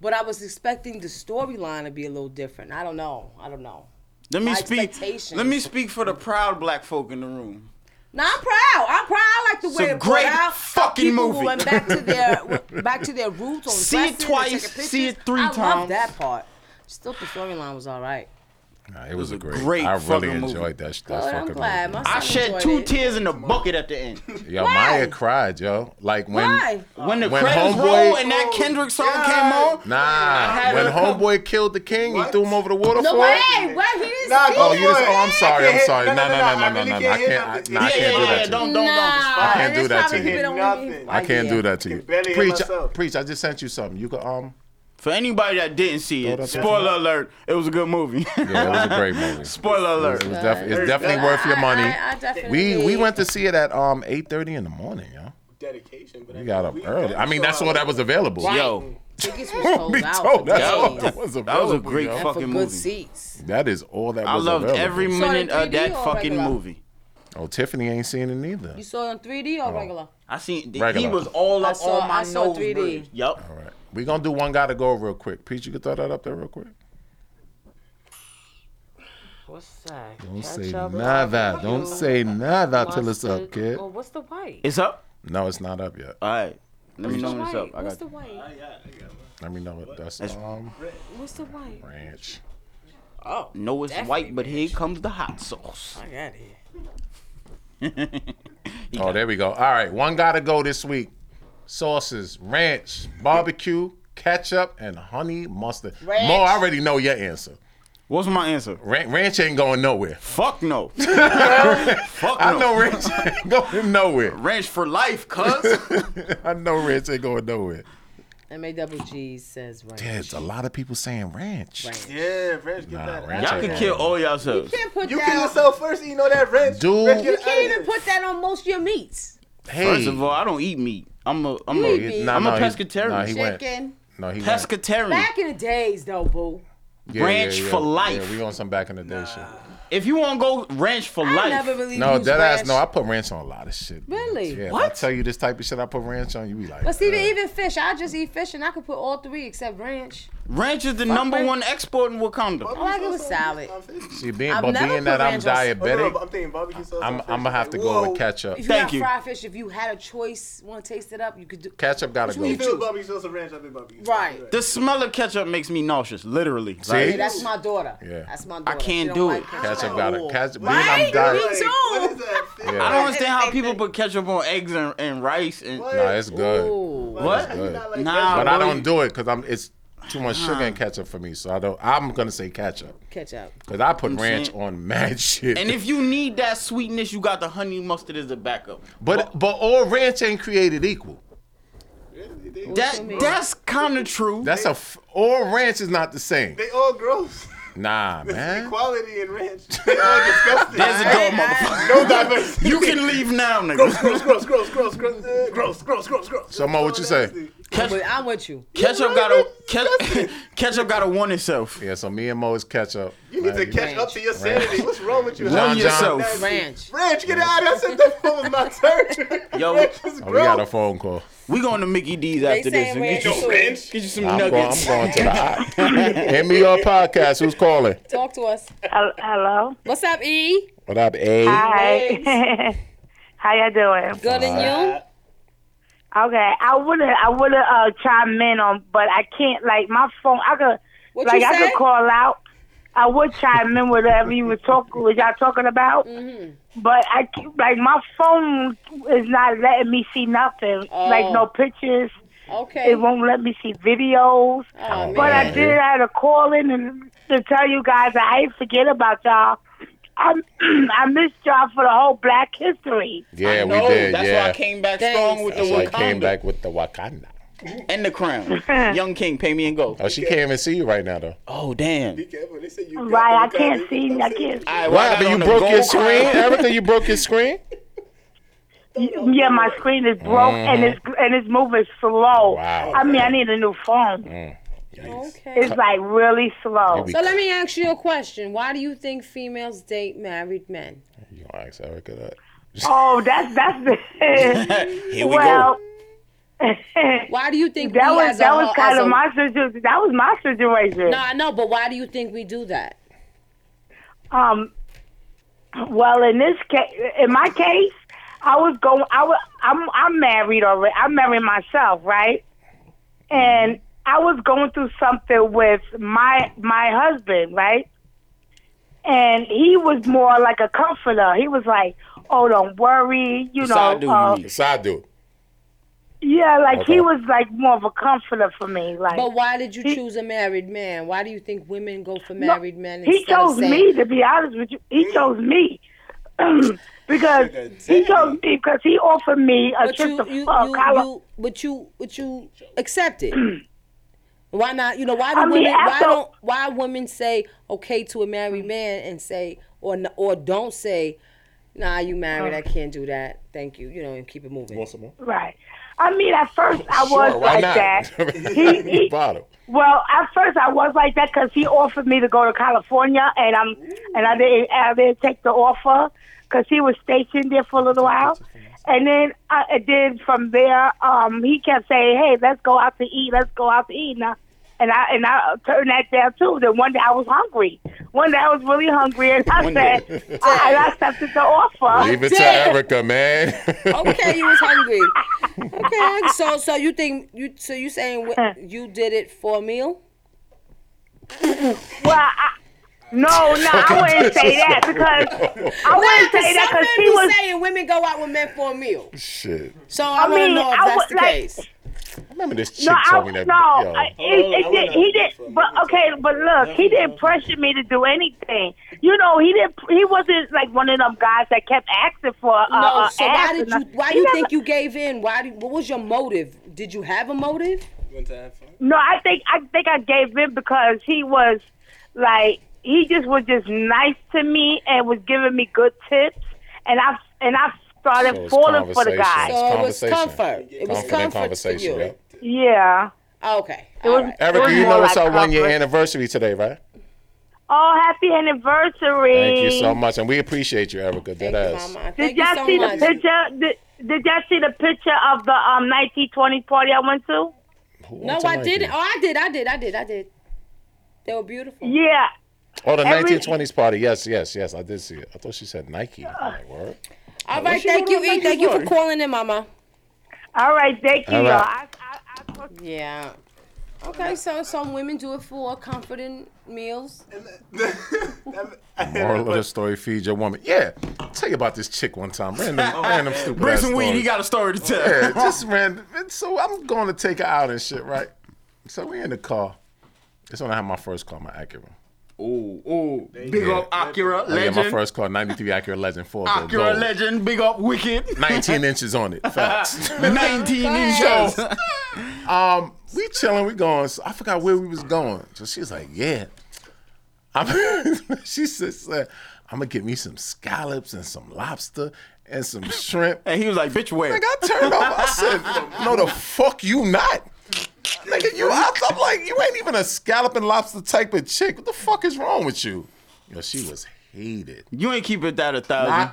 [SPEAKER 4] but I was expecting the storyline to be a little different. I don't know. I don't know.
[SPEAKER 2] Let me
[SPEAKER 4] My
[SPEAKER 2] speak.
[SPEAKER 4] expectations.
[SPEAKER 2] Let me speak for the proud black folk in the room.
[SPEAKER 4] Now I'm proud. I'm proud. I like the way
[SPEAKER 2] Some
[SPEAKER 4] it brought
[SPEAKER 2] great
[SPEAKER 4] out. how
[SPEAKER 2] fucking
[SPEAKER 4] people
[SPEAKER 2] movie.
[SPEAKER 4] went back to their back to their roots on
[SPEAKER 2] See it
[SPEAKER 4] dressing and
[SPEAKER 2] twice,
[SPEAKER 4] taking
[SPEAKER 2] see it
[SPEAKER 4] pictures.
[SPEAKER 2] three
[SPEAKER 4] I
[SPEAKER 2] times.
[SPEAKER 4] Love that part. Still, the storyline was all right.
[SPEAKER 3] Nah, it was a great.
[SPEAKER 2] great
[SPEAKER 3] I really
[SPEAKER 2] fucking movie.
[SPEAKER 3] enjoyed that. sh- that
[SPEAKER 4] Good. I'm
[SPEAKER 3] fucking
[SPEAKER 4] glad.
[SPEAKER 3] movie.
[SPEAKER 4] My
[SPEAKER 2] I
[SPEAKER 4] son
[SPEAKER 2] shed
[SPEAKER 4] enjoyed
[SPEAKER 2] two
[SPEAKER 4] it.
[SPEAKER 2] tears in the bucket at the end.
[SPEAKER 3] Yo,
[SPEAKER 4] Why?
[SPEAKER 3] Maya cried, yo. Like when
[SPEAKER 4] Why?
[SPEAKER 2] When the
[SPEAKER 3] When
[SPEAKER 2] credits
[SPEAKER 3] Homeboy-
[SPEAKER 2] roll and that Kendrick song came on,
[SPEAKER 3] Nah,
[SPEAKER 2] had
[SPEAKER 3] when
[SPEAKER 2] her come-
[SPEAKER 3] homeboy killed the king, he
[SPEAKER 5] What?
[SPEAKER 3] threw him over the
[SPEAKER 4] No
[SPEAKER 3] waterfall.
[SPEAKER 4] way. Wait, he didn't
[SPEAKER 5] Nah,
[SPEAKER 4] see
[SPEAKER 5] go
[SPEAKER 3] Oh,
[SPEAKER 4] it.
[SPEAKER 3] you just. Oh, I'm sorry. I'm
[SPEAKER 5] can't
[SPEAKER 3] sorry.
[SPEAKER 5] hit-
[SPEAKER 3] No,
[SPEAKER 5] no,
[SPEAKER 3] no, no,
[SPEAKER 5] no,
[SPEAKER 3] no, no, no.
[SPEAKER 5] no, I really
[SPEAKER 3] I
[SPEAKER 5] can't hit
[SPEAKER 3] can't. I,
[SPEAKER 5] nothing.
[SPEAKER 3] nah, I
[SPEAKER 2] yeah,
[SPEAKER 3] can't
[SPEAKER 2] yeah,
[SPEAKER 3] do
[SPEAKER 2] yeah,
[SPEAKER 3] that to you.
[SPEAKER 2] don't, don't, don't.
[SPEAKER 4] Nah.
[SPEAKER 3] I can't
[SPEAKER 4] That's
[SPEAKER 3] do that
[SPEAKER 4] probably
[SPEAKER 3] to you.
[SPEAKER 4] people don't
[SPEAKER 5] Nothing.
[SPEAKER 4] even-
[SPEAKER 3] I can't do that to
[SPEAKER 5] Can
[SPEAKER 3] you.
[SPEAKER 5] barely hear
[SPEAKER 3] Preach,
[SPEAKER 5] myself.
[SPEAKER 3] preach. I just sent you something. You could um.
[SPEAKER 2] For anybody that didn't see
[SPEAKER 3] Throw
[SPEAKER 2] it,
[SPEAKER 3] that
[SPEAKER 2] spoiler alert, it was a good movie.
[SPEAKER 3] Yeah, it was a great movie.
[SPEAKER 2] spoiler
[SPEAKER 3] It
[SPEAKER 2] alert.
[SPEAKER 3] was def- it's
[SPEAKER 5] Very
[SPEAKER 3] definitely
[SPEAKER 5] good.
[SPEAKER 3] worth your money.
[SPEAKER 4] I, I, I definitely
[SPEAKER 3] we we went to see it at um 8:30 in the morning, yo.
[SPEAKER 5] Dedication, but
[SPEAKER 3] We got up early. I mean, that's all that was available.
[SPEAKER 2] Yo,
[SPEAKER 4] Tickets was sold
[SPEAKER 3] we
[SPEAKER 4] out.
[SPEAKER 3] told
[SPEAKER 4] for
[SPEAKER 3] that's all
[SPEAKER 4] days.
[SPEAKER 3] that was available.
[SPEAKER 2] that was a great
[SPEAKER 3] yo.
[SPEAKER 4] for
[SPEAKER 2] fucking
[SPEAKER 4] good
[SPEAKER 2] movie.
[SPEAKER 4] seats.
[SPEAKER 3] That is all that
[SPEAKER 2] I
[SPEAKER 3] was
[SPEAKER 2] loved
[SPEAKER 3] available.
[SPEAKER 2] every
[SPEAKER 4] Saw it in
[SPEAKER 2] minute of
[SPEAKER 4] 3D
[SPEAKER 2] that
[SPEAKER 4] or
[SPEAKER 2] fucking
[SPEAKER 4] regular?
[SPEAKER 2] movie.
[SPEAKER 3] Oh, Tiffany ain't seen it either.
[SPEAKER 4] You saw it on 3D
[SPEAKER 3] Uh-huh.
[SPEAKER 4] or regular?
[SPEAKER 2] I seen he
[SPEAKER 3] Regular.
[SPEAKER 2] was all
[SPEAKER 4] I
[SPEAKER 2] up
[SPEAKER 4] saw-
[SPEAKER 2] on my
[SPEAKER 4] I saw
[SPEAKER 2] nose.
[SPEAKER 4] 3D.
[SPEAKER 2] bridge. Yup.
[SPEAKER 3] All right. We're going to do one guy to go real quick. Pete, you can throw that up there real quick.
[SPEAKER 7] What's that?
[SPEAKER 3] Don't say
[SPEAKER 7] Ketchup,
[SPEAKER 3] nada. Don't say nada till it's
[SPEAKER 7] mustard-
[SPEAKER 3] up, kid.
[SPEAKER 7] Oh, what's the white?
[SPEAKER 2] It's up.
[SPEAKER 3] No, it's not up yet.
[SPEAKER 2] All right. Let me know when
[SPEAKER 7] White.
[SPEAKER 2] it's up. I
[SPEAKER 7] What's
[SPEAKER 2] got
[SPEAKER 7] the white?
[SPEAKER 3] Let me know what that's
[SPEAKER 2] That's-
[SPEAKER 3] um
[SPEAKER 7] What's the white?
[SPEAKER 3] ranch.
[SPEAKER 2] Oh, no, it's white, but here comes the hot sauce.
[SPEAKER 4] I got it.
[SPEAKER 3] Oh, there we go. All right, one guy to go this week. Sauces, ranch, barbecue, ketchup, and honey mustard.
[SPEAKER 4] Ranch.
[SPEAKER 3] Mo, I already know your answer.
[SPEAKER 2] What's my answer?
[SPEAKER 3] Ran- ranch ain't going nowhere.
[SPEAKER 2] Fuck no. Fuck
[SPEAKER 3] I
[SPEAKER 2] no.
[SPEAKER 3] know ranch ain't going nowhere.
[SPEAKER 2] Ranch for life, cuz.
[SPEAKER 3] I know ranch ain't going nowhere.
[SPEAKER 4] MAWG says right.
[SPEAKER 3] There's a lot of people saying ranch.
[SPEAKER 5] Yeah, Ranch, get
[SPEAKER 3] Nah,
[SPEAKER 5] that.
[SPEAKER 3] Ranch
[SPEAKER 2] Y'all
[SPEAKER 3] ain't
[SPEAKER 2] could
[SPEAKER 3] going
[SPEAKER 2] kill all yourselves.
[SPEAKER 4] You can't put
[SPEAKER 5] You
[SPEAKER 4] that
[SPEAKER 5] kill
[SPEAKER 4] on-
[SPEAKER 5] yourself first. You know that, Ranch.
[SPEAKER 3] Dude.
[SPEAKER 5] Ranch, get
[SPEAKER 4] You
[SPEAKER 5] out
[SPEAKER 4] can't
[SPEAKER 5] of
[SPEAKER 4] even
[SPEAKER 5] here.
[SPEAKER 4] put that on most of your meats.
[SPEAKER 3] Hey.
[SPEAKER 2] First of all, I don't eat meat. I'm a I'm
[SPEAKER 4] You
[SPEAKER 2] a
[SPEAKER 4] eat meat.
[SPEAKER 3] Nah,
[SPEAKER 2] I'm a
[SPEAKER 3] nah, he-
[SPEAKER 2] pescatarian.
[SPEAKER 3] nah, he went-
[SPEAKER 4] Chicken.
[SPEAKER 3] No, he went-
[SPEAKER 2] pescatarian.
[SPEAKER 4] Back in the days, though, boo.
[SPEAKER 3] Yeah, yeah,
[SPEAKER 2] Ranch
[SPEAKER 3] yeah.
[SPEAKER 2] for life.
[SPEAKER 3] Yeah, we on some back in the day shit.
[SPEAKER 2] If you want to go ranch for
[SPEAKER 4] I
[SPEAKER 2] life,
[SPEAKER 4] never really
[SPEAKER 3] No,
[SPEAKER 4] used
[SPEAKER 3] dead ass.
[SPEAKER 4] ranch.
[SPEAKER 3] No, I put ranch on a lot of shit. man.
[SPEAKER 4] Really?
[SPEAKER 3] Yeah, If I
[SPEAKER 2] What?
[SPEAKER 3] tell you this type of shit, I put ranch on. You be like,
[SPEAKER 4] But see,
[SPEAKER 3] "Ugh."
[SPEAKER 4] they even fish. I just eat fish, and I could put all three except ranch.
[SPEAKER 2] Ranch is the number one export in Wakanda.
[SPEAKER 4] I like it with salad.
[SPEAKER 3] See, being,
[SPEAKER 4] I've
[SPEAKER 3] but
[SPEAKER 4] never
[SPEAKER 3] being that
[SPEAKER 4] put
[SPEAKER 3] I'm
[SPEAKER 4] ranch on- Oh, no,
[SPEAKER 3] diabetic,
[SPEAKER 4] but
[SPEAKER 5] I'm thinking barbecue sauce.
[SPEAKER 3] I'm, I'm gonna have to go with ketchup.
[SPEAKER 4] If you got fried fish, if you had a choice, want to taste it up, you could do.
[SPEAKER 3] Ketchup gotta
[SPEAKER 4] Which
[SPEAKER 3] go.
[SPEAKER 4] one
[SPEAKER 5] You
[SPEAKER 4] you
[SPEAKER 5] feel
[SPEAKER 4] choose?
[SPEAKER 5] barbecue sauce or ranch? I think barbecue.
[SPEAKER 4] Right.
[SPEAKER 2] The smell of ketchup makes me nauseous, literally. Like-
[SPEAKER 4] Yeah, that's my daughter.
[SPEAKER 2] Yeah.
[SPEAKER 4] That's my
[SPEAKER 2] I
[SPEAKER 4] daughter. She
[SPEAKER 2] can't
[SPEAKER 4] don't
[SPEAKER 2] do
[SPEAKER 4] like
[SPEAKER 2] it.
[SPEAKER 3] Ketchup gotta. Ketchup. Being I'm
[SPEAKER 4] Right?
[SPEAKER 3] diabetic.
[SPEAKER 4] Me too.
[SPEAKER 2] I don't understand how people put ketchup on eggs and, and rice and.
[SPEAKER 3] No, it's good.
[SPEAKER 2] What?
[SPEAKER 3] It's good.
[SPEAKER 2] Nah,
[SPEAKER 3] but I
[SPEAKER 2] boy.
[SPEAKER 3] don't do it because I'm it's too much sugar
[SPEAKER 2] Nah.
[SPEAKER 3] and ketchup for me. So I don't. I'm gonna say ketchup
[SPEAKER 4] Ketchup.
[SPEAKER 3] because I put
[SPEAKER 2] I'm
[SPEAKER 3] ranch
[SPEAKER 2] saying-
[SPEAKER 3] on mad shit.
[SPEAKER 2] And if you need that sweetness, you got the honey mustard as a backup.
[SPEAKER 3] but but all ranch ain't created equal.
[SPEAKER 2] That that's kind of true.
[SPEAKER 3] That's a f- all ranch is not the same.
[SPEAKER 5] They all gross.
[SPEAKER 3] Nah, man.
[SPEAKER 5] Equality in ranch. They all disgusting. There's a door, motherfucker. No diversity.
[SPEAKER 2] You can leave now,
[SPEAKER 5] Gross,
[SPEAKER 2] nigga.
[SPEAKER 5] gross, gross, gross, gross, gross, uh, gross, gross, gross, gross.
[SPEAKER 3] So, Ma, what you say?
[SPEAKER 4] I'm with- I'm with you.
[SPEAKER 2] Ketchup got a ketchup, ketchup got to one itself.
[SPEAKER 3] Yeah, so me and Mo is ketchup.
[SPEAKER 5] You need to
[SPEAKER 3] Man,
[SPEAKER 5] catch up to your sanity. What's wrong with you?
[SPEAKER 3] John John.
[SPEAKER 2] yourself.
[SPEAKER 4] Ranch.
[SPEAKER 5] Ranch, get out of here. I said that phone was my turn.
[SPEAKER 2] Yo,
[SPEAKER 5] ranch is
[SPEAKER 3] Oh, we got a
[SPEAKER 5] gross.
[SPEAKER 3] phone call.
[SPEAKER 2] We going to Mickey D's after this
[SPEAKER 4] saying
[SPEAKER 2] and get
[SPEAKER 4] ranch
[SPEAKER 2] you,
[SPEAKER 4] is
[SPEAKER 2] some,
[SPEAKER 5] ranch.
[SPEAKER 2] get you some
[SPEAKER 3] I'm going, I'm
[SPEAKER 2] nuggets.
[SPEAKER 3] going to the hot. Hit me your podcast. Who's calling?
[SPEAKER 4] Talk to us.
[SPEAKER 11] Hel- Hello.
[SPEAKER 4] What's up, E?
[SPEAKER 3] What up, A?
[SPEAKER 11] Hi. How y'all doing?
[SPEAKER 4] Good and you?
[SPEAKER 11] Okay. I woulda I woulda uh chime in on but I can't like my phone I could
[SPEAKER 4] What
[SPEAKER 11] like
[SPEAKER 4] you
[SPEAKER 11] I
[SPEAKER 4] say?
[SPEAKER 11] could call out. I would chime in with whatever you were talking what y'all talking about.
[SPEAKER 4] Mm-hmm.
[SPEAKER 11] But I can't- like my phone is not letting me see nothing. Like
[SPEAKER 4] Oh.
[SPEAKER 11] no pictures.
[SPEAKER 4] Okay.
[SPEAKER 11] It won't let me see videos.
[SPEAKER 4] Oh,
[SPEAKER 11] But I
[SPEAKER 3] man.
[SPEAKER 11] did I had a call in and to tell you guys I ain't forget about y'all. I I missed y'all for the whole Black History.
[SPEAKER 3] Yeah, we
[SPEAKER 2] No,
[SPEAKER 3] did.
[SPEAKER 2] that's
[SPEAKER 3] yeah.
[SPEAKER 2] why I came back
[SPEAKER 4] Thanks.
[SPEAKER 2] strong with
[SPEAKER 3] That's why I
[SPEAKER 2] the
[SPEAKER 3] came
[SPEAKER 2] Wakanda
[SPEAKER 3] back with the Wakanda.
[SPEAKER 2] and the crown. Young King, pay me and go.
[SPEAKER 3] Oh, she can't even see you right now though.
[SPEAKER 2] Oh damn!
[SPEAKER 5] Be careful. They say you got
[SPEAKER 11] Right, I
[SPEAKER 5] them
[SPEAKER 11] can't
[SPEAKER 5] guys.
[SPEAKER 11] see. I can't.
[SPEAKER 2] All right, well,
[SPEAKER 3] What
[SPEAKER 2] I got
[SPEAKER 3] happened? You
[SPEAKER 2] on the
[SPEAKER 3] broke your
[SPEAKER 2] gold
[SPEAKER 3] screen?
[SPEAKER 2] crown.
[SPEAKER 3] Everything you broke your screen?
[SPEAKER 11] Yeah, my screen is broke and it's and it's moving slow.
[SPEAKER 3] Mm-hmm. Wow. Mm.
[SPEAKER 11] I mean, I need a new phone.
[SPEAKER 4] Okay.
[SPEAKER 11] It's like really slow.
[SPEAKER 3] You
[SPEAKER 4] So let me ask you a question. Why do you think females date married men?
[SPEAKER 3] You gonna ask Erica that?
[SPEAKER 11] Oh, that's that's the.
[SPEAKER 2] Here we
[SPEAKER 11] well,
[SPEAKER 2] go.
[SPEAKER 4] Why do you think
[SPEAKER 11] that
[SPEAKER 4] we
[SPEAKER 11] was
[SPEAKER 4] as
[SPEAKER 11] that
[SPEAKER 4] a
[SPEAKER 11] was
[SPEAKER 4] whole-
[SPEAKER 11] kind
[SPEAKER 4] as
[SPEAKER 11] of
[SPEAKER 4] a-
[SPEAKER 11] my situation. That was my situation.
[SPEAKER 4] No, I know, but why do you think we do that?
[SPEAKER 11] Um, well, in this case, in my case, I was going. I was. I'm. I'm married already. I'm married myself, right? And I was going through something with my my husband, right? And he was more like a comforter. He was like, "Oh, don't worry," you know.
[SPEAKER 2] Side dude, you
[SPEAKER 11] uh,
[SPEAKER 2] mean.
[SPEAKER 3] Side dude.
[SPEAKER 11] yeah, like
[SPEAKER 3] Okay.
[SPEAKER 11] he was like more of a comforter for me. Like
[SPEAKER 4] But why did you choose a married man? Why do you think women go for married men?
[SPEAKER 11] He
[SPEAKER 4] instead of
[SPEAKER 11] chose
[SPEAKER 4] saying-
[SPEAKER 11] me, to be honest with you. He
[SPEAKER 3] Mm.
[SPEAKER 11] chose me. because he chose me because he offered me a
[SPEAKER 4] But
[SPEAKER 11] trip
[SPEAKER 4] you,
[SPEAKER 11] to
[SPEAKER 4] you, you,
[SPEAKER 11] uh, Colo-
[SPEAKER 4] you, but you, but you accept it. why not? You know, why do
[SPEAKER 11] I Mm. mean,
[SPEAKER 4] women? Why
[SPEAKER 11] after-
[SPEAKER 4] don't? Why women say okay to a married man and say, or n- or don't say, nah, you
[SPEAKER 11] Oh.
[SPEAKER 4] married, I can't do that. Thank you. You know, and keep it moving.
[SPEAKER 11] Right. I mean, at first I was
[SPEAKER 3] Sure, why
[SPEAKER 11] like
[SPEAKER 3] not?
[SPEAKER 11] that. he,
[SPEAKER 3] You
[SPEAKER 11] he,
[SPEAKER 3] bought him.
[SPEAKER 11] well, at first I was like that because he offered me to go to California, and I'm and I didn't I didn't take the offer because he was stationed there for a little while, and then I and then from there um he kept saying, "Hey, let's go out to eat. Let's go out to eat." And I and I, and I turned that down too. Then one day I was hungry. One day I was really hungry, and I said, I, and I accepted the offer.
[SPEAKER 3] Leave it to Erica, man.
[SPEAKER 4] Okay, you was hungry. Okay, so so you think you so you saying wh- you did it for a meal?
[SPEAKER 11] Well, I, Oh, no, no, I wouldn't say that because I wouldn't
[SPEAKER 4] Nah, 'cause
[SPEAKER 11] say that
[SPEAKER 4] some
[SPEAKER 11] because
[SPEAKER 4] men
[SPEAKER 11] she
[SPEAKER 4] be
[SPEAKER 11] was.
[SPEAKER 4] saying women go out with men for a meal.
[SPEAKER 3] Shit.
[SPEAKER 4] So I, want to
[SPEAKER 11] mean,
[SPEAKER 4] know if
[SPEAKER 11] I
[SPEAKER 4] that's
[SPEAKER 11] would,
[SPEAKER 4] the
[SPEAKER 11] like-
[SPEAKER 4] case.
[SPEAKER 3] Remember this chick
[SPEAKER 11] No,
[SPEAKER 3] told me
[SPEAKER 11] I,
[SPEAKER 3] that.
[SPEAKER 11] no,
[SPEAKER 3] yo,
[SPEAKER 11] I,
[SPEAKER 5] Hold on,
[SPEAKER 11] it,
[SPEAKER 5] I
[SPEAKER 11] it
[SPEAKER 5] wouldn't
[SPEAKER 11] did, he
[SPEAKER 5] have
[SPEAKER 11] did,
[SPEAKER 5] done
[SPEAKER 11] but okay, but look, he didn't pressure me to do anything. You know, he didn't. He wasn't like one of them guys that kept asking for. Uh,
[SPEAKER 4] No,
[SPEAKER 11] uh,
[SPEAKER 4] so why
[SPEAKER 11] ass
[SPEAKER 4] did
[SPEAKER 11] and
[SPEAKER 4] you?
[SPEAKER 11] I-
[SPEAKER 4] Why
[SPEAKER 11] he
[SPEAKER 4] you
[SPEAKER 11] never-
[SPEAKER 4] think you gave in? Why? Did, what was your motive? Did you have a motive?
[SPEAKER 5] You want to have fun?
[SPEAKER 11] No, I think I think I gave in because he was like he just was just nice to me and was giving me good tips, and I and I started
[SPEAKER 3] So it's
[SPEAKER 11] falling for the
[SPEAKER 3] conversation.
[SPEAKER 11] guy.
[SPEAKER 4] So it was
[SPEAKER 3] conversation.
[SPEAKER 4] comfort. It was
[SPEAKER 3] Confident
[SPEAKER 4] comfort to
[SPEAKER 3] conversation,
[SPEAKER 4] you.
[SPEAKER 3] yep.
[SPEAKER 11] yeah.
[SPEAKER 4] Okay.
[SPEAKER 11] It
[SPEAKER 4] all
[SPEAKER 11] was-
[SPEAKER 4] right.
[SPEAKER 11] It
[SPEAKER 3] Erica, you
[SPEAKER 11] more
[SPEAKER 3] know it's
[SPEAKER 11] like
[SPEAKER 3] our one year
[SPEAKER 11] comfort.
[SPEAKER 3] anniversary today, right?
[SPEAKER 11] Oh, happy anniversary!
[SPEAKER 3] Thank you so much. And we appreciate you, Erica.
[SPEAKER 4] Thank
[SPEAKER 3] That
[SPEAKER 4] you,
[SPEAKER 3] ass.
[SPEAKER 4] Mama.
[SPEAKER 11] Did
[SPEAKER 4] Thank you
[SPEAKER 11] y'all
[SPEAKER 4] so
[SPEAKER 11] see
[SPEAKER 4] much.
[SPEAKER 11] the picture? Did, did y'all see the picture of the um 1920 party I went to?
[SPEAKER 4] No, I didn't. Oh, I did. I did. I did. I did. They were beautiful.
[SPEAKER 11] Yeah.
[SPEAKER 3] Oh, the
[SPEAKER 4] Every-
[SPEAKER 3] 1920s party. Yes, yes, yes. I did see it. I thought she said Nike. I'm like, word.
[SPEAKER 4] All
[SPEAKER 3] Where
[SPEAKER 4] right.
[SPEAKER 3] she
[SPEAKER 4] Thank
[SPEAKER 3] go
[SPEAKER 4] you,
[SPEAKER 3] to
[SPEAKER 4] E.
[SPEAKER 3] Nike
[SPEAKER 4] Thank you for
[SPEAKER 3] party?
[SPEAKER 4] calling in, Mama.
[SPEAKER 11] All right. Thank
[SPEAKER 3] you, All right.
[SPEAKER 4] yeah. Okay, so some women do it for comforting meals.
[SPEAKER 3] Moral of the story: Feed your woman. Yeah, I'll tell you about this chick one time. Random, random stupid.
[SPEAKER 2] Bring
[SPEAKER 3] ass
[SPEAKER 2] some weed,
[SPEAKER 3] story.
[SPEAKER 2] he got a story to tell.
[SPEAKER 3] Yeah, just random. And so I'm going to take her out and shit, right? So we in the car. That's when I had my first car, my Acura.
[SPEAKER 2] Ooh, ooh. Big up Acura,
[SPEAKER 3] Oh, yeah,
[SPEAKER 2] legend.
[SPEAKER 3] my first car, '93 Acura Legend, four door
[SPEAKER 2] Acura
[SPEAKER 3] gold.
[SPEAKER 2] legend, big up Wicked.
[SPEAKER 3] 19 inches on it. Facts.
[SPEAKER 2] 19 inches.
[SPEAKER 3] So, um, we chilling, we going. So I forgot where we was going. So she's like, yeah. I'm, she says, I'm gonna get me some scallops and some lobster and some shrimp.
[SPEAKER 2] And he was like, bitch, where?
[SPEAKER 3] Like, I turned off. I said, no, the fuck you not. Nigga, you, I, I'm like, you ain't even a scallop and lobster type of chick. What the fuck is wrong with you? Yo, she was hated.
[SPEAKER 2] You ain't keep it that a thousand.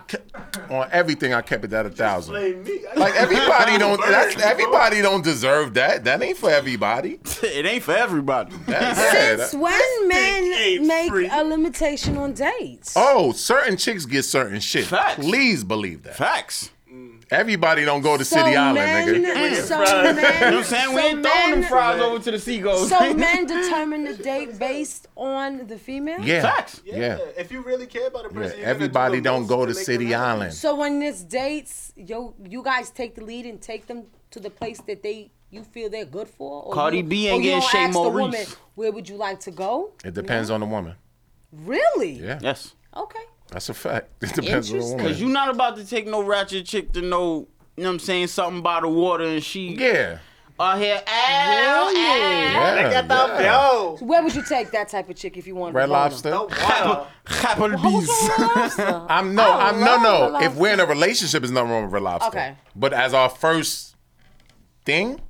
[SPEAKER 3] on everything, I kept it at a thousand.
[SPEAKER 5] Blame me.
[SPEAKER 3] Like everybody don't that's, everybody don't deserve that. That ain't for everybody.
[SPEAKER 2] it ain't for everybody.
[SPEAKER 4] Since when men make a limitation on dates?
[SPEAKER 3] oh, certain chicks get certain shit. Please believe that.
[SPEAKER 2] Facts.
[SPEAKER 3] Everybody don't go to
[SPEAKER 4] So
[SPEAKER 3] City Island,
[SPEAKER 4] men-
[SPEAKER 3] nigga.
[SPEAKER 4] so men- You know what I'm saying? We so ain't throwing them men- fries
[SPEAKER 2] over to the seagulls.
[SPEAKER 4] So men determine the date based on the female?
[SPEAKER 3] Yeah. Facts. Yeah.
[SPEAKER 5] If you really care about
[SPEAKER 3] Yeah,
[SPEAKER 5] a person, you're gonna do
[SPEAKER 3] everybody
[SPEAKER 5] the
[SPEAKER 3] don't
[SPEAKER 5] most
[SPEAKER 3] go to
[SPEAKER 5] make
[SPEAKER 3] City
[SPEAKER 5] them happy.
[SPEAKER 3] Island.
[SPEAKER 4] So when it's dates, yo, you guys take the lead and take them to the place that they you feel they're good for. Or
[SPEAKER 3] Cardi
[SPEAKER 4] you,
[SPEAKER 3] B ain't
[SPEAKER 4] or you
[SPEAKER 3] getting
[SPEAKER 4] don't
[SPEAKER 3] Shay
[SPEAKER 4] ask the
[SPEAKER 3] Maurice.
[SPEAKER 4] woman, Where would you like to go?
[SPEAKER 3] It depends on the woman.
[SPEAKER 4] Really?
[SPEAKER 3] Yeah.
[SPEAKER 2] Yes.
[SPEAKER 4] Okay.
[SPEAKER 3] That's a fact. It depends on the woman.
[SPEAKER 2] Because you not about to take no ratchet chick to know, you know what I'm saying, something about the water and she.
[SPEAKER 3] Yeah.
[SPEAKER 2] Out here, ow, ow.
[SPEAKER 4] Really?
[SPEAKER 3] Yeah, eh, Look at the yeah. bill.
[SPEAKER 4] So where would you take that type of chick if you wanted?
[SPEAKER 3] Red
[SPEAKER 4] to roll
[SPEAKER 3] Lobster.
[SPEAKER 4] them?
[SPEAKER 3] I'm no,
[SPEAKER 4] I
[SPEAKER 3] I'm no,
[SPEAKER 4] love
[SPEAKER 3] no.
[SPEAKER 4] Red
[SPEAKER 3] If we're in a relationship, it's nothing wrong with Red Lobster.
[SPEAKER 4] Okay.
[SPEAKER 3] But as our first thing,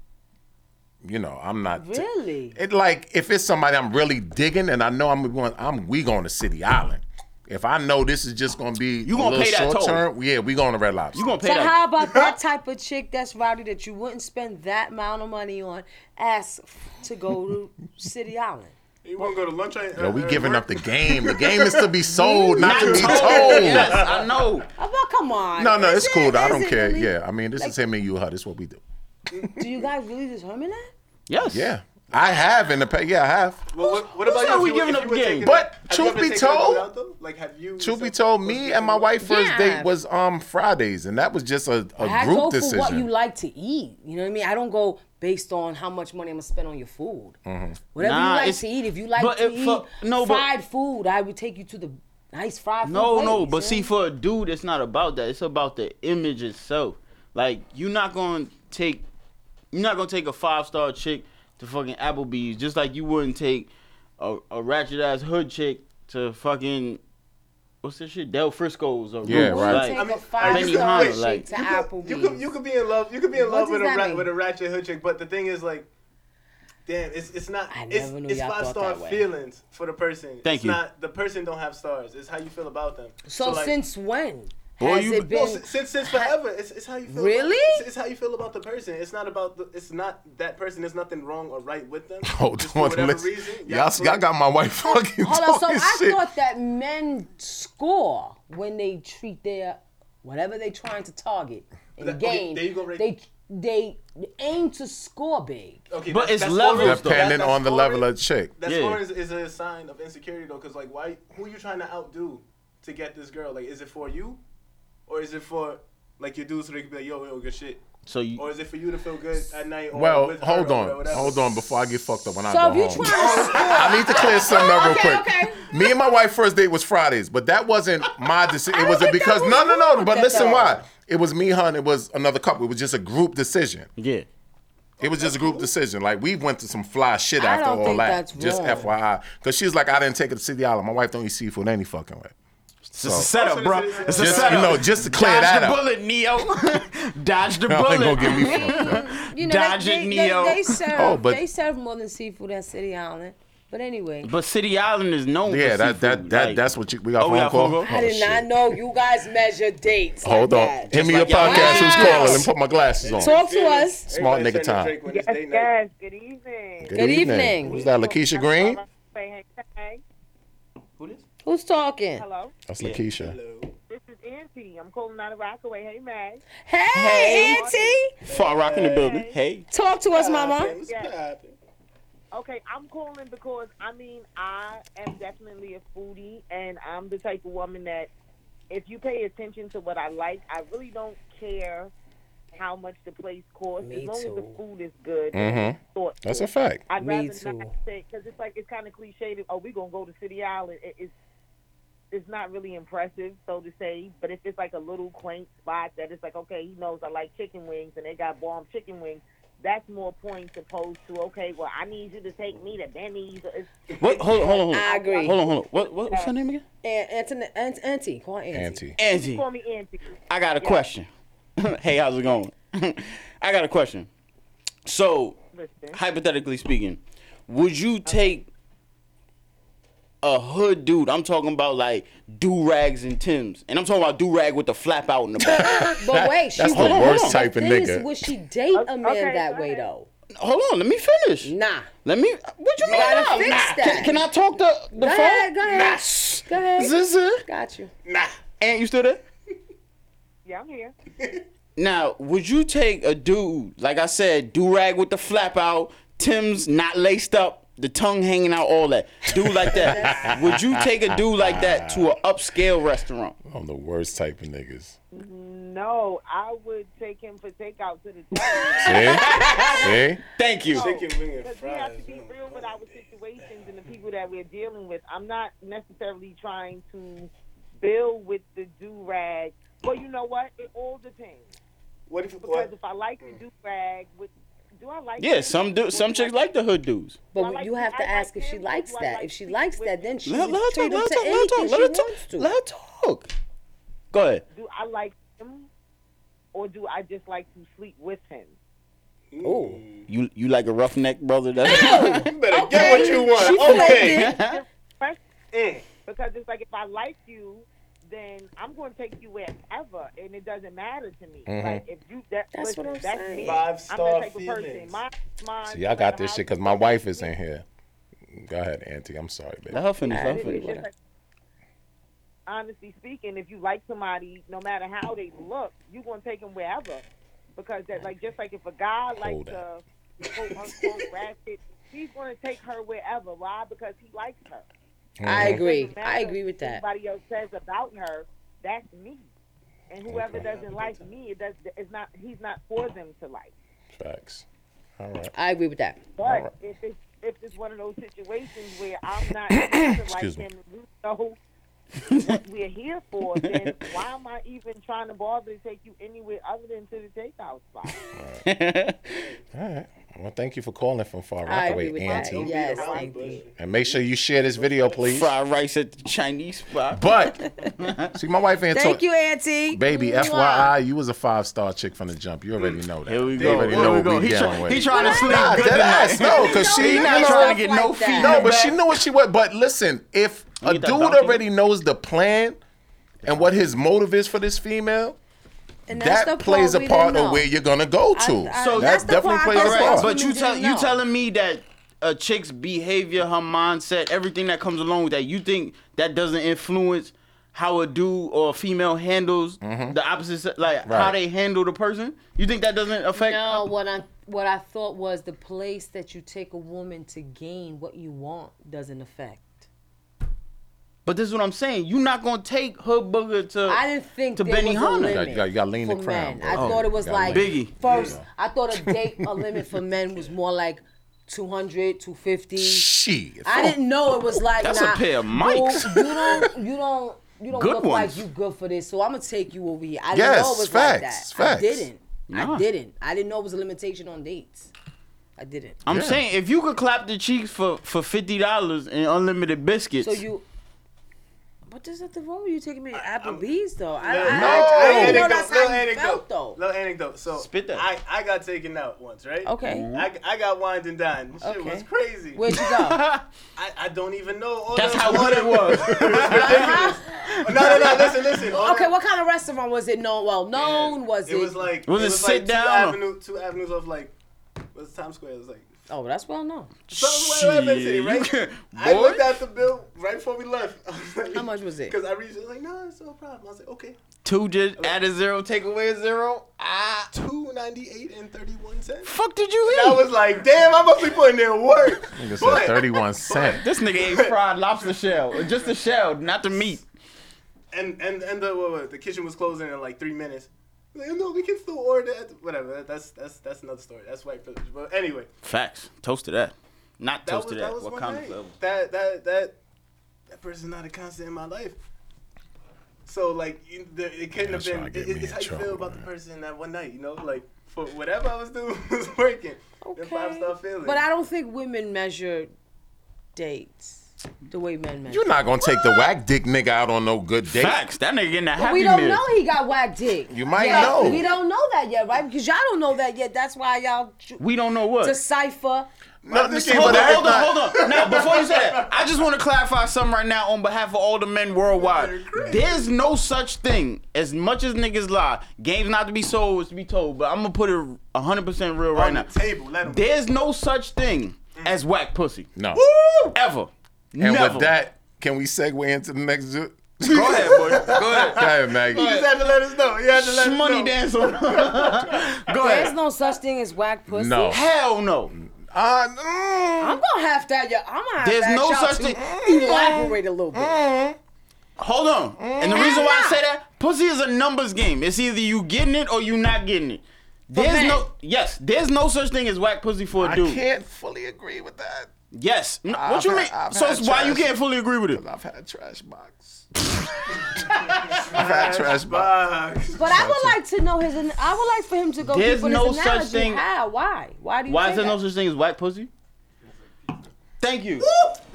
[SPEAKER 3] you know, I'm not. t-
[SPEAKER 4] Really?
[SPEAKER 3] it like if it's somebody I'm really digging and I know I'm going, I'm we going to City Island. If I know this is just going to be you
[SPEAKER 2] gonna
[SPEAKER 3] a little
[SPEAKER 2] pay that
[SPEAKER 3] short
[SPEAKER 2] toll.
[SPEAKER 3] term, yeah, we going to Red Lobster. You
[SPEAKER 2] gonna
[SPEAKER 4] So how about that type of chick that's rowdy that you wouldn't spend that amount of money on? Ask to go to City Island.
[SPEAKER 5] You want to go to lunch? I-
[SPEAKER 3] Yo, we
[SPEAKER 5] uh,
[SPEAKER 3] giving
[SPEAKER 5] work?
[SPEAKER 3] up the game. The game is to be sold, not to be
[SPEAKER 5] Not
[SPEAKER 3] told.
[SPEAKER 5] told. Yes,
[SPEAKER 2] I know.
[SPEAKER 4] Oh, come on.
[SPEAKER 3] No, no,
[SPEAKER 4] Is
[SPEAKER 3] it's
[SPEAKER 4] it-
[SPEAKER 3] cool. though. I
[SPEAKER 4] is
[SPEAKER 3] don't
[SPEAKER 4] it
[SPEAKER 3] care.
[SPEAKER 4] really?
[SPEAKER 3] Yeah, I mean, this
[SPEAKER 4] Like-
[SPEAKER 3] is him and you, her. This is what we do.
[SPEAKER 4] Do you guys really determine that?
[SPEAKER 2] Yes.
[SPEAKER 3] Yeah. I have in the past. Yeah, I have.
[SPEAKER 5] Well, what, what about
[SPEAKER 3] said
[SPEAKER 5] you? if
[SPEAKER 3] we
[SPEAKER 5] you were-
[SPEAKER 3] giving
[SPEAKER 5] if
[SPEAKER 3] up
[SPEAKER 5] you were
[SPEAKER 3] game?
[SPEAKER 5] taking-
[SPEAKER 3] But
[SPEAKER 5] have you
[SPEAKER 3] truth
[SPEAKER 5] ever
[SPEAKER 3] be
[SPEAKER 5] taken a girl
[SPEAKER 3] told-
[SPEAKER 5] out, though? like have you?
[SPEAKER 3] Truth be told, me and my wife first
[SPEAKER 4] Yeah.
[SPEAKER 3] date was um Fridays, and that was just a, a
[SPEAKER 4] I go for
[SPEAKER 3] group
[SPEAKER 4] what you
[SPEAKER 3] decision.
[SPEAKER 4] like to eat. You know what I mean? I don't go based on how much money I'm gonna spend on your food.
[SPEAKER 3] Mm-hmm.
[SPEAKER 4] Mhm. Whatever
[SPEAKER 2] Nah,
[SPEAKER 4] you like
[SPEAKER 2] it's-
[SPEAKER 4] to eat, if you like
[SPEAKER 2] but
[SPEAKER 4] to
[SPEAKER 2] it- for-
[SPEAKER 4] eat
[SPEAKER 2] no, but-
[SPEAKER 4] fried food, I would take you to the nice fried food.
[SPEAKER 2] No, no,
[SPEAKER 4] place,
[SPEAKER 2] but
[SPEAKER 4] yeah.
[SPEAKER 2] see, for a dude, it's not about that. It's about the image itself. Like, you're not gonna take, you're not gonna take a five star chick to fucking Applebee's, just like you wouldn't take a, a ratchet ass hood chick to fucking. What's this shit? Del Frisco's or
[SPEAKER 3] Yeah,
[SPEAKER 2] Roots,
[SPEAKER 3] right.
[SPEAKER 2] Like,
[SPEAKER 5] I mean,
[SPEAKER 2] Benny
[SPEAKER 5] you could-
[SPEAKER 2] Hanna,
[SPEAKER 5] wait,
[SPEAKER 2] like
[SPEAKER 5] you could- You could you could be in love. You could be in
[SPEAKER 4] What
[SPEAKER 5] love
[SPEAKER 4] does
[SPEAKER 5] with a
[SPEAKER 4] that
[SPEAKER 5] ra-
[SPEAKER 4] mean?
[SPEAKER 5] with a ratchet hood chick, but the thing is like. Damn, it's it's not it's,
[SPEAKER 4] never knew
[SPEAKER 5] it's
[SPEAKER 4] y'all
[SPEAKER 5] five
[SPEAKER 4] thought
[SPEAKER 5] star
[SPEAKER 4] that way.
[SPEAKER 5] feelings for the person.
[SPEAKER 2] Thank
[SPEAKER 5] it's
[SPEAKER 2] you.
[SPEAKER 5] Not, the person don't have stars. It's how you feel about them.
[SPEAKER 4] So,
[SPEAKER 5] like-
[SPEAKER 4] since when
[SPEAKER 2] Boy,
[SPEAKER 4] has
[SPEAKER 2] you-
[SPEAKER 4] it
[SPEAKER 5] No,
[SPEAKER 4] been?
[SPEAKER 5] since, since since forever, it's, it's how you feel.
[SPEAKER 4] Really?
[SPEAKER 5] About, it's, it's how you feel about the person. It's not about the. It's not that person. There's nothing wrong or right with them.
[SPEAKER 3] Hold
[SPEAKER 5] Just for
[SPEAKER 3] on,
[SPEAKER 5] whatever
[SPEAKER 3] listen.
[SPEAKER 5] reason,
[SPEAKER 3] Y'all, y'all got my wife fucking
[SPEAKER 4] Hold on, so
[SPEAKER 3] talking
[SPEAKER 4] I
[SPEAKER 3] shit.
[SPEAKER 4] thought that men score when they treat their whatever they trying to target in the
[SPEAKER 5] That- okay,
[SPEAKER 4] game.
[SPEAKER 5] there you go, Ray.
[SPEAKER 4] They they aim to score big.
[SPEAKER 5] Okay,
[SPEAKER 2] But it's
[SPEAKER 5] scoring,
[SPEAKER 2] levels, though.
[SPEAKER 3] Depending
[SPEAKER 5] that-
[SPEAKER 3] on the level
[SPEAKER 5] scoring-
[SPEAKER 3] of chick.
[SPEAKER 5] That
[SPEAKER 3] Yeah.
[SPEAKER 5] scoring is, is a sign of insecurity though, because like, why? Who you trying to outdo to get this girl? Like, is it for you, or is it for like your dude so they can be like, yo, yo, good shit?
[SPEAKER 2] So you-
[SPEAKER 5] or is it for you to feel good at night? Or
[SPEAKER 3] Well,
[SPEAKER 5] with her
[SPEAKER 3] hold
[SPEAKER 5] or
[SPEAKER 3] on,
[SPEAKER 5] whatever?
[SPEAKER 3] hold on. Before I get fucked up when I
[SPEAKER 4] So
[SPEAKER 3] go
[SPEAKER 4] if you
[SPEAKER 3] home,
[SPEAKER 4] tryna score-
[SPEAKER 3] I need to clear something up real
[SPEAKER 4] Okay,
[SPEAKER 3] quick.
[SPEAKER 4] okay.
[SPEAKER 3] Me and my wife first date was Fridays, but that wasn't my decision. It wasn't because no, no, no. But
[SPEAKER 4] that,
[SPEAKER 3] listen,
[SPEAKER 4] though.
[SPEAKER 3] why? It was me, hun. It was another couple. It was just a group decision.
[SPEAKER 2] Yeah.
[SPEAKER 3] It was just a group decision. Like we went to some fly shit
[SPEAKER 4] I
[SPEAKER 3] after
[SPEAKER 4] don't
[SPEAKER 3] all
[SPEAKER 4] think
[SPEAKER 3] that.
[SPEAKER 4] that's
[SPEAKER 3] just
[SPEAKER 4] wrong.
[SPEAKER 3] FYI, because she was like, I didn't take it to City Island. My wife don't eat seafood any fucking way.
[SPEAKER 2] It's a setup, bro. It's a
[SPEAKER 3] Just,
[SPEAKER 2] setup.
[SPEAKER 3] you know, just to clear
[SPEAKER 2] Dodge
[SPEAKER 3] that
[SPEAKER 2] the
[SPEAKER 3] up.
[SPEAKER 2] bullet, Neo. Dodge the
[SPEAKER 3] Y'all
[SPEAKER 2] bullet.
[SPEAKER 3] ain't gonna get me fucked up.
[SPEAKER 4] You know,
[SPEAKER 2] Dodge
[SPEAKER 4] they,
[SPEAKER 2] it,
[SPEAKER 4] they,
[SPEAKER 2] Neo.
[SPEAKER 4] They, they serve
[SPEAKER 3] Oh, but- Oh,
[SPEAKER 4] they serve more than seafood at City Island. But anyway.
[SPEAKER 2] But City Island is known.
[SPEAKER 3] Yeah,
[SPEAKER 2] for
[SPEAKER 3] that that,
[SPEAKER 2] seafood,
[SPEAKER 3] that
[SPEAKER 2] like-
[SPEAKER 3] that's what you we got
[SPEAKER 2] Oh, we
[SPEAKER 3] phone
[SPEAKER 2] got
[SPEAKER 3] call.
[SPEAKER 2] phone
[SPEAKER 4] I did not know you guys measure dates. like
[SPEAKER 3] Hold on,
[SPEAKER 4] that.
[SPEAKER 3] hit me your podcast. Who's calling? And put my glasses on.
[SPEAKER 4] Talk to us.
[SPEAKER 3] Smart nigga time.
[SPEAKER 12] Yes, yes. Good evening.
[SPEAKER 3] Good evening. Who's that? Lakeisha Green.
[SPEAKER 12] Say hey.
[SPEAKER 2] Who this?
[SPEAKER 4] Who's talking?
[SPEAKER 12] Hello.
[SPEAKER 3] That's Lakeisha.
[SPEAKER 12] This is Auntie. I'm calling out of Rockaway. Hey, Mag.
[SPEAKER 4] Hey, Auntie.
[SPEAKER 2] Far Rock in the building. Hey.
[SPEAKER 4] Talk to us, Mama.
[SPEAKER 12] Yes. Okay, I'm calling because I mean I am definitely a foodie, and I'm the type of woman that if you pay attention to what I like, I really don't care how much the place costs
[SPEAKER 4] Me
[SPEAKER 12] as long as the
[SPEAKER 4] too.
[SPEAKER 12] food is good.
[SPEAKER 3] Mhm.
[SPEAKER 12] thought
[SPEAKER 3] That's
[SPEAKER 12] through.
[SPEAKER 3] a fact.
[SPEAKER 12] I'd
[SPEAKER 3] Me
[SPEAKER 12] rather not
[SPEAKER 3] too.
[SPEAKER 12] say because it's like it's kind of cliched. that, Oh, we gonna go to City Island. It, it's it's not really impressive, so to say. But if it's like a little quaint spot that it's like, okay, he knows I like chicken wings, and they got bomb chicken wings. That's more points opposed to okay. Well, I need you to take me to Benny's. or It's,
[SPEAKER 2] What? Hold on, hold on, hold on.
[SPEAKER 4] I agree.
[SPEAKER 2] Hold on, hold on. What? what what's her name again?
[SPEAKER 4] And Anthony, Aunt, Auntie, call her Auntie.
[SPEAKER 2] Auntie. Auntie.
[SPEAKER 12] Call me Auntie.
[SPEAKER 2] I got a question. hey, how's it going? I got a question. So, hypothetically speaking, would you take a hood dude? I'm talking about like do rags and Tim's, and I'm talking about do rag with the flap out in the back.
[SPEAKER 4] But wait, she
[SPEAKER 2] Hold on, hold on.
[SPEAKER 4] the thing Is, would she date a man
[SPEAKER 12] okay,
[SPEAKER 4] that
[SPEAKER 12] go
[SPEAKER 4] way
[SPEAKER 12] ahead.
[SPEAKER 4] though?
[SPEAKER 2] Hold on, let me finish.
[SPEAKER 4] Nah.
[SPEAKER 2] Let me. What you,
[SPEAKER 4] You
[SPEAKER 2] mean?
[SPEAKER 4] gotta
[SPEAKER 2] nah?
[SPEAKER 4] fix
[SPEAKER 2] Nah.
[SPEAKER 4] that.
[SPEAKER 2] Can, can I talk the the
[SPEAKER 4] Go
[SPEAKER 2] phone?
[SPEAKER 4] ahead, go ahead.
[SPEAKER 2] Yes.
[SPEAKER 4] Go ahead.
[SPEAKER 2] Zzzz.
[SPEAKER 4] Got you.
[SPEAKER 2] Nah. And you still there?
[SPEAKER 12] Yeah, I'm here.
[SPEAKER 2] Now, would you take a dude, like I said, do rag with the flap out, Tim's not laced up, the tongue hanging out, all that? Dude like that. would you take a dude like that to an upscale restaurant?
[SPEAKER 3] I'm the worst type of niggas.
[SPEAKER 12] No, I would take him for takeout to the.
[SPEAKER 3] See? See?
[SPEAKER 2] Thank you.
[SPEAKER 12] Because we have to be real with our situations and the people that we're dealing with. I'm not necessarily trying to build with the do rag. Well, you know what? It all depends.
[SPEAKER 5] What if
[SPEAKER 12] because
[SPEAKER 5] what?
[SPEAKER 12] if I like the do rag, with do I like?
[SPEAKER 2] Yeah, some do, some chicks like the hood dudes.
[SPEAKER 4] But you have to ask if she likes that. If she likes that, then she
[SPEAKER 2] Let,
[SPEAKER 4] would
[SPEAKER 2] let her talk,
[SPEAKER 4] treat him
[SPEAKER 2] let
[SPEAKER 4] to
[SPEAKER 2] her talk,
[SPEAKER 4] anything
[SPEAKER 2] let
[SPEAKER 4] she
[SPEAKER 2] her talk,
[SPEAKER 4] wants to.
[SPEAKER 2] let her talk. Go ahead.
[SPEAKER 12] Do I like him, or do I just like to sleep with him?
[SPEAKER 2] Oh. You you like a roughneck brother? That's
[SPEAKER 5] better get what you want. okay. Mm.
[SPEAKER 12] Eh. Because it's like if I like you, then I'm going to take you wherever, and it doesn't matter to me.
[SPEAKER 3] Mhm.
[SPEAKER 12] Like if you that,
[SPEAKER 4] That's
[SPEAKER 12] listen,
[SPEAKER 4] what I'm
[SPEAKER 12] that's
[SPEAKER 4] saying.
[SPEAKER 12] Me.
[SPEAKER 5] Five-star
[SPEAKER 12] I'm that type of person.
[SPEAKER 5] feelings.
[SPEAKER 12] My, my,
[SPEAKER 3] See, I got this shit because my wife is in here. Go ahead, Auntie. I'm sorry, baby.
[SPEAKER 2] Let her finish, let her
[SPEAKER 12] It's just like, honestly speaking, if you like somebody, no matter how they look, you going to take them wherever. Because that, like, just like if a guy likes
[SPEAKER 3] Hold
[SPEAKER 12] a quote unquote ratchet, he's going to take her wherever. Why? Because he likes her.
[SPEAKER 4] I
[SPEAKER 3] Mm-hmm.
[SPEAKER 12] It
[SPEAKER 4] agree.
[SPEAKER 12] doesn't matter
[SPEAKER 4] I agree with
[SPEAKER 12] what
[SPEAKER 4] that.
[SPEAKER 12] Anybody else says about her, that's me. And whoever doesn't like me, it does. It's not. He's not for them to like.
[SPEAKER 3] Facts. All right.
[SPEAKER 4] I agree with that.
[SPEAKER 12] But
[SPEAKER 3] Alright.
[SPEAKER 12] if it's if it's one of those situations where I'm not here to like
[SPEAKER 3] Excuse me.
[SPEAKER 12] him, you know what we're here for, then why am I even trying to bother to take you anywhere other than to the takeout spot?
[SPEAKER 3] All right. Well, thank you for calling from Far
[SPEAKER 12] I
[SPEAKER 3] Rockaway,
[SPEAKER 12] agree with that.
[SPEAKER 3] Auntie.
[SPEAKER 4] Yes, thank you.
[SPEAKER 3] And make sure you share this video, please.
[SPEAKER 2] Fried rice at the Chinese spot.
[SPEAKER 3] But see, my wife ain't
[SPEAKER 4] Thank
[SPEAKER 3] talking.
[SPEAKER 4] you, Auntie.
[SPEAKER 3] Baby,
[SPEAKER 4] Mwah.
[SPEAKER 3] FYI, you was a five star chick from the jump. You already know that. Here we
[SPEAKER 2] go.
[SPEAKER 3] You already
[SPEAKER 2] Here
[SPEAKER 3] know
[SPEAKER 2] we
[SPEAKER 3] what
[SPEAKER 2] go.
[SPEAKER 3] we
[SPEAKER 2] He
[SPEAKER 3] dealing
[SPEAKER 2] try-
[SPEAKER 3] with.
[SPEAKER 2] he trying to sleep
[SPEAKER 3] Nah,
[SPEAKER 2] good
[SPEAKER 3] dead
[SPEAKER 2] tonight.
[SPEAKER 3] ass. No, because
[SPEAKER 2] He
[SPEAKER 3] she
[SPEAKER 2] not
[SPEAKER 3] you know-
[SPEAKER 2] trying to get no
[SPEAKER 3] No, but
[SPEAKER 2] feedback.
[SPEAKER 3] she knew what she was. But listen, if
[SPEAKER 2] need
[SPEAKER 3] a dude
[SPEAKER 2] that donkey.
[SPEAKER 3] already knows the plan and what his motive is for this female.
[SPEAKER 4] And that's
[SPEAKER 3] that
[SPEAKER 4] the
[SPEAKER 3] plays
[SPEAKER 4] part
[SPEAKER 3] a
[SPEAKER 4] we
[SPEAKER 3] part
[SPEAKER 4] didn't
[SPEAKER 3] of
[SPEAKER 4] know.
[SPEAKER 3] where you're gonna go to.
[SPEAKER 2] So
[SPEAKER 3] that definitely plays a part.
[SPEAKER 2] But you tell you telling me that a chick's behavior, her mindset, everything that comes along with that, you think that doesn't influence how a dude or a female handles the opposite, se- like how
[SPEAKER 3] Mm-hmm. Right.
[SPEAKER 2] they handle the person? You think that doesn't affect?
[SPEAKER 4] No, what I what I thought was the place that you take a woman to gain what you want doesn't affect.
[SPEAKER 2] But this is what I'm saying. You're not gonna take her booger to.
[SPEAKER 4] I didn't think
[SPEAKER 2] to
[SPEAKER 4] there was a
[SPEAKER 2] Benihana.
[SPEAKER 4] limit.
[SPEAKER 3] You gotta- you gotta lean the
[SPEAKER 4] for
[SPEAKER 3] crown,
[SPEAKER 4] men. I
[SPEAKER 3] bro. Oh,
[SPEAKER 4] thought it was
[SPEAKER 3] You gotta
[SPEAKER 4] like
[SPEAKER 2] lean. Biggie.
[SPEAKER 4] first. I thought a date a limit for men was more like 200, 250.
[SPEAKER 3] Shit.
[SPEAKER 4] I didn't know it was like
[SPEAKER 2] That's a
[SPEAKER 4] nah,
[SPEAKER 2] pair of
[SPEAKER 4] you-
[SPEAKER 2] mics.
[SPEAKER 4] You, don't, you don't, you don't
[SPEAKER 2] Good
[SPEAKER 4] look
[SPEAKER 2] ones.
[SPEAKER 4] like you good for this. So I'm gonna take you over here. I didn't know
[SPEAKER 3] Yes,
[SPEAKER 4] it was like
[SPEAKER 3] facts,
[SPEAKER 4] that.
[SPEAKER 3] facts.
[SPEAKER 4] I didn't.
[SPEAKER 2] Nah.
[SPEAKER 4] I didn't. I didn't know it was a limitation on dates. I didn't.
[SPEAKER 2] I'm saying if you could clap the cheeks for for fifty dollars and unlimited biscuits.
[SPEAKER 4] So you. But there's nothing wrong with you taking me to Applebee's though. I, I,
[SPEAKER 3] No,
[SPEAKER 4] I, I
[SPEAKER 5] anecdote,
[SPEAKER 4] know that's
[SPEAKER 5] little
[SPEAKER 4] how you
[SPEAKER 5] anecdote,
[SPEAKER 4] felt, though.
[SPEAKER 5] Little anecdote. So
[SPEAKER 2] Spit that. Mm-hmm.
[SPEAKER 5] I, I got taken out once, right?
[SPEAKER 4] Okay. Mhm.
[SPEAKER 5] I, I got wined and dined. Shit
[SPEAKER 4] Okay.
[SPEAKER 5] was crazy.
[SPEAKER 4] Where'd you go?
[SPEAKER 5] I, I don't even know. All
[SPEAKER 4] That's
[SPEAKER 5] the,
[SPEAKER 4] how
[SPEAKER 5] all
[SPEAKER 4] good
[SPEAKER 5] the-
[SPEAKER 4] it was.
[SPEAKER 5] it was ridiculous. no, no, no. Listen, listen. All
[SPEAKER 4] Okay, what kind of restaurant was it known? Well, known was it?
[SPEAKER 5] It was like
[SPEAKER 2] Was it
[SPEAKER 5] was
[SPEAKER 2] sit
[SPEAKER 5] like
[SPEAKER 2] down
[SPEAKER 5] Two,
[SPEAKER 2] or-
[SPEAKER 5] avenue, two avenues off like was Times Square. It was like
[SPEAKER 4] oh, that's well known.
[SPEAKER 5] Something like
[SPEAKER 2] Shit, you
[SPEAKER 5] that, right?
[SPEAKER 2] can-
[SPEAKER 5] I
[SPEAKER 2] boy.
[SPEAKER 5] looked at the bill right before we left.
[SPEAKER 4] How much was it?
[SPEAKER 5] Because I reached, I was like, no, it's no problem. I was like, okay,
[SPEAKER 2] Two just add a zero, take away a zero. Ah,
[SPEAKER 5] two ninety eight and thirty one cents.
[SPEAKER 2] Fuck did you
[SPEAKER 5] eat? I was like, damn, I must be putting in work.
[SPEAKER 3] Nigga said 31 cent.
[SPEAKER 2] This nigga ate fried lobster shell, just the shell, not the meat.
[SPEAKER 5] And and and the what, what, the kitchen was closing in like three minutes. I was Like, no, we can still order. At the, whatever. that- That's that's that's another story. That's white privilege. But anyway,
[SPEAKER 2] Facts. Toast to that. Not
[SPEAKER 5] that
[SPEAKER 2] toast
[SPEAKER 5] was
[SPEAKER 2] to
[SPEAKER 5] that
[SPEAKER 2] that.
[SPEAKER 5] was
[SPEAKER 2] What
[SPEAKER 5] one
[SPEAKER 2] kind of
[SPEAKER 5] night.
[SPEAKER 2] level?
[SPEAKER 5] That that that that person's not a constant in my life. So like you- the, it couldn't
[SPEAKER 3] That's
[SPEAKER 5] have
[SPEAKER 3] why
[SPEAKER 5] been.
[SPEAKER 3] I get
[SPEAKER 5] It, it-
[SPEAKER 3] me
[SPEAKER 5] it's
[SPEAKER 3] in
[SPEAKER 5] how you
[SPEAKER 3] trouble,
[SPEAKER 5] feel about the person that one night. You know, like for whatever I was doing was working. Okay. five star feeling.
[SPEAKER 4] But I don't think women measure dates the way men measure.
[SPEAKER 3] You're not gonna take the whack dick nigga out on no good date.
[SPEAKER 2] Facts. That nigga getting a
[SPEAKER 4] But we don't know he got whack dick.
[SPEAKER 3] You might
[SPEAKER 4] Yeah,
[SPEAKER 3] know.
[SPEAKER 4] We don't know that yet, right? Because y'all don't know that yet. That's why y'all ch-
[SPEAKER 2] We don't know what.
[SPEAKER 4] decipher.
[SPEAKER 3] No,
[SPEAKER 2] hold on, hold on, hold on. Now, before you say that, I just want to clarify something right now on behalf of all the men worldwide. There's no such thing, as much as niggas lie, games not to be sold is to be told, but I'm going to put it 100% real right
[SPEAKER 5] On
[SPEAKER 2] now.
[SPEAKER 5] the table, let 'em- Mm.
[SPEAKER 2] There's no such thing as whack pussy.
[SPEAKER 3] No.
[SPEAKER 2] Woo! Ever.
[SPEAKER 3] And
[SPEAKER 2] Never.
[SPEAKER 3] with that, can we segue into the next? Go
[SPEAKER 2] Go ahead, boy. Go ahead.
[SPEAKER 3] Go ahead, Maggie.
[SPEAKER 5] You just had to let us know. You had to let us
[SPEAKER 2] Shmoney
[SPEAKER 5] know.
[SPEAKER 2] dance on. Go
[SPEAKER 4] There's
[SPEAKER 2] ahead.
[SPEAKER 4] no such thing as whack pussy.
[SPEAKER 3] No.
[SPEAKER 2] Hell no.
[SPEAKER 3] Uh,
[SPEAKER 4] I'm gonna have to. Yeah, I'm gonna
[SPEAKER 2] mm.
[SPEAKER 4] have
[SPEAKER 2] There's
[SPEAKER 4] to ask
[SPEAKER 2] no
[SPEAKER 4] y'all
[SPEAKER 2] such
[SPEAKER 4] to
[SPEAKER 2] thing.
[SPEAKER 4] Elaborate a little bit.
[SPEAKER 2] Eh. Hold on. And the
[SPEAKER 3] Eh.
[SPEAKER 2] reason why I say that, pussy is a numbers game. It's either you getting it or you not getting it. There's
[SPEAKER 3] men.
[SPEAKER 2] no yes, there's no such thing as whack pussy for a
[SPEAKER 3] I
[SPEAKER 2] dude.
[SPEAKER 3] can't fully agree with that.
[SPEAKER 2] Yes. No, what
[SPEAKER 3] I've
[SPEAKER 2] you
[SPEAKER 3] had-
[SPEAKER 2] mean?
[SPEAKER 3] I've
[SPEAKER 2] so
[SPEAKER 3] had
[SPEAKER 2] it's why you
[SPEAKER 3] trash.
[SPEAKER 2] can't fully agree with it?
[SPEAKER 3] I've had trash box. I've had trash
[SPEAKER 5] box.
[SPEAKER 4] But I would like to know his. an- I would like for him to go.
[SPEAKER 2] There's
[SPEAKER 4] deeper in
[SPEAKER 2] no
[SPEAKER 4] his
[SPEAKER 2] such
[SPEAKER 4] analogy.
[SPEAKER 2] thing-
[SPEAKER 4] How? Why? Why do you?
[SPEAKER 2] Why
[SPEAKER 4] say
[SPEAKER 2] is there
[SPEAKER 4] that?
[SPEAKER 2] no such thing as whack pussy? Thank you.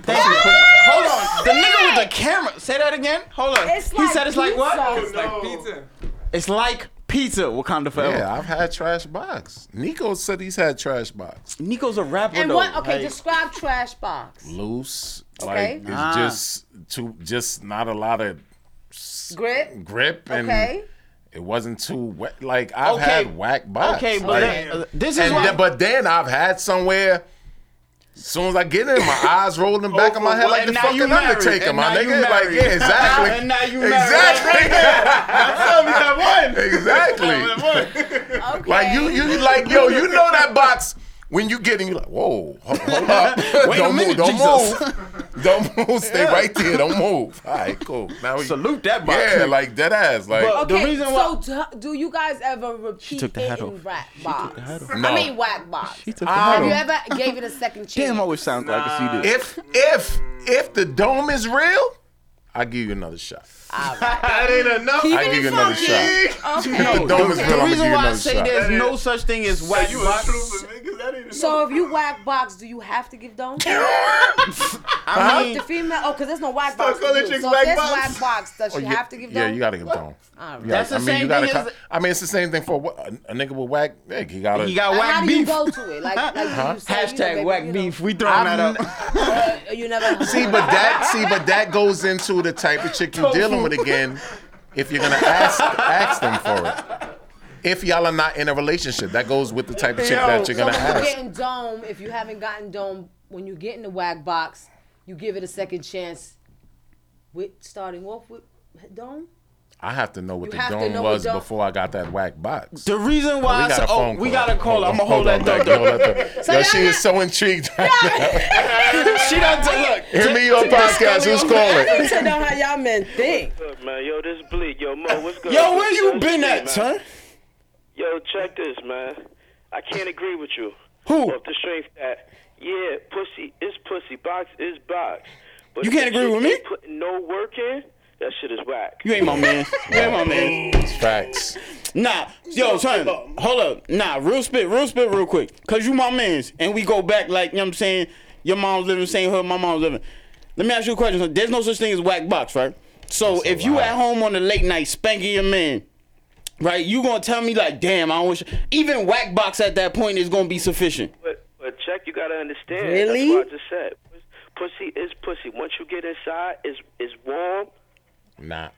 [SPEAKER 2] Thank you. Hold on. The nigga with the camera. Say that again. Hold on.
[SPEAKER 4] It's
[SPEAKER 2] he
[SPEAKER 4] like
[SPEAKER 2] said it's like what?
[SPEAKER 4] pizza. It's like
[SPEAKER 2] pizza. It's like pizza. Wakanda forever.
[SPEAKER 3] Yeah, I've had trash box. Nico said he's had trash box.
[SPEAKER 2] Nico's a rapper
[SPEAKER 4] And what? Okay, describe trash box.
[SPEAKER 3] loose.
[SPEAKER 4] Okay.
[SPEAKER 3] Like it's
[SPEAKER 4] Ah.
[SPEAKER 3] just too, just not a lot of s-
[SPEAKER 4] Grip?
[SPEAKER 3] grip, and
[SPEAKER 4] Okay.
[SPEAKER 3] it wasn't too wet. Like I've
[SPEAKER 2] Okay.
[SPEAKER 3] had whack box.
[SPEAKER 2] Okay, but
[SPEAKER 3] like-
[SPEAKER 2] that- uh, this is
[SPEAKER 3] and
[SPEAKER 2] why-
[SPEAKER 3] then- but then I've had somewhere. As soon as I get in, my eyes rolling back in my head like
[SPEAKER 2] Oh, And
[SPEAKER 3] the
[SPEAKER 2] now
[SPEAKER 3] fucking
[SPEAKER 2] you married.
[SPEAKER 3] Undertaker,
[SPEAKER 2] And
[SPEAKER 3] my
[SPEAKER 2] now you
[SPEAKER 3] nigga. Like,
[SPEAKER 2] married.
[SPEAKER 3] yeah, exactly.
[SPEAKER 2] And now you married.
[SPEAKER 3] exactly.
[SPEAKER 2] That
[SPEAKER 3] Exactly.
[SPEAKER 2] one.
[SPEAKER 3] Like you, you like yo, you know that box when you get in, you like, whoa, hold, hold up,
[SPEAKER 2] Wait a
[SPEAKER 3] don't
[SPEAKER 2] minute,
[SPEAKER 3] move, don't
[SPEAKER 2] Jesus.
[SPEAKER 3] move, don't move, stay right there, don't move. All right, cool. Now we
[SPEAKER 2] salute that box.
[SPEAKER 3] Yeah, like dead ass, like
[SPEAKER 2] But
[SPEAKER 4] okay, so do, do you guys ever repeat
[SPEAKER 3] took the
[SPEAKER 4] it
[SPEAKER 3] hat
[SPEAKER 4] in
[SPEAKER 3] off.
[SPEAKER 4] rap box?
[SPEAKER 3] hat off.
[SPEAKER 4] I
[SPEAKER 3] No.
[SPEAKER 4] mean whack box.
[SPEAKER 3] She
[SPEAKER 2] Um,
[SPEAKER 3] took the hat
[SPEAKER 4] Have you
[SPEAKER 3] off.
[SPEAKER 4] ever gave it a second chance?
[SPEAKER 2] Damn, I always sounds like a CD.
[SPEAKER 3] if if if the dome is real, I give you another shot.
[SPEAKER 5] That ain't enough.
[SPEAKER 3] I give you another shot. If the dome is real,
[SPEAKER 2] The
[SPEAKER 3] I'm gonna give
[SPEAKER 2] reason
[SPEAKER 3] you
[SPEAKER 2] why I
[SPEAKER 3] another
[SPEAKER 2] say
[SPEAKER 3] shot.
[SPEAKER 2] there's no such thing as whack
[SPEAKER 5] you a
[SPEAKER 2] box.
[SPEAKER 4] So if you whack box, do you have to give dome?
[SPEAKER 2] I mean,
[SPEAKER 4] the female. Oh, because there's no whack box. for
[SPEAKER 5] calling
[SPEAKER 4] you.
[SPEAKER 5] chicks
[SPEAKER 4] So
[SPEAKER 5] whack
[SPEAKER 4] if there's
[SPEAKER 5] box.
[SPEAKER 4] whack box, does
[SPEAKER 3] Oh,
[SPEAKER 4] she
[SPEAKER 3] yeah,
[SPEAKER 4] have to give
[SPEAKER 3] Yeah,
[SPEAKER 4] dome?
[SPEAKER 3] you gotta give dome.
[SPEAKER 4] All right.
[SPEAKER 3] You
[SPEAKER 4] That's
[SPEAKER 3] gotta-
[SPEAKER 4] the
[SPEAKER 3] I mean, you
[SPEAKER 4] same
[SPEAKER 3] gotta
[SPEAKER 4] thing
[SPEAKER 3] co-
[SPEAKER 4] as-
[SPEAKER 3] I mean, it's the same thing for what- a, a nigga with whack. dick. He got.
[SPEAKER 2] He got
[SPEAKER 4] Like,
[SPEAKER 2] whack
[SPEAKER 4] how
[SPEAKER 2] beef.
[SPEAKER 4] do you go to it? Like, like you say, you know,
[SPEAKER 2] Hashtag
[SPEAKER 4] baby,
[SPEAKER 2] whack
[SPEAKER 4] you
[SPEAKER 2] beef. We throwing that up.
[SPEAKER 4] know, uh, you never
[SPEAKER 3] See, but that see, but that goes into the type of chick you're dealing with again. If you're gonna ask ask them for it, if y'all are not in a relationship, that goes with the type of chick that you're gonna
[SPEAKER 4] so when
[SPEAKER 3] ask.
[SPEAKER 4] you're getting dome, if you haven't gotten dome, when you get in the whack box, you give it a second chance. With starting off with dome.
[SPEAKER 3] I have to know what
[SPEAKER 4] You
[SPEAKER 3] the
[SPEAKER 4] have to
[SPEAKER 3] dome
[SPEAKER 4] know what
[SPEAKER 3] was
[SPEAKER 4] dome-
[SPEAKER 3] before I got that whack box.
[SPEAKER 2] The reason
[SPEAKER 3] Oh,
[SPEAKER 2] why
[SPEAKER 3] we
[SPEAKER 2] I
[SPEAKER 3] got
[SPEAKER 2] said,
[SPEAKER 3] a phone
[SPEAKER 2] oh, we
[SPEAKER 3] call.
[SPEAKER 2] got a call. I'm gonna hold
[SPEAKER 3] Hold on,
[SPEAKER 2] that though.
[SPEAKER 3] Maggie, hold that though.
[SPEAKER 2] So
[SPEAKER 3] Yo,
[SPEAKER 2] y'all
[SPEAKER 3] she is so intrigued.
[SPEAKER 2] She done took look.
[SPEAKER 3] Hear me your podcast. Who's
[SPEAKER 4] I need to
[SPEAKER 3] calling?
[SPEAKER 4] know how y'all men think.
[SPEAKER 13] What's up, man? Yo, this Bleak. Yo, Mo, what's good?
[SPEAKER 2] Yo, where you
[SPEAKER 13] What's
[SPEAKER 2] been
[SPEAKER 13] good,
[SPEAKER 2] at,
[SPEAKER 13] man?
[SPEAKER 2] son?
[SPEAKER 13] Yo, check this, man. I can't agree with you.
[SPEAKER 2] Who?
[SPEAKER 13] Off the strength that, yeah, pussy is pussy, box is box. But
[SPEAKER 2] You
[SPEAKER 13] if
[SPEAKER 2] can't
[SPEAKER 13] the
[SPEAKER 2] agree
[SPEAKER 13] chick
[SPEAKER 2] with me?
[SPEAKER 13] ain't Putting no work in, that shit is whack.
[SPEAKER 2] You ain't my man. You ain't my man.
[SPEAKER 3] Facts.
[SPEAKER 2] Nah, yo, son, hold up. Nah, real spit, real spit, real quick. Cause you my mans. And we go back like, you know what I'm saying? Your mom's living, same hood, my mom's living. Let me ask you a question. son. There's no such thing as whack box, right? So if you at home on the late night spanking your man, Right? You gonna tell me like, damn, I don't wish even whack box at that point is gonna be sufficient.
[SPEAKER 13] But, but check, you gotta understand.
[SPEAKER 2] Really?
[SPEAKER 13] That's what I just said. Pussy is pussy. Once you get inside, it's it's warm.
[SPEAKER 3] Nah.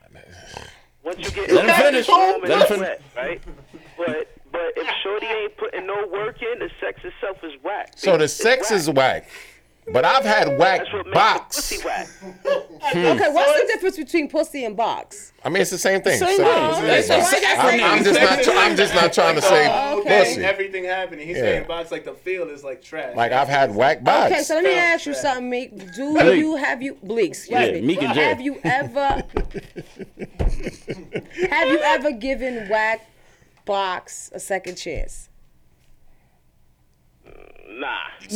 [SPEAKER 13] Once you get
[SPEAKER 3] Let him
[SPEAKER 13] inside,
[SPEAKER 3] finish.
[SPEAKER 13] it's warm and
[SPEAKER 3] Let him
[SPEAKER 13] it's
[SPEAKER 3] finish.
[SPEAKER 13] wet, right? But but if shorty ain't putting no work in, the sex itself is whack.
[SPEAKER 3] So the sex is whack, but I've had whack
[SPEAKER 13] That's what makes
[SPEAKER 3] box.
[SPEAKER 13] the pussy whack.
[SPEAKER 3] Hmm.
[SPEAKER 4] Okay, what's the difference between pussy and box?
[SPEAKER 3] I mean, it's the same thing.
[SPEAKER 4] Same thing.
[SPEAKER 3] So- yeah.
[SPEAKER 4] It's the same
[SPEAKER 3] I'm, I'm just not. tr- I'm just not trying to say
[SPEAKER 5] Oh, okay.
[SPEAKER 3] pussy.
[SPEAKER 5] Everything happening. He's
[SPEAKER 3] Yeah.
[SPEAKER 5] saying box like the field is like trash.
[SPEAKER 3] Like I've had whack box.
[SPEAKER 4] Okay, so let me ask you something, Meek. Do
[SPEAKER 3] Bleak.
[SPEAKER 4] you have you Bleak? Excuse
[SPEAKER 3] Yeah,
[SPEAKER 4] me.
[SPEAKER 3] Meek and Jay.
[SPEAKER 4] have you ever have you ever given whack box a second chance?
[SPEAKER 13] Nah.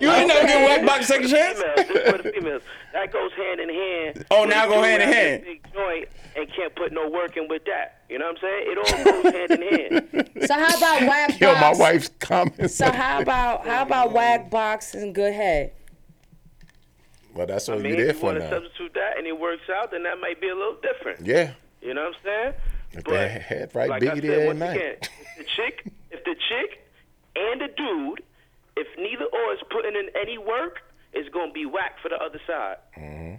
[SPEAKER 2] You ain't never get whacked by the second chance?
[SPEAKER 13] Females, this is for the females. That goes hand in hand.
[SPEAKER 2] Oh, now
[SPEAKER 13] When
[SPEAKER 2] go
[SPEAKER 13] you
[SPEAKER 2] hand in
[SPEAKER 13] have a
[SPEAKER 2] hand.
[SPEAKER 13] Big joint and can't put no work in with that. You know what I'm saying? It all goes hand in hand.
[SPEAKER 4] So how about whack
[SPEAKER 3] Yo, my
[SPEAKER 4] box?
[SPEAKER 3] wife's comments.
[SPEAKER 4] So how about how about whack box and good head?
[SPEAKER 3] Well, that's
[SPEAKER 13] I
[SPEAKER 3] what
[SPEAKER 13] mean,
[SPEAKER 3] you're there
[SPEAKER 13] if you
[SPEAKER 3] for
[SPEAKER 13] want to
[SPEAKER 3] now.
[SPEAKER 13] substitute that and it works out, then that might be a little different.
[SPEAKER 3] Yeah.
[SPEAKER 13] You know what I'm saying?
[SPEAKER 3] If
[SPEAKER 13] But,
[SPEAKER 3] they had right
[SPEAKER 13] like I
[SPEAKER 3] Biggie
[SPEAKER 13] said,
[SPEAKER 3] there at
[SPEAKER 13] once
[SPEAKER 3] night.
[SPEAKER 13] again, if the chick, if the chick and the dude, if neither or is putting in any work, it's gonna be whack for the other side.
[SPEAKER 2] Mm-hmm.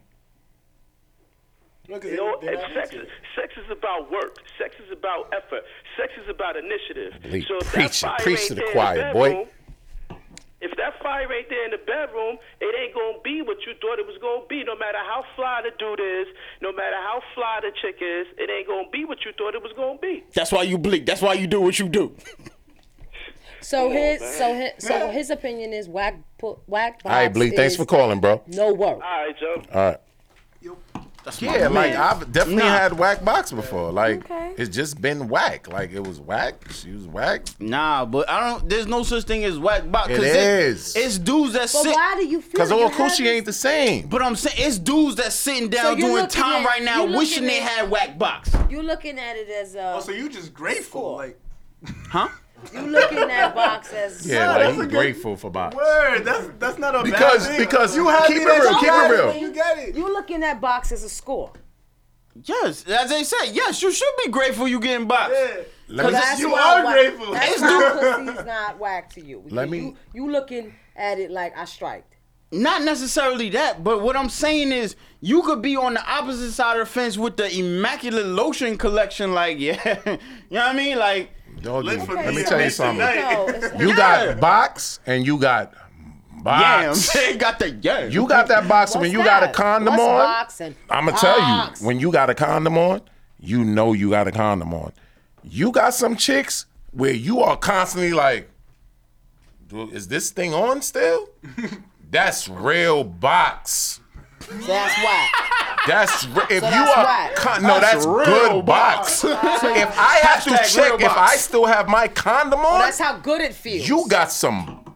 [SPEAKER 13] You know,
[SPEAKER 5] they're
[SPEAKER 13] and
[SPEAKER 5] not
[SPEAKER 13] sex is, sex is about work. Sex is about effort. Sex is about initiative.
[SPEAKER 3] Bleak,
[SPEAKER 13] so if
[SPEAKER 3] preach it,
[SPEAKER 13] that fire
[SPEAKER 3] preach
[SPEAKER 13] ain't
[SPEAKER 3] to the
[SPEAKER 13] there in
[SPEAKER 3] choir, boy.
[SPEAKER 13] bedroom, If that fire ain't there in the bedroom, it ain't gonna be what you thought it was gonna be. No matter how fly the dude is, no matter how fly the chick is, it ain't gonna be what you thought it was gonna be.
[SPEAKER 2] That's why you bleak. That's why you do what you do. Oh,
[SPEAKER 4] So
[SPEAKER 13] Come on,
[SPEAKER 4] his
[SPEAKER 13] man.
[SPEAKER 4] so his so his opinion is whack pu- whack box.
[SPEAKER 3] All right, Bleak. Thanks
[SPEAKER 4] is
[SPEAKER 3] for calling, bro.
[SPEAKER 4] No work. All
[SPEAKER 13] right, Joe.
[SPEAKER 3] All right.
[SPEAKER 2] That's
[SPEAKER 3] Yeah, like I've definitely
[SPEAKER 2] Nah.
[SPEAKER 3] had whack box before. Like it's just been whack. Like it was whack. She was whack.
[SPEAKER 2] Nah, but I don't. There's no such thing as whack box. 'cause
[SPEAKER 3] It is.
[SPEAKER 2] It's dudes that
[SPEAKER 4] But
[SPEAKER 2] sit.
[SPEAKER 4] why do you feel
[SPEAKER 2] Because
[SPEAKER 4] you
[SPEAKER 2] all
[SPEAKER 4] have
[SPEAKER 2] coochie
[SPEAKER 3] ain't the same.
[SPEAKER 2] But I'm saying it's dudes that's sitting
[SPEAKER 4] So
[SPEAKER 2] down
[SPEAKER 4] you're
[SPEAKER 2] doing
[SPEAKER 4] looking
[SPEAKER 2] time
[SPEAKER 4] at-
[SPEAKER 2] right now,
[SPEAKER 4] you're
[SPEAKER 2] wishing they
[SPEAKER 4] looking at-
[SPEAKER 2] had whack box.
[SPEAKER 4] You looking at it as a. Oh, so
[SPEAKER 5] you just grateful, like.
[SPEAKER 2] Huh?
[SPEAKER 4] You looking at box as.
[SPEAKER 3] Yeah,
[SPEAKER 5] No,
[SPEAKER 3] like
[SPEAKER 5] that's
[SPEAKER 3] he's
[SPEAKER 5] a good-
[SPEAKER 3] grateful for box.
[SPEAKER 5] Word, that's that's not a
[SPEAKER 3] Because-
[SPEAKER 5] bad thing.
[SPEAKER 3] because you happy Keep it that real, you keep it got it real. when
[SPEAKER 5] You get it.
[SPEAKER 4] You looking at box as a score.
[SPEAKER 2] Yes, as they said, yes, you should be grateful you getting boxed.
[SPEAKER 3] Let me just-
[SPEAKER 4] why whack- That's why pussy's not whack to you.
[SPEAKER 2] Let me-
[SPEAKER 4] You, you looking at it like I strike.
[SPEAKER 2] Not necessarily that, but what I'm saying is you could be on the opposite side of the fence with the immaculate lotion collection, like yeah, you know what I mean? Like,
[SPEAKER 3] Doggy,
[SPEAKER 2] Live for
[SPEAKER 3] let
[SPEAKER 2] me
[SPEAKER 3] me tell you something.
[SPEAKER 2] tonight. No,
[SPEAKER 3] You
[SPEAKER 2] Yeah.
[SPEAKER 3] got box and you got box.
[SPEAKER 2] Yeah, got the yeah.
[SPEAKER 3] You got that box when you got a condom
[SPEAKER 4] What's
[SPEAKER 3] on.
[SPEAKER 4] boxing?
[SPEAKER 3] I'm gonna tell you, when you got a condom on, you know you got a condom on. You got some chicks where you are constantly like, "Do- "Is this thing on still?" That's real box.
[SPEAKER 4] That's whack.
[SPEAKER 3] That's re- if
[SPEAKER 4] So
[SPEAKER 3] you
[SPEAKER 4] that's
[SPEAKER 3] are
[SPEAKER 4] right.
[SPEAKER 3] con- no,
[SPEAKER 4] That's
[SPEAKER 3] that's,
[SPEAKER 4] real
[SPEAKER 3] good box.
[SPEAKER 4] box.
[SPEAKER 3] if I have to
[SPEAKER 4] Hashtag real
[SPEAKER 3] check if
[SPEAKER 4] box.
[SPEAKER 3] I still have my condom on,
[SPEAKER 4] that's how good it feels.
[SPEAKER 3] You got some box.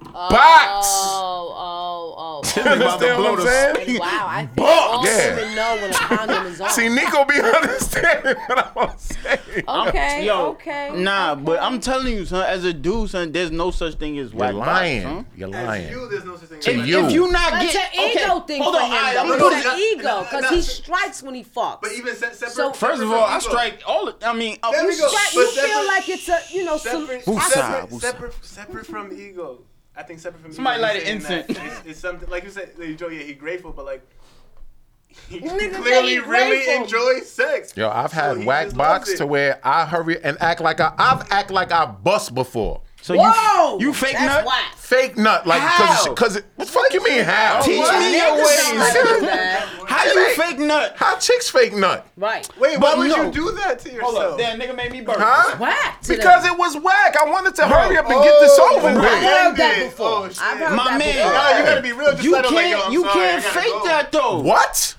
[SPEAKER 4] Oh, oh, oh.
[SPEAKER 3] You understand what I'm saying?
[SPEAKER 4] Wow, I think
[SPEAKER 3] Box.
[SPEAKER 4] all
[SPEAKER 3] Yeah.
[SPEAKER 4] women know when a condom is on.
[SPEAKER 3] See, Nico be understanding what I'm saying.
[SPEAKER 4] Okay,
[SPEAKER 2] Yo,
[SPEAKER 4] okay.
[SPEAKER 2] Nah, but I'm telling you, son. As a dude, son, there's no such thing as
[SPEAKER 3] You're
[SPEAKER 2] whack
[SPEAKER 3] lying.
[SPEAKER 2] Box, son.
[SPEAKER 3] You're lying.
[SPEAKER 2] To
[SPEAKER 3] If-
[SPEAKER 2] you.
[SPEAKER 3] if you not
[SPEAKER 4] That's
[SPEAKER 2] get-
[SPEAKER 4] an ego
[SPEAKER 2] okay,
[SPEAKER 4] thing
[SPEAKER 2] hold
[SPEAKER 4] for
[SPEAKER 2] on,
[SPEAKER 4] him.
[SPEAKER 2] all right, I'm
[SPEAKER 4] though.
[SPEAKER 2] gonna-
[SPEAKER 4] it's an ego because
[SPEAKER 5] no,
[SPEAKER 4] he
[SPEAKER 5] no.
[SPEAKER 4] strikes when he fucks. But
[SPEAKER 5] even se- separate,
[SPEAKER 2] First of all, I strike all. the- I mean, uh,
[SPEAKER 4] you,
[SPEAKER 2] you
[SPEAKER 4] strike-
[SPEAKER 2] strike-
[SPEAKER 4] you feel like it's a you know.
[SPEAKER 5] Separate,
[SPEAKER 2] Who's
[SPEAKER 5] separate,
[SPEAKER 2] side? Who's
[SPEAKER 5] separate, separate from ego. I think separate from
[SPEAKER 2] Somebody
[SPEAKER 5] ego.
[SPEAKER 2] light
[SPEAKER 5] he's
[SPEAKER 2] an
[SPEAKER 5] saying that
[SPEAKER 2] incense.
[SPEAKER 5] It's, it's something like you said, like, Joe. Yeah, he grateful, but like he
[SPEAKER 4] Nigga say he
[SPEAKER 5] clearly really
[SPEAKER 4] grateful.
[SPEAKER 5] enjoys sex.
[SPEAKER 3] Yo, I've had
[SPEAKER 5] he
[SPEAKER 3] whack
[SPEAKER 5] just
[SPEAKER 3] box
[SPEAKER 5] loves it.
[SPEAKER 3] to where I hurry and act like I I've act like I bust before.
[SPEAKER 2] So
[SPEAKER 5] you- Whoa! you fake That's nut?
[SPEAKER 4] whack.
[SPEAKER 3] Fake nut, like
[SPEAKER 5] How?
[SPEAKER 3] because because what the fuck you mean how?
[SPEAKER 5] Teach me your ways.
[SPEAKER 2] How you fake nut?
[SPEAKER 3] How chicks fake nut?
[SPEAKER 4] Right.
[SPEAKER 5] Wait, why
[SPEAKER 3] But
[SPEAKER 5] would
[SPEAKER 3] no.
[SPEAKER 5] you do that to yourself?
[SPEAKER 2] Hold up, that nigga made me burp.
[SPEAKER 3] Huh?
[SPEAKER 4] Whack to
[SPEAKER 3] Because
[SPEAKER 4] them.
[SPEAKER 3] it was whack. I wanted to hurry up and get this
[SPEAKER 5] Oh,
[SPEAKER 3] over with. Oh,
[SPEAKER 5] I've heard that
[SPEAKER 4] before. I've heard
[SPEAKER 2] My
[SPEAKER 4] that
[SPEAKER 2] man,
[SPEAKER 4] before.
[SPEAKER 5] Nah, you gotta be real. Just
[SPEAKER 2] you
[SPEAKER 5] let him, like,
[SPEAKER 2] can't,
[SPEAKER 5] yo, I'm
[SPEAKER 2] you
[SPEAKER 5] sorry,
[SPEAKER 2] can't
[SPEAKER 5] I gotta
[SPEAKER 2] fake
[SPEAKER 5] go.
[SPEAKER 2] that though.
[SPEAKER 3] What?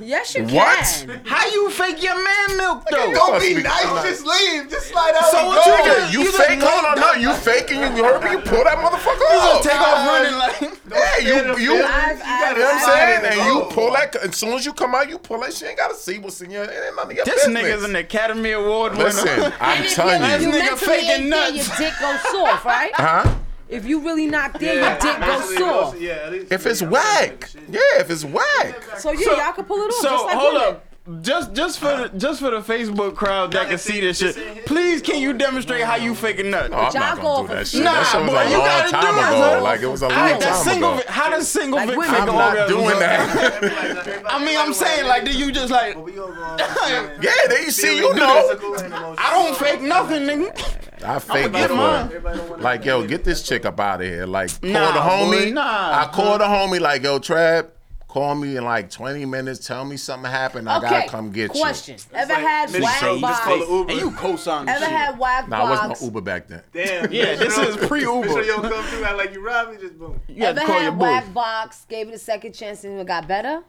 [SPEAKER 4] Yes, you
[SPEAKER 3] What?
[SPEAKER 4] can.
[SPEAKER 2] How you fake your man milk though?
[SPEAKER 5] Don't, be nice. Just leave. Just slide out.
[SPEAKER 2] So
[SPEAKER 5] and
[SPEAKER 2] what
[SPEAKER 5] go.
[SPEAKER 2] you
[SPEAKER 3] Nigga, you, fake? No, no, no. You faking? You hurt me? You pull that motherfucker off.
[SPEAKER 2] take off running like.
[SPEAKER 3] Yeah, you, you, you know
[SPEAKER 4] I've- I've-
[SPEAKER 3] what I'm
[SPEAKER 4] I've-
[SPEAKER 3] saying? And you pull that, as soon as you come out, you pull that shit. Ain't gotta see what's in your, it ain't none of your
[SPEAKER 2] This
[SPEAKER 3] business.
[SPEAKER 2] nigga's an Academy Award winner.
[SPEAKER 3] Listen, I'm
[SPEAKER 4] If
[SPEAKER 3] telling
[SPEAKER 4] you,
[SPEAKER 3] you.
[SPEAKER 4] if you
[SPEAKER 2] This nigga
[SPEAKER 4] mentally
[SPEAKER 2] faking
[SPEAKER 4] ain't there, your
[SPEAKER 2] nuts.
[SPEAKER 4] dick goes soft, right?
[SPEAKER 3] Huh?
[SPEAKER 4] If you really not there, your dick goes
[SPEAKER 5] mentally goes-
[SPEAKER 4] soft.
[SPEAKER 5] Yeah, at least
[SPEAKER 3] If it's whack. Yeah, if it's whack.
[SPEAKER 4] So yeah, y'all can pull it off
[SPEAKER 2] So
[SPEAKER 4] just like
[SPEAKER 2] hold
[SPEAKER 4] women.
[SPEAKER 2] up. Just just for the, just for the Facebook crowd that can see this shit, please can you demonstrate how you fake a nut?
[SPEAKER 3] No, Oh, I'm not gonna do that shit.
[SPEAKER 2] Nah,
[SPEAKER 3] that shit was
[SPEAKER 2] boy,
[SPEAKER 3] a
[SPEAKER 2] you
[SPEAKER 3] long
[SPEAKER 2] gotta
[SPEAKER 3] time
[SPEAKER 2] do it.
[SPEAKER 3] ago.
[SPEAKER 2] son.
[SPEAKER 3] Like it was a long
[SPEAKER 2] I had that
[SPEAKER 3] time
[SPEAKER 2] single
[SPEAKER 3] ago.
[SPEAKER 2] vi- How does single Vic fake
[SPEAKER 3] I'm
[SPEAKER 2] an
[SPEAKER 3] not
[SPEAKER 2] orgasm?
[SPEAKER 3] doing that.
[SPEAKER 2] I mean, I'm saying like, do you just like?
[SPEAKER 3] yeah, they see you know.
[SPEAKER 2] I don't fake nothing, nigga.
[SPEAKER 3] I fake
[SPEAKER 2] get
[SPEAKER 3] it
[SPEAKER 2] mine.
[SPEAKER 3] for like yo, get this chick up out of here. Like call
[SPEAKER 2] Nah,
[SPEAKER 3] the homie.
[SPEAKER 2] boy, nah.
[SPEAKER 3] I call the homie like yo, Trap. Call me in like 20 minutes. Tell me something happened. I gotta come get
[SPEAKER 4] question.
[SPEAKER 3] you.
[SPEAKER 4] Ever had wag box?
[SPEAKER 2] Uber. And you co-sign
[SPEAKER 4] Ever had wag
[SPEAKER 3] Nah, I wasn't
[SPEAKER 4] box?
[SPEAKER 3] no Uber back then.
[SPEAKER 5] Damn.
[SPEAKER 2] Yeah, this is pre-Uber.
[SPEAKER 5] So yo come through, act like you robbed me, just boom.
[SPEAKER 4] Ever had wag box? Gave it a second chance and it got better.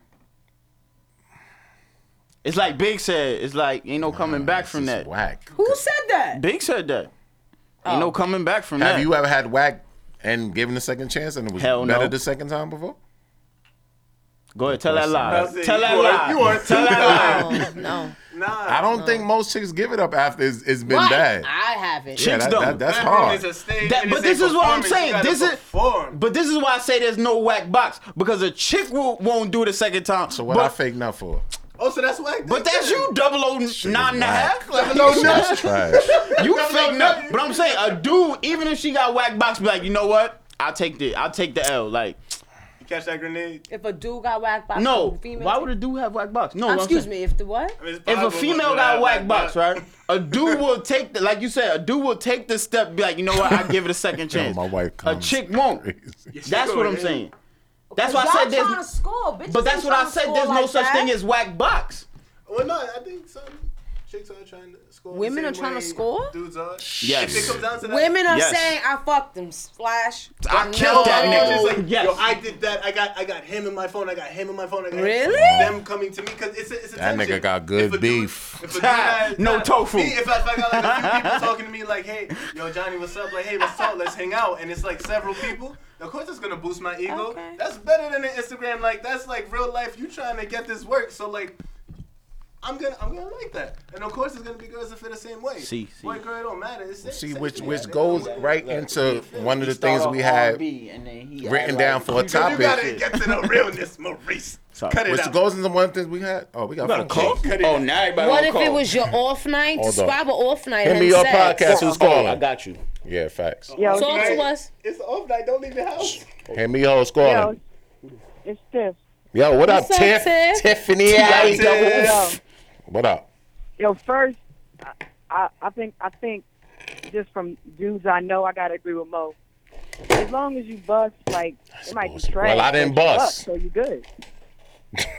[SPEAKER 2] It's like Big said. It's like ain't no coming back from that.
[SPEAKER 3] Whack.
[SPEAKER 4] Who said that?
[SPEAKER 2] Big said that. Ain't no coming back from
[SPEAKER 3] Have
[SPEAKER 2] that.
[SPEAKER 3] you ever had whack and given a second chance and it was
[SPEAKER 2] Hell no.
[SPEAKER 3] better the second time before?
[SPEAKER 2] Go ahead, tell that lie.
[SPEAKER 3] I said,
[SPEAKER 2] Tell that
[SPEAKER 3] you are-
[SPEAKER 2] lie.
[SPEAKER 3] you are
[SPEAKER 2] tell that lie.
[SPEAKER 4] No.
[SPEAKER 3] I don't think most chicks give it up after it's, it's been
[SPEAKER 4] Right.
[SPEAKER 3] bad.
[SPEAKER 4] I haven't.
[SPEAKER 3] Yeah, that- that- that's hard.
[SPEAKER 2] That- but this is what I'm saying. This is,
[SPEAKER 5] perform.
[SPEAKER 2] but this is why I say there's no whack box because a chick will, won't do it a second time. So
[SPEAKER 3] what
[SPEAKER 2] but,
[SPEAKER 3] I fake nut for?
[SPEAKER 5] Oh, so that's whack.
[SPEAKER 2] But that's you, double O nine and a half. Like,
[SPEAKER 3] No,
[SPEAKER 2] you-
[SPEAKER 3] that's trash.
[SPEAKER 2] You fake nut. But I'm saying a dude, even if she got whack box, be like, you know what? I'll take the, I'll take the L. Like,
[SPEAKER 5] You catch that grenade.
[SPEAKER 4] If a dude got whack box,
[SPEAKER 2] no.
[SPEAKER 4] a female
[SPEAKER 2] Why would a dude have whack box? No.
[SPEAKER 4] Um,
[SPEAKER 2] what I'm
[SPEAKER 4] excuse
[SPEAKER 2] saying-
[SPEAKER 4] me, if the what?
[SPEAKER 2] If a female got whack box, right? A dude will take the like you said, a dude will take the step, be like, you know what, I give it a second
[SPEAKER 3] Yo,
[SPEAKER 2] chance.
[SPEAKER 3] my wife
[SPEAKER 2] a
[SPEAKER 3] comes.
[SPEAKER 2] chick won't. That's what I'm saying. That's why I said
[SPEAKER 4] Y'all trying to
[SPEAKER 2] there's
[SPEAKER 4] score, bitches
[SPEAKER 2] But that's
[SPEAKER 4] ain't
[SPEAKER 2] what I
[SPEAKER 4] trying to
[SPEAKER 2] said,
[SPEAKER 4] score
[SPEAKER 2] there's no
[SPEAKER 4] like
[SPEAKER 2] such
[SPEAKER 4] that.
[SPEAKER 2] thing as whack box.
[SPEAKER 5] Well, no, I think some chicks are trying to score. the
[SPEAKER 4] Women
[SPEAKER 5] same
[SPEAKER 4] are trying to
[SPEAKER 5] way
[SPEAKER 4] score?
[SPEAKER 5] Dudes are.
[SPEAKER 2] Yes.
[SPEAKER 5] If it comes down to that,
[SPEAKER 4] Women are
[SPEAKER 2] Yes.
[SPEAKER 4] saying I fucked them. Splash.
[SPEAKER 2] I killed that
[SPEAKER 5] It's
[SPEAKER 2] nigga.
[SPEAKER 5] just like,
[SPEAKER 2] yes.
[SPEAKER 5] yo, I did that. I got, I got him in my phone. I got him in my phone. I got
[SPEAKER 4] Really?
[SPEAKER 5] Them coming to me because it's, a, it's a
[SPEAKER 3] That nigga got good beef.
[SPEAKER 5] If a dude has-
[SPEAKER 2] No
[SPEAKER 5] nah,
[SPEAKER 2] tofu.
[SPEAKER 5] Me, if, I, if I got like a few people talking to me like, hey, yo, Johnny, what's up? Like, hey, let's talk, let's hang out. And it's like several people. Of course, it's gonna boost my ego. That's better than an Instagram. Like, that's like real life. You trying to get this work, so like. I'm gonna, I'm gonna like that, and of course it's gonna be girls that feel the same way.
[SPEAKER 3] See, see.
[SPEAKER 5] boy, girl, it don't matter. It's
[SPEAKER 3] See, which which goes right into one of the things we had written
[SPEAKER 5] add,
[SPEAKER 3] down
[SPEAKER 5] like,
[SPEAKER 3] for a
[SPEAKER 5] you gotta
[SPEAKER 3] topic.
[SPEAKER 5] get to the realness, Maurice. Cut it
[SPEAKER 3] which
[SPEAKER 5] out.
[SPEAKER 3] goes into one of the things we had. Oh, we got, phone calls.
[SPEAKER 2] Oh, now everybody
[SPEAKER 4] What
[SPEAKER 2] on
[SPEAKER 4] if
[SPEAKER 2] call.
[SPEAKER 4] it was your off night?
[SPEAKER 3] Hold on.
[SPEAKER 4] Describe an off night.
[SPEAKER 3] Hit
[SPEAKER 4] and
[SPEAKER 3] me your
[SPEAKER 4] sex.
[SPEAKER 3] podcast, who's calling?
[SPEAKER 2] I got you.
[SPEAKER 3] Yeah, facts.
[SPEAKER 4] Talk
[SPEAKER 12] Yo,
[SPEAKER 4] to us.
[SPEAKER 5] It's off night. Don't leave the house.
[SPEAKER 3] Hand me your calling.
[SPEAKER 12] it's Tiff.
[SPEAKER 3] Yo, what up,
[SPEAKER 12] What's up,
[SPEAKER 3] Tiff?
[SPEAKER 12] Tiff?
[SPEAKER 3] Tiffany
[SPEAKER 12] Tiff.
[SPEAKER 3] I double
[SPEAKER 12] Yo.
[SPEAKER 3] F. What up?
[SPEAKER 12] Yo, first, I, I, I think I think just from dudes I know, I gotta agree with Mo. As long as you bust, like it might be trash.
[SPEAKER 3] Well, I didn't
[SPEAKER 12] but you
[SPEAKER 3] bust.
[SPEAKER 12] so you good.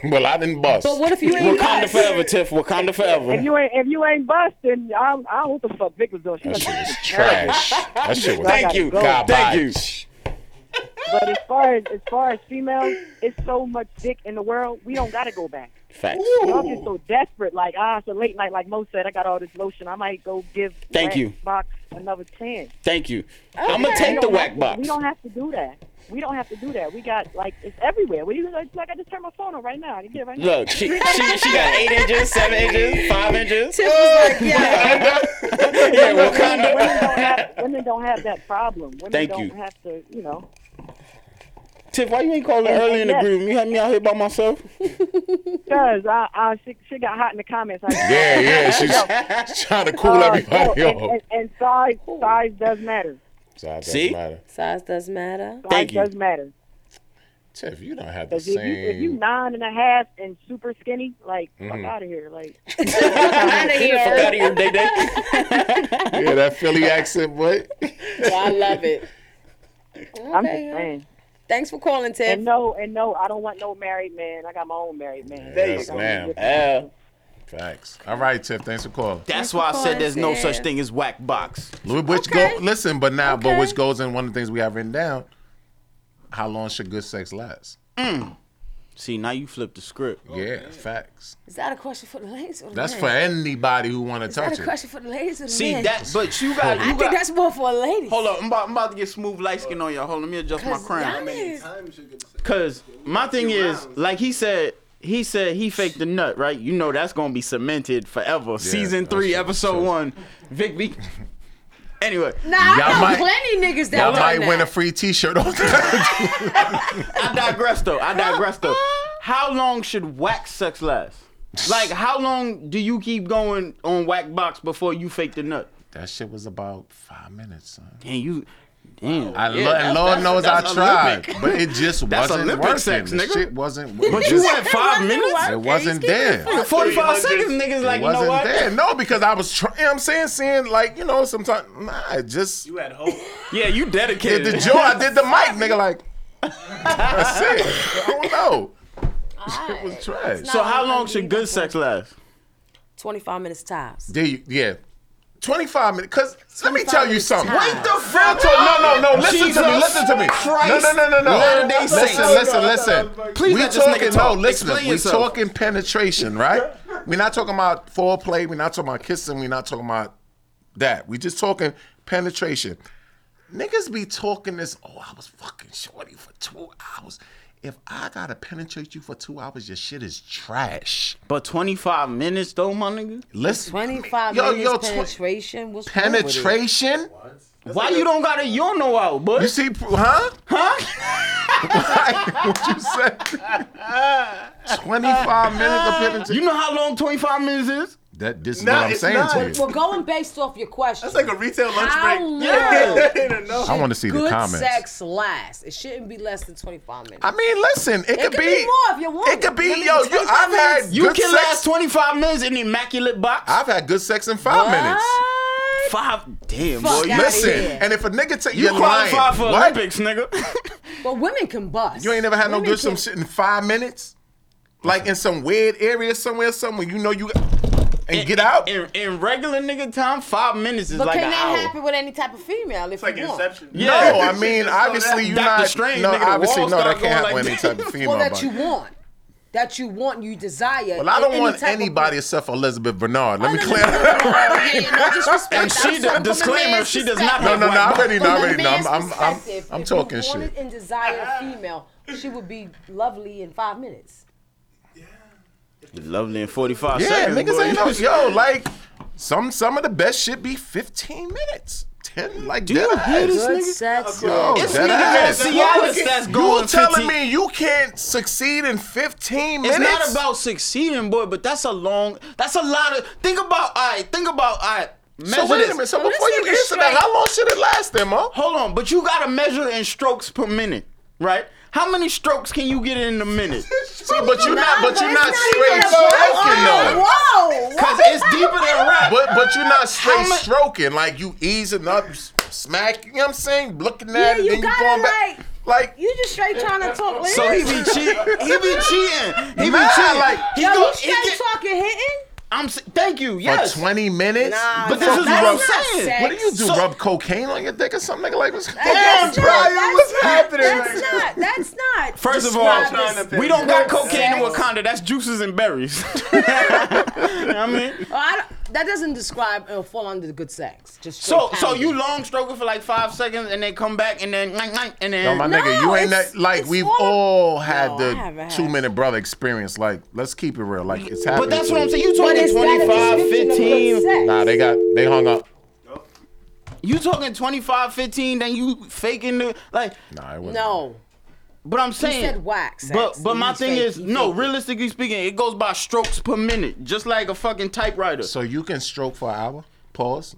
[SPEAKER 3] well, I didn't bust.
[SPEAKER 12] But what if you ain't
[SPEAKER 2] Wakanda
[SPEAKER 12] bust?
[SPEAKER 2] forever, Tiff. Wakanda forever.
[SPEAKER 12] If you ain't if you ain't bust, then I, I don't know what the fuck Vic was doing. She was
[SPEAKER 3] trash. That shit was
[SPEAKER 2] Thank you.
[SPEAKER 3] Garbage.
[SPEAKER 2] Thank you.
[SPEAKER 12] But as far as as far as females, it's so much dick in the world. We don't gotta go back.
[SPEAKER 2] Facts.
[SPEAKER 12] Y'all get so desperate, like ah, it's a late night. Like Mo said, I got all this lotion. I might go give
[SPEAKER 2] Thank
[SPEAKER 12] Wax
[SPEAKER 2] you.
[SPEAKER 12] box another chance.
[SPEAKER 2] Thank you. I'm gonna
[SPEAKER 12] Okay. We
[SPEAKER 2] take the
[SPEAKER 12] don't
[SPEAKER 2] whack
[SPEAKER 12] have to-
[SPEAKER 2] box.
[SPEAKER 12] We don't have to do that. We don't have to do that. We got like it's everywhere. We like, like I just turned my phone on right now. I can get it right now.
[SPEAKER 2] Look, she, she she got eight inches, seven inches, five inches.
[SPEAKER 12] Tiff was like,
[SPEAKER 2] yeah. Wakanda.
[SPEAKER 12] Women don't have that problem. Women
[SPEAKER 2] Thank
[SPEAKER 12] don't
[SPEAKER 2] you.
[SPEAKER 12] have to, you know.
[SPEAKER 2] Tiff, why you ain't calling early in the group? You had me out here by myself.
[SPEAKER 12] Cause I, I she, she got hot in the comments. I,
[SPEAKER 3] Yeah, yeah. She's trying to cool
[SPEAKER 12] Uh,
[SPEAKER 3] everybody
[SPEAKER 12] yo, and,
[SPEAKER 3] off.
[SPEAKER 12] and, and size size does matter.
[SPEAKER 3] Sorry, doesn't
[SPEAKER 2] See?
[SPEAKER 3] matter.
[SPEAKER 4] Size does matter.
[SPEAKER 12] Size
[SPEAKER 3] Thank you.
[SPEAKER 12] does matter.
[SPEAKER 3] Tiff, you don't have the
[SPEAKER 12] Cause if you if you
[SPEAKER 3] same.
[SPEAKER 12] nine and a half and super skinny, like fuck
[SPEAKER 3] Mhm.
[SPEAKER 12] out of here, like
[SPEAKER 2] Get the fuck out of here, day day.
[SPEAKER 3] Yeah, that Philly accent, what?
[SPEAKER 4] I love it.
[SPEAKER 12] I'm just
[SPEAKER 4] Okay.
[SPEAKER 12] saying.
[SPEAKER 4] Thanks for calling, Tiff.
[SPEAKER 12] And no, and no, I don't want no married man. I got my own married man.
[SPEAKER 3] Yes, ma'am.
[SPEAKER 2] Yeah.
[SPEAKER 3] Facts. All right, Tiff. Thanks for calling.
[SPEAKER 2] That's why I said there's no such thing as whack box.
[SPEAKER 3] Which go listen, but now, but which goes in one of the things we have written down. How long should good sex last?
[SPEAKER 2] Mm. See, now you flip the script.
[SPEAKER 3] yeah, facts.
[SPEAKER 4] Is that a question for the ladies? Or the
[SPEAKER 3] That's
[SPEAKER 4] men?
[SPEAKER 3] for anybody who want to
[SPEAKER 4] Is that
[SPEAKER 3] touch
[SPEAKER 4] a
[SPEAKER 3] it.
[SPEAKER 4] question for the ladies? Or the
[SPEAKER 2] See
[SPEAKER 4] men?
[SPEAKER 2] that, but you got. You
[SPEAKER 4] I think
[SPEAKER 2] got,
[SPEAKER 4] that's more for ladies.
[SPEAKER 2] Hold up, I'm about, I'm about to get smooth light skin on y'all. Hold on, let me adjust my
[SPEAKER 4] 'Cause
[SPEAKER 2] crown.
[SPEAKER 4] y'all is-
[SPEAKER 2] Cause my thing is, like he said, he said he faked the nut, right? You know that's gonna be cemented forever. Season
[SPEAKER 3] that's
[SPEAKER 2] three,
[SPEAKER 3] true,
[SPEAKER 2] episode
[SPEAKER 3] true.
[SPEAKER 2] one. Vic B. anyway,
[SPEAKER 4] Nah, I
[SPEAKER 3] Y'all
[SPEAKER 4] know
[SPEAKER 3] might-
[SPEAKER 4] plenty niggas that
[SPEAKER 3] Y'all
[SPEAKER 4] done
[SPEAKER 3] might
[SPEAKER 4] that.
[SPEAKER 3] win a free T-shirt. off-
[SPEAKER 2] I digress though. I digress though. How long should wax sex last? Like, how long do you keep going on whack box before you fake the nut?
[SPEAKER 3] That shit was about five minutes, son.
[SPEAKER 2] Damn, you. Damn.
[SPEAKER 3] I lo- and Lord knows I tried, but it just
[SPEAKER 2] That's
[SPEAKER 3] wasn't
[SPEAKER 2] Olympic
[SPEAKER 3] working.
[SPEAKER 2] sex,
[SPEAKER 3] the
[SPEAKER 2] nigga.
[SPEAKER 3] shit wasn't.
[SPEAKER 2] But you went five minutes?
[SPEAKER 3] It wasn't there.
[SPEAKER 2] Nigga, 45 seconds, niggas
[SPEAKER 3] It
[SPEAKER 2] like, you know
[SPEAKER 3] wasn't
[SPEAKER 2] what?
[SPEAKER 3] there. No, because I was trying. You know what I'm saying, seeing like you know sometimes nah, it just
[SPEAKER 5] you had hope.
[SPEAKER 2] yeah, you dedicated.
[SPEAKER 3] Did the joy? I did the mic, nigga. Like that's it. I don't know.
[SPEAKER 4] It was
[SPEAKER 3] trash.
[SPEAKER 2] So how long should good sex last?
[SPEAKER 4] 25 minutes tops.
[SPEAKER 3] There you, yeah. 25 minutes. Cause let me tell you something.
[SPEAKER 4] minutes
[SPEAKER 3] Wait
[SPEAKER 4] time.
[SPEAKER 3] the fuck up. No, no, no. Listen to me.
[SPEAKER 2] Jesus
[SPEAKER 3] Listen to me.
[SPEAKER 2] Christ.
[SPEAKER 3] no, no, no, no, no.
[SPEAKER 2] Latter-day Saints.
[SPEAKER 3] listen, listen, listen.
[SPEAKER 2] Please
[SPEAKER 3] we
[SPEAKER 2] let this
[SPEAKER 3] talking,
[SPEAKER 2] nigga talk.
[SPEAKER 3] No, listen.
[SPEAKER 2] Explain
[SPEAKER 3] we
[SPEAKER 2] yourself.
[SPEAKER 3] talking penetration, right? We're not talking about foreplay. We're not talking about kissing. We're not talking about that. We just talking penetration. Niggas be talking this. Oh, I was fucking shorty for two hours. If I gotta penetrate you for two hours, your shit is trash.
[SPEAKER 2] But 25 minutes though, my nigga.
[SPEAKER 3] Listen,
[SPEAKER 4] 25
[SPEAKER 3] Yo,
[SPEAKER 4] minutes
[SPEAKER 3] yo, twen-
[SPEAKER 4] penetration. What's wrong with it?
[SPEAKER 3] penetration.
[SPEAKER 2] Why you don't got a know out, but
[SPEAKER 3] you see, huh? Huh? what you say? Twenty-five minutes of penetration.
[SPEAKER 2] You know how long 25 minutes is?
[SPEAKER 3] That this is
[SPEAKER 4] No,
[SPEAKER 3] what I'm
[SPEAKER 4] it's
[SPEAKER 3] saying
[SPEAKER 4] not.
[SPEAKER 3] to you.
[SPEAKER 4] We're going based off your question. That's
[SPEAKER 5] like a retail lunch
[SPEAKER 4] How
[SPEAKER 5] break.
[SPEAKER 4] Long
[SPEAKER 5] Yeah. I don't know.
[SPEAKER 4] should
[SPEAKER 3] I wanna see the
[SPEAKER 4] good
[SPEAKER 3] comments.
[SPEAKER 4] sex last. It shouldn't be less than 25 minutes.
[SPEAKER 3] I mean, listen, it,
[SPEAKER 4] It
[SPEAKER 3] could,
[SPEAKER 4] could be more if you want
[SPEAKER 3] It could
[SPEAKER 4] it.
[SPEAKER 3] be,
[SPEAKER 4] I mean,
[SPEAKER 3] yo. You,
[SPEAKER 4] 25
[SPEAKER 3] I've had
[SPEAKER 4] minutes.
[SPEAKER 2] You
[SPEAKER 3] good
[SPEAKER 2] can
[SPEAKER 3] sex.
[SPEAKER 2] last 25 minutes in the immaculate box.
[SPEAKER 3] I've had good sex in five
[SPEAKER 2] What?
[SPEAKER 3] minutes.
[SPEAKER 2] Five, Ah, damn,
[SPEAKER 4] Fuck
[SPEAKER 2] boy. you-
[SPEAKER 4] outta
[SPEAKER 3] Listen,
[SPEAKER 4] here.
[SPEAKER 3] and if a nigga take
[SPEAKER 2] You
[SPEAKER 3] you're
[SPEAKER 2] qualify
[SPEAKER 3] lying.
[SPEAKER 2] for
[SPEAKER 3] What?
[SPEAKER 2] Olympics, nigga.
[SPEAKER 4] But women can bust.
[SPEAKER 3] You ain't never had no
[SPEAKER 4] Women
[SPEAKER 3] good some
[SPEAKER 4] can-
[SPEAKER 3] shit in five minutes, like in some weird area somewhere, somewhere you know you, and get out.
[SPEAKER 2] In, in regular nigga time, five minutes is
[SPEAKER 4] But
[SPEAKER 2] like
[SPEAKER 4] can
[SPEAKER 2] an
[SPEAKER 4] that
[SPEAKER 2] hour.
[SPEAKER 4] happen with any type of female? If you want?
[SPEAKER 2] Yeah.
[SPEAKER 3] No, I mean obviously you
[SPEAKER 2] Dr.
[SPEAKER 3] not.
[SPEAKER 2] Strange,
[SPEAKER 3] no,
[SPEAKER 2] nigga, the
[SPEAKER 3] obviously
[SPEAKER 2] walls
[SPEAKER 3] no,
[SPEAKER 2] start
[SPEAKER 3] that can't
[SPEAKER 2] going
[SPEAKER 3] happen
[SPEAKER 2] like
[SPEAKER 3] any type of female.
[SPEAKER 4] Well, that
[SPEAKER 3] body.
[SPEAKER 4] you want. That you want, you desire.
[SPEAKER 3] Well, I don't
[SPEAKER 4] Any
[SPEAKER 3] want
[SPEAKER 4] type of-
[SPEAKER 3] anybody except for Elizabeth Bernard. Let me clear
[SPEAKER 4] Yeah, yeah, no disrespect.
[SPEAKER 2] And she-
[SPEAKER 4] I'm sorry, from a
[SPEAKER 2] disclaimer,
[SPEAKER 4] man's
[SPEAKER 2] she does
[SPEAKER 4] perspective.
[SPEAKER 3] No, no, no, I already know,
[SPEAKER 4] From
[SPEAKER 3] I
[SPEAKER 4] a
[SPEAKER 3] already know. I'm-
[SPEAKER 4] man's
[SPEAKER 3] I'm- I'm-
[SPEAKER 4] perspective,
[SPEAKER 3] I'm
[SPEAKER 4] if
[SPEAKER 3] talking
[SPEAKER 4] you wanted
[SPEAKER 3] shit.
[SPEAKER 4] and desire a female, she would be lovely in five minutes.
[SPEAKER 2] Lovely in 45
[SPEAKER 3] Yeah,
[SPEAKER 2] seconds.
[SPEAKER 3] niggas
[SPEAKER 2] boy.
[SPEAKER 3] ain't no yo. Like some some of the best shit be 15 minutes, 10. Like
[SPEAKER 2] Do
[SPEAKER 3] dead
[SPEAKER 2] you hear
[SPEAKER 3] ass.
[SPEAKER 2] this
[SPEAKER 4] Good
[SPEAKER 2] nigga?
[SPEAKER 4] sex.
[SPEAKER 3] Yo,
[SPEAKER 2] This
[SPEAKER 3] dead
[SPEAKER 2] nigga got
[SPEAKER 3] ass.
[SPEAKER 2] Cialis that's
[SPEAKER 3] You
[SPEAKER 2] going
[SPEAKER 3] telling
[SPEAKER 2] 15
[SPEAKER 3] me you can't succeed in 15
[SPEAKER 2] It's
[SPEAKER 3] minutes?
[SPEAKER 2] not about succeeding, boy, but that's a long, that's a lot of, think about, all right, think about, all right, measure
[SPEAKER 3] So wait
[SPEAKER 2] this.
[SPEAKER 3] a minute. So
[SPEAKER 2] Well,
[SPEAKER 3] before
[SPEAKER 2] this
[SPEAKER 3] you
[SPEAKER 2] nigga
[SPEAKER 3] answer that,
[SPEAKER 2] straight.
[SPEAKER 3] how long should it last, then, Mo?
[SPEAKER 2] Hold on, but you gotta measure in strokes per minute, right? How many strokes can you get in a minute?
[SPEAKER 3] See, but you're not, but you're not
[SPEAKER 4] even
[SPEAKER 3] straight
[SPEAKER 4] about-
[SPEAKER 3] stroking though.
[SPEAKER 4] Whoa!
[SPEAKER 2] Cause it's deeper than rap.
[SPEAKER 3] But but you're not straight
[SPEAKER 2] How mu-
[SPEAKER 3] stroking. Like you easing up, you s- smack. You know what I'm saying? Looking at
[SPEAKER 4] Yeah,
[SPEAKER 3] it,
[SPEAKER 4] you
[SPEAKER 3] then you
[SPEAKER 4] gotta,
[SPEAKER 3] going back. Like
[SPEAKER 4] You just straight trying to talk.
[SPEAKER 2] So he be cheating. He be cheating. He be
[SPEAKER 3] Nah,
[SPEAKER 2] cheating.
[SPEAKER 3] like-
[SPEAKER 2] he
[SPEAKER 4] Yo,
[SPEAKER 2] go,
[SPEAKER 4] you
[SPEAKER 2] he
[SPEAKER 4] straight
[SPEAKER 2] get,
[SPEAKER 4] talking hitting?
[SPEAKER 2] I'm. s- Thank you. Yes.
[SPEAKER 3] for 20 minutes.
[SPEAKER 4] Nah,
[SPEAKER 2] But this
[SPEAKER 3] Fuck
[SPEAKER 2] is
[SPEAKER 3] you
[SPEAKER 2] what
[SPEAKER 3] rub-
[SPEAKER 2] I'm saying.
[SPEAKER 3] What do you do?
[SPEAKER 2] So-
[SPEAKER 3] rub cocaine on your dick or something? Nigga? Like what's going
[SPEAKER 4] That's not-
[SPEAKER 3] on, bro?
[SPEAKER 4] that's
[SPEAKER 3] What's
[SPEAKER 4] not-
[SPEAKER 3] happening?
[SPEAKER 4] That's
[SPEAKER 3] right
[SPEAKER 4] not. That's not.
[SPEAKER 2] First of all,
[SPEAKER 4] described as-
[SPEAKER 2] we don't got
[SPEAKER 4] good
[SPEAKER 2] cocaine in
[SPEAKER 4] sex.
[SPEAKER 2] Wakanda. That's juices and berries. You know what I mean,
[SPEAKER 4] Oh, I don't- that doesn't describe or fall under the good sex. Just
[SPEAKER 2] so
[SPEAKER 4] straight
[SPEAKER 2] so
[SPEAKER 4] pounding.
[SPEAKER 2] you long stroking for like five seconds and then come back and then nyang, nyang, and
[SPEAKER 3] now?
[SPEAKER 2] then
[SPEAKER 3] Yo, my nigga, you ain't
[SPEAKER 4] it's-
[SPEAKER 3] that like
[SPEAKER 4] it's
[SPEAKER 3] we've
[SPEAKER 4] all-
[SPEAKER 3] all
[SPEAKER 4] No,
[SPEAKER 3] had
[SPEAKER 4] I haven't
[SPEAKER 3] the
[SPEAKER 4] had-
[SPEAKER 3] two minute brother experience. Like, let's keep it real. Like it's happening.
[SPEAKER 2] But that's what I'm saying. You
[SPEAKER 4] But
[SPEAKER 2] talking
[SPEAKER 4] is that a
[SPEAKER 2] 25,
[SPEAKER 4] description of good
[SPEAKER 2] 15.
[SPEAKER 4] sex?
[SPEAKER 3] Nah, they got they hung up.
[SPEAKER 2] You talking 25, 15, then you faking the like
[SPEAKER 3] Nah, it wasn't.
[SPEAKER 4] No.
[SPEAKER 2] But I'm saying,
[SPEAKER 4] said whack sex.
[SPEAKER 2] But but
[SPEAKER 4] He
[SPEAKER 2] my thing
[SPEAKER 4] fake-
[SPEAKER 2] is,
[SPEAKER 4] he
[SPEAKER 2] no.
[SPEAKER 4] fake.
[SPEAKER 2] Realistically speaking, it goes by strokes per minute, just like a fucking typewriter.
[SPEAKER 3] So you can stroke for an hour. Pause.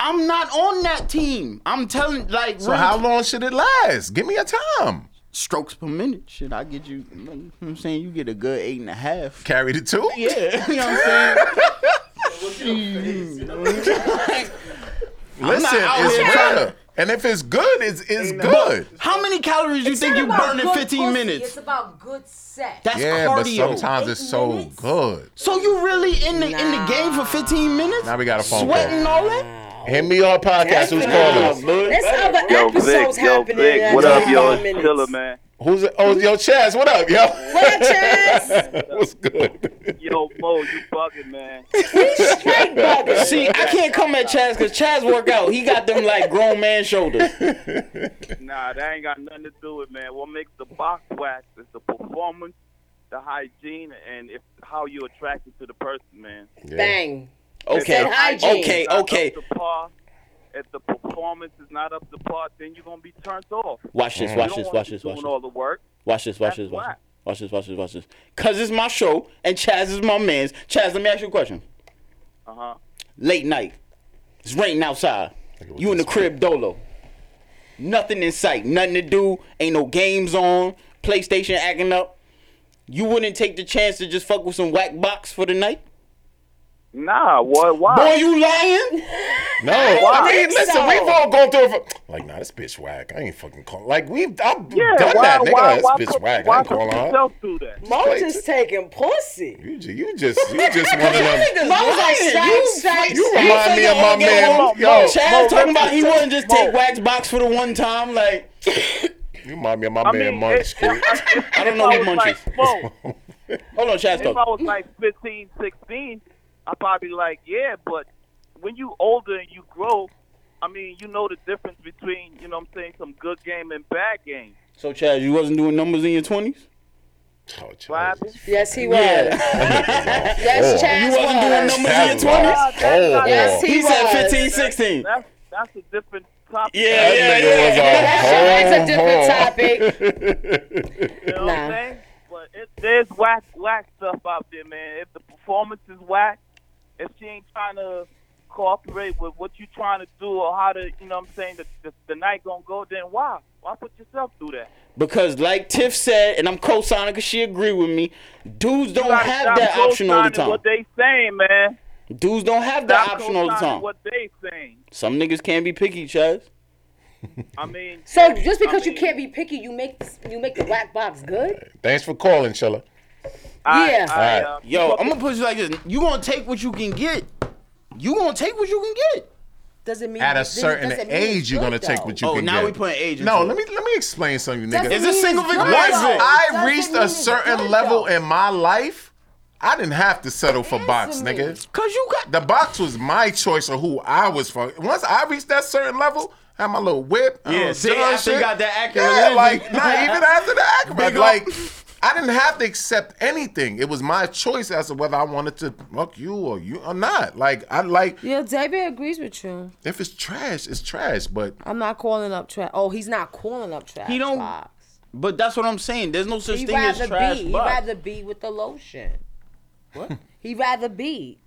[SPEAKER 2] I'm not on that team. I'm telling, like,
[SPEAKER 3] So
[SPEAKER 2] real-
[SPEAKER 3] how long should it last? Give me a time.
[SPEAKER 2] strokes per minute? Should I get you? You know what I'm saying you get a good eight and a half.
[SPEAKER 3] Carry the two.
[SPEAKER 2] Yeah, you know what I'm saying. I'm not
[SPEAKER 3] Listen,
[SPEAKER 2] out
[SPEAKER 3] it's
[SPEAKER 2] here
[SPEAKER 3] real.
[SPEAKER 2] trying to-
[SPEAKER 3] And if it's good, it's it's good.
[SPEAKER 2] How many calories you
[SPEAKER 4] It's
[SPEAKER 2] think
[SPEAKER 4] not
[SPEAKER 2] you
[SPEAKER 4] about
[SPEAKER 2] burn in
[SPEAKER 4] good
[SPEAKER 2] 15
[SPEAKER 4] pussy, It's
[SPEAKER 2] minutes?
[SPEAKER 4] about good sex.
[SPEAKER 2] That's
[SPEAKER 3] Yeah, but
[SPEAKER 2] cardio.
[SPEAKER 3] sometimes it's
[SPEAKER 4] Eight
[SPEAKER 3] so
[SPEAKER 4] minutes?
[SPEAKER 3] good.
[SPEAKER 2] so you really in the in the game for 15 minutes?
[SPEAKER 3] Now we got a phone
[SPEAKER 2] Sweating
[SPEAKER 3] call.
[SPEAKER 2] all that?
[SPEAKER 3] Hit me on podcast. Who's calling? us?
[SPEAKER 4] There's other
[SPEAKER 14] Yo, Vic,
[SPEAKER 4] episodes
[SPEAKER 14] yo,
[SPEAKER 4] happening. in
[SPEAKER 14] Vic,
[SPEAKER 4] that
[SPEAKER 14] what up,
[SPEAKER 4] 25
[SPEAKER 14] yo? It's
[SPEAKER 4] minutes.
[SPEAKER 14] Killer, man.
[SPEAKER 3] Who's oh yo Chaz? What up, yo?
[SPEAKER 4] What up, Chaz?
[SPEAKER 3] What's good?
[SPEAKER 14] Yo, Mo, you bugging, man.
[SPEAKER 4] He's straight bugging.
[SPEAKER 2] See, I can't come at Chaz because Chaz work out. He got them like grown man shoulders.
[SPEAKER 14] Nah, that ain't got nothing to do with it, man. What makes the box wax is the performance, the hygiene, and if how you attracted to the person, man.
[SPEAKER 4] Bang.
[SPEAKER 2] Okay.
[SPEAKER 4] Said hygiene.
[SPEAKER 2] Okay,
[SPEAKER 14] If it's not
[SPEAKER 2] okay.
[SPEAKER 14] Up to par, if the performance is not up to par, then you're gonna be turned off.
[SPEAKER 2] Watch this,
[SPEAKER 14] You
[SPEAKER 2] watch
[SPEAKER 14] don't
[SPEAKER 2] this,
[SPEAKER 14] wanna
[SPEAKER 2] watch
[SPEAKER 14] be
[SPEAKER 2] this, watch
[SPEAKER 14] doing
[SPEAKER 2] this.
[SPEAKER 14] all the work.
[SPEAKER 2] Watch this, watch
[SPEAKER 14] That's
[SPEAKER 2] this, watch
[SPEAKER 14] whack.
[SPEAKER 2] this. Watch this, watch this, watch this. Cause it's my show and Chaz is my man's. Chaz, let me ask you a question.
[SPEAKER 14] Uh huh.
[SPEAKER 2] Late night. It's raining outside. You in the crib dolo. Nothing in sight. Nothing to do. Ain't no games on. PlayStation acting up. You wouldn't take the chance to just fuck with some whack box for the night?
[SPEAKER 14] Nah, what? Why?
[SPEAKER 2] Boy, you lying?
[SPEAKER 3] No,
[SPEAKER 2] Why?
[SPEAKER 3] I mean, listen,
[SPEAKER 2] So-
[SPEAKER 3] we've all gone through it. For, like, nah, this bitch whack. I ain't fucking call. Like, we've I've
[SPEAKER 14] Yeah,
[SPEAKER 3] done
[SPEAKER 14] why-
[SPEAKER 3] that, nigga.
[SPEAKER 14] why-
[SPEAKER 3] this
[SPEAKER 14] why
[SPEAKER 3] bitch
[SPEAKER 14] put-
[SPEAKER 3] whack. I
[SPEAKER 14] why
[SPEAKER 3] ain't
[SPEAKER 14] put
[SPEAKER 3] calling her.
[SPEAKER 14] yourself through that?
[SPEAKER 15] Moses taking pussy.
[SPEAKER 3] You, ju- you just, you just one of them.
[SPEAKER 15] Moses like
[SPEAKER 2] you,
[SPEAKER 15] sex, sex,
[SPEAKER 2] you
[SPEAKER 15] sex.
[SPEAKER 2] remind me of my
[SPEAKER 3] Yo,
[SPEAKER 2] man.
[SPEAKER 3] Mo,
[SPEAKER 2] Yo,
[SPEAKER 3] Mo,
[SPEAKER 2] Chaz
[SPEAKER 3] Mo,
[SPEAKER 2] talking about he
[SPEAKER 3] Mo.
[SPEAKER 2] wouldn't just take wax box for the one time. Like,
[SPEAKER 3] You remind me of my
[SPEAKER 14] I
[SPEAKER 3] man
[SPEAKER 14] mean,
[SPEAKER 3] Munch.
[SPEAKER 14] if- if-
[SPEAKER 3] kid.
[SPEAKER 2] I don't
[SPEAKER 14] if
[SPEAKER 2] know
[SPEAKER 14] I
[SPEAKER 2] who
[SPEAKER 14] was
[SPEAKER 2] Munch is.
[SPEAKER 14] like, whoa,
[SPEAKER 2] Hold on, Chaz.
[SPEAKER 14] if I
[SPEAKER 2] Talk.
[SPEAKER 14] was like 15, 16, I'd probably be like, yeah, but when you older and you grow, I mean, you know the difference between, you know what I'm saying, some good game and bad game.
[SPEAKER 2] So, Chaz, you wasn't doing numbers in your twenties.
[SPEAKER 3] Oh,
[SPEAKER 15] Yes, he was.
[SPEAKER 3] Oh.
[SPEAKER 2] Yes,
[SPEAKER 15] Chaz
[SPEAKER 2] You wasn't
[SPEAKER 15] was.
[SPEAKER 2] doing numbers in your
[SPEAKER 15] Chaz was.
[SPEAKER 2] twenties.
[SPEAKER 15] Yes, he
[SPEAKER 2] he said
[SPEAKER 15] was.
[SPEAKER 2] 15, 16.
[SPEAKER 14] That's, that's a different topic.
[SPEAKER 2] Yeah, yeah, yeah.
[SPEAKER 15] That's a
[SPEAKER 3] different topic.
[SPEAKER 14] You know what I'm saying? But it, there's whack, whack stuff out there, man. If the performance is whack, if she ain't trying to cooperate with what you trying to do or how to, you know what I'm saying, the, the, the night going to go, then why? Why put yourself through that?
[SPEAKER 2] Because, like Tiff said, and I'm co-signing because she agreed with me. Dudes
[SPEAKER 14] You
[SPEAKER 2] don't
[SPEAKER 14] gotta
[SPEAKER 2] have
[SPEAKER 14] stop
[SPEAKER 2] that option all the
[SPEAKER 14] co-signing
[SPEAKER 2] time.
[SPEAKER 14] What they saying, man.
[SPEAKER 2] Dudes don't have that
[SPEAKER 14] Stop
[SPEAKER 2] option all the
[SPEAKER 14] co-signing
[SPEAKER 2] time.
[SPEAKER 14] What they saying.
[SPEAKER 2] Some niggas can be picky, Chaz.
[SPEAKER 14] I mean,
[SPEAKER 4] So just because
[SPEAKER 14] I mean,
[SPEAKER 4] you can't be picky, you make you make the whack box good.
[SPEAKER 3] Thanks for calling, Shella.
[SPEAKER 4] yeah.
[SPEAKER 3] I, uh,
[SPEAKER 2] Yo, I'm gonna put you like this. You gonna take what you can get. You gonna take what you can get.
[SPEAKER 4] Does it mean
[SPEAKER 3] At a certain age, you're gonna take what you
[SPEAKER 2] oh,
[SPEAKER 3] can
[SPEAKER 2] now
[SPEAKER 3] get.
[SPEAKER 2] we putting age.
[SPEAKER 3] No,
[SPEAKER 2] into
[SPEAKER 3] let me let me explain something, nigga.
[SPEAKER 2] Doesn't It's a mean it's single good,
[SPEAKER 3] Once
[SPEAKER 2] victim though.
[SPEAKER 3] I
[SPEAKER 2] Doesn't
[SPEAKER 3] reached
[SPEAKER 2] mean
[SPEAKER 3] a
[SPEAKER 2] it's
[SPEAKER 3] certain
[SPEAKER 2] good,
[SPEAKER 3] level in my life, I didn't have to settle for box, nigga.
[SPEAKER 2] Cause you got
[SPEAKER 3] the box was my choice of who I was for. Once I reached that certain level. I had my little whip. I
[SPEAKER 2] Yeah,
[SPEAKER 3] was
[SPEAKER 2] see,
[SPEAKER 3] doing
[SPEAKER 2] after you
[SPEAKER 3] shit.
[SPEAKER 2] got that Acura
[SPEAKER 3] Yeah,
[SPEAKER 2] Lizzie.
[SPEAKER 3] like, not even after the
[SPEAKER 2] Big
[SPEAKER 3] Acura.
[SPEAKER 2] up.
[SPEAKER 3] Like, I didn't have to accept anything. It was my choice as to whether I wanted to fuck you or you or not. Like, I like,
[SPEAKER 15] Yo, David agrees with you.
[SPEAKER 3] if it's trash, it's trash. But
[SPEAKER 15] I'm not calling up trap. Oh, he's not calling up trap.
[SPEAKER 2] He don't. But that's what I'm saying. There's no such
[SPEAKER 15] He
[SPEAKER 2] thing as
[SPEAKER 15] rather
[SPEAKER 2] trash.
[SPEAKER 15] be. He
[SPEAKER 2] box.
[SPEAKER 15] rather be with the lotion.
[SPEAKER 2] What?
[SPEAKER 15] He rather be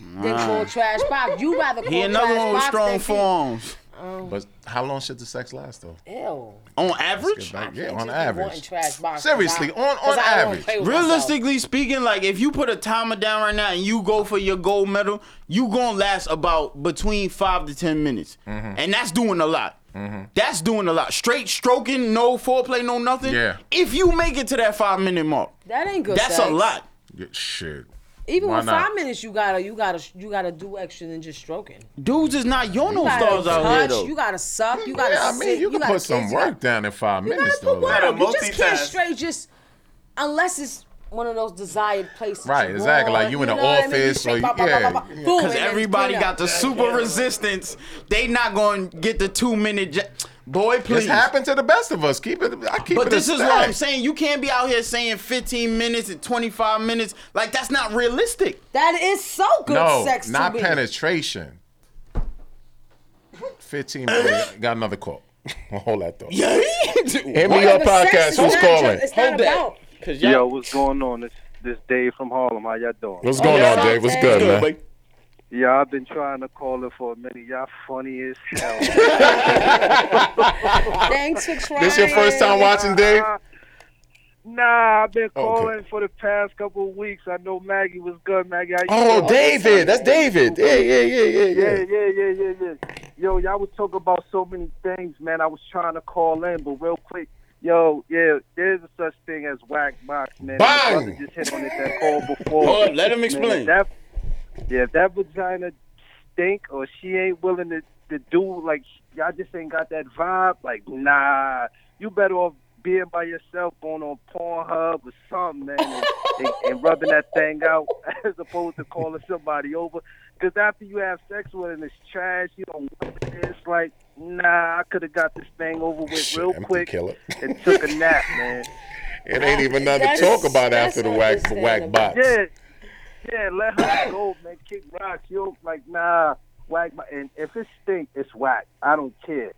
[SPEAKER 15] than
[SPEAKER 3] Nah.
[SPEAKER 15] call trash box. You rather call
[SPEAKER 2] He another
[SPEAKER 15] trash
[SPEAKER 2] one with
[SPEAKER 15] box
[SPEAKER 2] strong
[SPEAKER 15] than be-
[SPEAKER 2] forms.
[SPEAKER 15] Oh,
[SPEAKER 3] Um, But how long should the sex last though?
[SPEAKER 15] ew.
[SPEAKER 2] On
[SPEAKER 3] Let's
[SPEAKER 2] average?
[SPEAKER 3] get back- Yeah,
[SPEAKER 15] can't just
[SPEAKER 3] on
[SPEAKER 15] be wanting
[SPEAKER 3] average.
[SPEAKER 15] trash box 'cause
[SPEAKER 3] Seriously,
[SPEAKER 15] I-
[SPEAKER 3] on
[SPEAKER 15] 'cause
[SPEAKER 3] on
[SPEAKER 15] I don't
[SPEAKER 3] average.
[SPEAKER 15] play with
[SPEAKER 2] Realistically speaking, like if you put a timer down right now and you go for your gold medal, you gonna last about between five to ten minutes,
[SPEAKER 3] Mm-hmm.
[SPEAKER 2] and that's doing a lot. That's doing a lot. Straight stroking, no foreplay, no nothing.
[SPEAKER 3] Yeah.
[SPEAKER 2] If you make it to that five minute mark,
[SPEAKER 15] That ain't good.
[SPEAKER 2] that's
[SPEAKER 15] sex.
[SPEAKER 2] a lot.
[SPEAKER 3] Yeah, shit.
[SPEAKER 15] Even
[SPEAKER 3] Why
[SPEAKER 15] with
[SPEAKER 3] not?
[SPEAKER 15] five minutes, you gotta you gotta you gotta do extra than just stroking.
[SPEAKER 2] Dudes is not
[SPEAKER 15] You
[SPEAKER 2] yono
[SPEAKER 15] gotta
[SPEAKER 2] stars out here
[SPEAKER 15] touch,
[SPEAKER 2] though.
[SPEAKER 15] You gotta suck. You gotta.
[SPEAKER 3] yeah, I
[SPEAKER 15] sit,
[SPEAKER 3] mean, you can
[SPEAKER 15] gotta
[SPEAKER 3] put some
[SPEAKER 15] kiss, you
[SPEAKER 3] work down in five minutes though.
[SPEAKER 15] gotta-
[SPEAKER 3] Like,
[SPEAKER 15] You just can't straight just unless it's one of those desired places. that
[SPEAKER 3] Right,
[SPEAKER 15] you
[SPEAKER 3] exactly. Like
[SPEAKER 15] want,
[SPEAKER 3] you in the
[SPEAKER 15] know what I mean? You
[SPEAKER 3] office or
[SPEAKER 15] straight
[SPEAKER 3] you,
[SPEAKER 15] bop, bop, bop,
[SPEAKER 3] yeah.
[SPEAKER 15] bop, bop. Boom, and
[SPEAKER 2] Because
[SPEAKER 15] then
[SPEAKER 2] everybody
[SPEAKER 15] clean up.
[SPEAKER 2] got the super resistance. They not going to get the two minute. Ja- Boy, please.
[SPEAKER 3] This happened to the best of us. Keep it. I keep it.
[SPEAKER 2] But
[SPEAKER 3] a
[SPEAKER 2] this is
[SPEAKER 3] stack.
[SPEAKER 2] what I'm saying. You can't be out here saying 15 minutes and 25 minutes. Like that's not realistic.
[SPEAKER 15] That is so good
[SPEAKER 3] no,
[SPEAKER 15] sex.
[SPEAKER 3] not
[SPEAKER 15] to me.
[SPEAKER 3] penetration. Fifteen. minutes. got another call. Hold that thought.
[SPEAKER 2] Yeah.
[SPEAKER 3] Hit me up, podcast. Who's calling?
[SPEAKER 15] Hold that. about-
[SPEAKER 2] Yo,
[SPEAKER 16] what's going on? This this Dave from Harlem. How y'all doing?
[SPEAKER 3] What's going on, Dave? What's good, man?
[SPEAKER 16] Yeah, I've been trying to call it for a minute. Y'all funny as hell.
[SPEAKER 15] Thanks for trying.
[SPEAKER 3] This your first time watching, Dave? Oh,
[SPEAKER 16] Nah, I've been calling for the past couple of weeks. I know Maggie was good. Maggie, how you
[SPEAKER 3] Oh,
[SPEAKER 16] doing?
[SPEAKER 3] David. That's David. Yeah, yeah, yeah, yeah, yeah.
[SPEAKER 16] yeah, yeah, yeah, yeah, yeah. Yo, y'all was talking about so many things, man. I was trying to call in, but real quick, yo, yeah, there's a such thing as whack box, man. My
[SPEAKER 3] Bang!
[SPEAKER 16] brother just hit on it that call before.
[SPEAKER 2] Hold up, let him
[SPEAKER 16] Man,
[SPEAKER 2] explain.
[SPEAKER 16] that, yeah, if that vagina stink or she ain't willing to, to do like y'all just ain't got that vibe. Like, nah, you better off being by yourself, going on Pornhub or something, man, and, and, and rubbing that thing out as opposed to calling somebody over. Because after you have sex with it and it's trash, you don't. want it, It's like, nah, I could have got this thing over with real
[SPEAKER 3] empty
[SPEAKER 16] quick
[SPEAKER 3] killer.
[SPEAKER 16] and took a nap, man.
[SPEAKER 3] It ain't even nothing to
[SPEAKER 16] That's-
[SPEAKER 3] talk about
[SPEAKER 16] that's
[SPEAKER 3] after the whack the whack box.
[SPEAKER 16] Yeah, yeah, let her go, man. Kick rocks. You don't like nah, whack. My, and if it stink, it's whack. I don't care.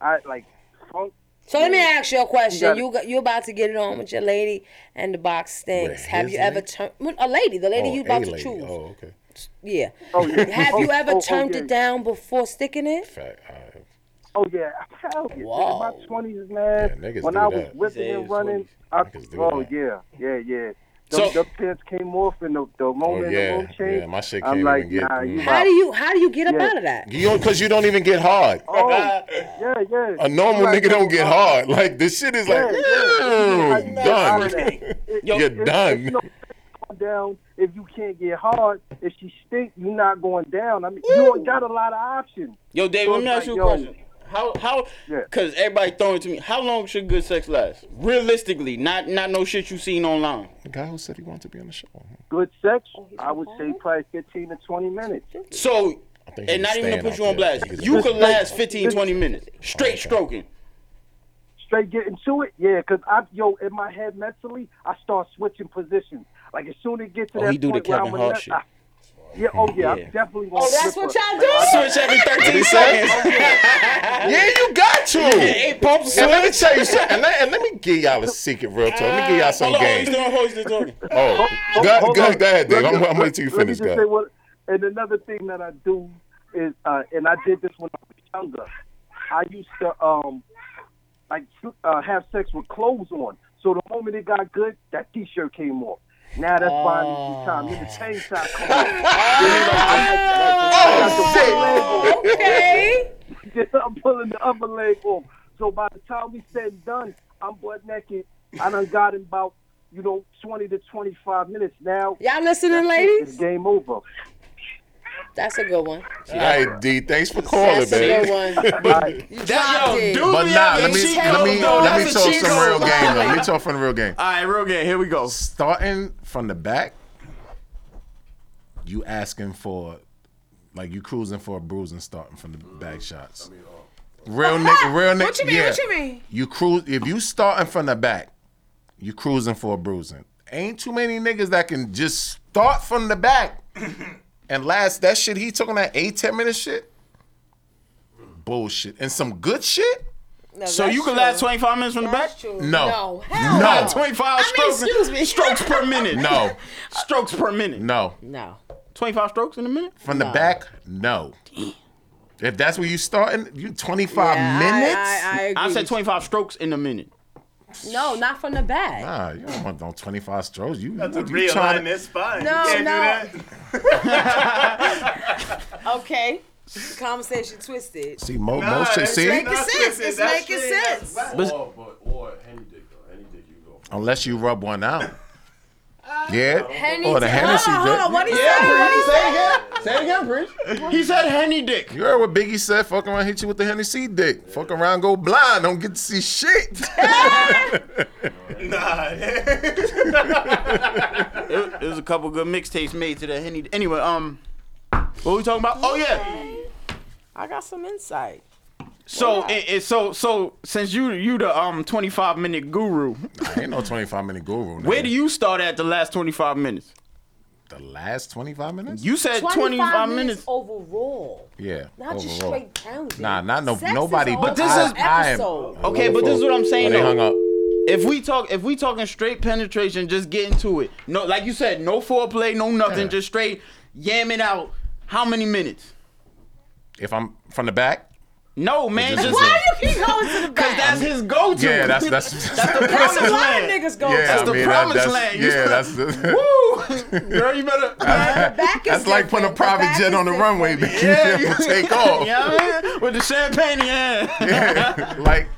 [SPEAKER 16] I like funk
[SPEAKER 15] So let me ask you a question.
[SPEAKER 4] You
[SPEAKER 15] You got, you about to get it on with your lady, and the box stinks.
[SPEAKER 4] With
[SPEAKER 15] Have
[SPEAKER 4] his
[SPEAKER 15] you ever
[SPEAKER 4] lady?
[SPEAKER 15] turned well, a lady? The lady
[SPEAKER 4] Oh,
[SPEAKER 15] you
[SPEAKER 4] a
[SPEAKER 15] about to
[SPEAKER 4] lady.
[SPEAKER 15] choose.
[SPEAKER 3] Oh, okay.
[SPEAKER 15] Yeah.
[SPEAKER 16] Oh, yeah.
[SPEAKER 15] Have you
[SPEAKER 16] Oh,
[SPEAKER 15] ever
[SPEAKER 16] oh, oh,
[SPEAKER 15] turned
[SPEAKER 16] yeah.
[SPEAKER 15] it down before sticking it?
[SPEAKER 16] Oh yeah, hell yeah.
[SPEAKER 15] Wow.
[SPEAKER 16] nigga. My twenties, man.
[SPEAKER 15] Yeah, niggas
[SPEAKER 16] when
[SPEAKER 15] do
[SPEAKER 16] I
[SPEAKER 15] that.
[SPEAKER 16] was whipping
[SPEAKER 15] Yeah,
[SPEAKER 16] and
[SPEAKER 15] it's
[SPEAKER 16] running, I, oh yeah, yeah, yeah.
[SPEAKER 3] So- Oh,
[SPEAKER 16] The, the pants came off and the, the moment
[SPEAKER 3] yeah,
[SPEAKER 16] the rope changed.
[SPEAKER 3] yeah, my shit
[SPEAKER 16] I'm
[SPEAKER 3] can't
[SPEAKER 16] like,
[SPEAKER 3] even get-
[SPEAKER 16] nah, you
[SPEAKER 3] mm.
[SPEAKER 15] How do you how do you get up out of that?
[SPEAKER 3] You don't, cause you don't even get hard.
[SPEAKER 16] Oh, yeah, yeah.
[SPEAKER 3] A normal
[SPEAKER 16] You like,
[SPEAKER 3] nigga don't get hard. Like this shit is like
[SPEAKER 16] Yeah, yeah.
[SPEAKER 3] "Ew,
[SPEAKER 16] You like,
[SPEAKER 3] done.
[SPEAKER 16] nah, it- it-
[SPEAKER 3] You're
[SPEAKER 16] it's-
[SPEAKER 3] done.
[SPEAKER 16] it's no going down if you can't get hard. If she stink, you're not going down. I mean, you don't got a lot of options.
[SPEAKER 2] Yo, Dave,
[SPEAKER 16] So
[SPEAKER 2] let me
[SPEAKER 16] it's
[SPEAKER 2] ask you
[SPEAKER 16] like,
[SPEAKER 2] a
[SPEAKER 16] yo,
[SPEAKER 2] question. How how? Because everybody throwing it to me. How long should good sex last? Realistically, not not no shit you seen online.
[SPEAKER 3] The guy who said he wanted to be on the show.
[SPEAKER 16] Good sex,
[SPEAKER 15] Oh,
[SPEAKER 16] I would say probably 15 to 20 minutes.
[SPEAKER 2] So,
[SPEAKER 16] think
[SPEAKER 2] and
[SPEAKER 16] he
[SPEAKER 2] not
[SPEAKER 16] was
[SPEAKER 2] even to
[SPEAKER 16] staying
[SPEAKER 2] put
[SPEAKER 16] out
[SPEAKER 2] you on
[SPEAKER 16] there.
[SPEAKER 2] blast,
[SPEAKER 16] He was
[SPEAKER 2] you
[SPEAKER 16] out
[SPEAKER 2] could
[SPEAKER 16] there.
[SPEAKER 2] last 15, 20 minutes
[SPEAKER 16] Okay.
[SPEAKER 2] straight stroking.
[SPEAKER 16] straight get into it, yeah, because I yo in my head mentally, I start switching positions. Like as soon as it gets to
[SPEAKER 2] Oh,
[SPEAKER 16] that
[SPEAKER 2] he do the
[SPEAKER 16] point where
[SPEAKER 2] Kevin
[SPEAKER 16] I'm a
[SPEAKER 2] Hart
[SPEAKER 16] nut-
[SPEAKER 2] shit.
[SPEAKER 16] I- yeah, oh yeah, I'm
[SPEAKER 2] Yeah.
[SPEAKER 16] definitely.
[SPEAKER 15] Oh, that's what y'all do.
[SPEAKER 3] Switch every 13 seconds.
[SPEAKER 16] Oh,
[SPEAKER 3] Yeah, you got to.
[SPEAKER 2] You get eight pumps,
[SPEAKER 3] And let me
[SPEAKER 2] switch.
[SPEAKER 3] tell you something. And let, and let me give y'all a secret real talk. Let me give y'all some
[SPEAKER 2] hold on,
[SPEAKER 3] game.
[SPEAKER 2] Hold on, hold on, he's doing- hold on, he's doing-
[SPEAKER 3] Oh,
[SPEAKER 16] Hold-
[SPEAKER 3] go,
[SPEAKER 16] hold
[SPEAKER 3] go,
[SPEAKER 16] on.
[SPEAKER 3] go ahead, Dave.
[SPEAKER 16] Let
[SPEAKER 3] I'm,
[SPEAKER 16] me-
[SPEAKER 3] I'm waiting till you
[SPEAKER 16] let me
[SPEAKER 3] finish.
[SPEAKER 16] just
[SPEAKER 3] Go
[SPEAKER 16] say
[SPEAKER 3] ahead.
[SPEAKER 16] what- and another thing that I do is, uh, and I did this when I was younger. I used to um, like uh, have sex with clothes on. So the moment it got good, that T-shirt came off. Now that's bondage time. Then the chain time come off. Then I got the one leg off.
[SPEAKER 15] Okay.
[SPEAKER 16] Then I'm pulling the upper leg off. So by the time we said and done, I'm butt naked. I done got in about you know 20 to 25 minutes now.
[SPEAKER 15] Y'all listening, ladies?
[SPEAKER 16] It's game over.
[SPEAKER 15] That's a good one.
[SPEAKER 3] All right, D. Thanks for calling,
[SPEAKER 15] That's a good
[SPEAKER 3] baby.
[SPEAKER 15] one.
[SPEAKER 2] That- yo,
[SPEAKER 15] Dropped it.
[SPEAKER 2] dude,
[SPEAKER 3] But nah,
[SPEAKER 2] yeah,
[SPEAKER 3] let me
[SPEAKER 2] she
[SPEAKER 3] let me
[SPEAKER 2] told
[SPEAKER 3] let me
[SPEAKER 2] us
[SPEAKER 3] talk
[SPEAKER 2] she
[SPEAKER 3] some
[SPEAKER 2] told
[SPEAKER 3] real
[SPEAKER 2] us.
[SPEAKER 3] game. Let me talk from the real game.
[SPEAKER 2] All right, real game. Here we go.
[SPEAKER 3] Starting from the back, you asking for like you cruising for a bruising starting from the back shots. Real nigga, real nigga.
[SPEAKER 15] Ah, What you mean?
[SPEAKER 3] Yeah.
[SPEAKER 15] What you mean?
[SPEAKER 3] You cruise if you starting from the back, you cruising for a bruising. Ain't too many niggas that can just start from the back. and last that shit he took on that eight ten minute shit. Bullshit. And some good shit.
[SPEAKER 2] So you can last 25 minutes from the back?
[SPEAKER 3] No.
[SPEAKER 2] No.
[SPEAKER 3] Hell No. no.
[SPEAKER 2] 25 strokes, strokes per minute.
[SPEAKER 3] No.
[SPEAKER 2] Strokes per minute.
[SPEAKER 3] No.
[SPEAKER 15] No.
[SPEAKER 2] 25 strokes in a minute?
[SPEAKER 3] From the back, no. If that's where you starting, you 25
[SPEAKER 15] Yeah, I-
[SPEAKER 3] minutes?
[SPEAKER 15] I- I agree
[SPEAKER 2] I said 25 strokes in a minute.
[SPEAKER 15] No, not from the back.
[SPEAKER 3] Nah, you don't want no 25 strokes. You,
[SPEAKER 5] That's
[SPEAKER 3] you,
[SPEAKER 5] a
[SPEAKER 3] you
[SPEAKER 5] real
[SPEAKER 3] tryna-
[SPEAKER 5] line. It's fine.
[SPEAKER 15] No,
[SPEAKER 5] you can't
[SPEAKER 15] no.
[SPEAKER 5] do that.
[SPEAKER 15] Okay. The conversation twisted.
[SPEAKER 3] See, Mo- Nah, Mo should that's- see.
[SPEAKER 15] It's making
[SPEAKER 3] that's
[SPEAKER 15] sense. It's
[SPEAKER 5] that's
[SPEAKER 15] making
[SPEAKER 5] straight up.
[SPEAKER 15] sense.
[SPEAKER 3] But-
[SPEAKER 2] Oh,
[SPEAKER 6] Or, but, or any dick, though. Any dick you go.
[SPEAKER 3] Unless you rub one out. Yeah.
[SPEAKER 6] Henny
[SPEAKER 3] or the
[SPEAKER 6] t-
[SPEAKER 3] Hennessy
[SPEAKER 6] hold on, hold
[SPEAKER 3] dick.
[SPEAKER 6] on, what
[SPEAKER 2] he Yeah, said? Prince, What he say it again. Say it again, Prince. He said Henny dick.
[SPEAKER 3] You heard what Biggie said? Fuck around, hit you with the Hennessy dick. Fuck around, go blind. Don't get to see shit.
[SPEAKER 2] There- There's a couple good mixtapes made to that Henny. Anyway, um, what we talking about? Oh, yeah.
[SPEAKER 15] I got some insight.
[SPEAKER 2] So and, and so so since you you the um 25 minute guru,
[SPEAKER 3] I ain't no 25 Oh, minute guru.
[SPEAKER 2] where do you start at the last 25 minutes?
[SPEAKER 3] The last 25 minutes?
[SPEAKER 2] You said 25, minutes.
[SPEAKER 15] overall.
[SPEAKER 3] Yeah.
[SPEAKER 15] Not just
[SPEAKER 3] overall.
[SPEAKER 15] straight down.
[SPEAKER 3] Nah, not no
[SPEAKER 15] Sex is
[SPEAKER 3] Oh, nobody.
[SPEAKER 15] a
[SPEAKER 2] But this
[SPEAKER 3] I-
[SPEAKER 2] is
[SPEAKER 3] I am-
[SPEAKER 2] okay. But this is what I'm saying.
[SPEAKER 3] Oh, they
[SPEAKER 2] though.
[SPEAKER 3] hung up.
[SPEAKER 2] If we talk, if we talking straight penetration, just get into it. No, like you said, no foreplay, no nothing,
[SPEAKER 3] Yeah.
[SPEAKER 2] just straight yam it out. How many minutes?
[SPEAKER 3] If I'm from the back.
[SPEAKER 2] No man, just
[SPEAKER 3] Why
[SPEAKER 15] do you keep going to the back?
[SPEAKER 2] Cause that's his go-to.
[SPEAKER 3] Yeah, that's that's.
[SPEAKER 2] That's the promised
[SPEAKER 15] That's a lot of
[SPEAKER 2] land.
[SPEAKER 15] niggas go
[SPEAKER 3] yeah,
[SPEAKER 2] That's
[SPEAKER 3] I
[SPEAKER 2] the
[SPEAKER 3] mean,
[SPEAKER 2] promised
[SPEAKER 3] that's,
[SPEAKER 2] land. You-
[SPEAKER 3] Yeah, that's the.
[SPEAKER 2] Woo, girl, you better.
[SPEAKER 3] That's like putting a private jet on the runway, baby.
[SPEAKER 2] Yeah,
[SPEAKER 3] You take off.
[SPEAKER 2] Yeah, man, with the champagne in your hand.
[SPEAKER 3] Yeah, like,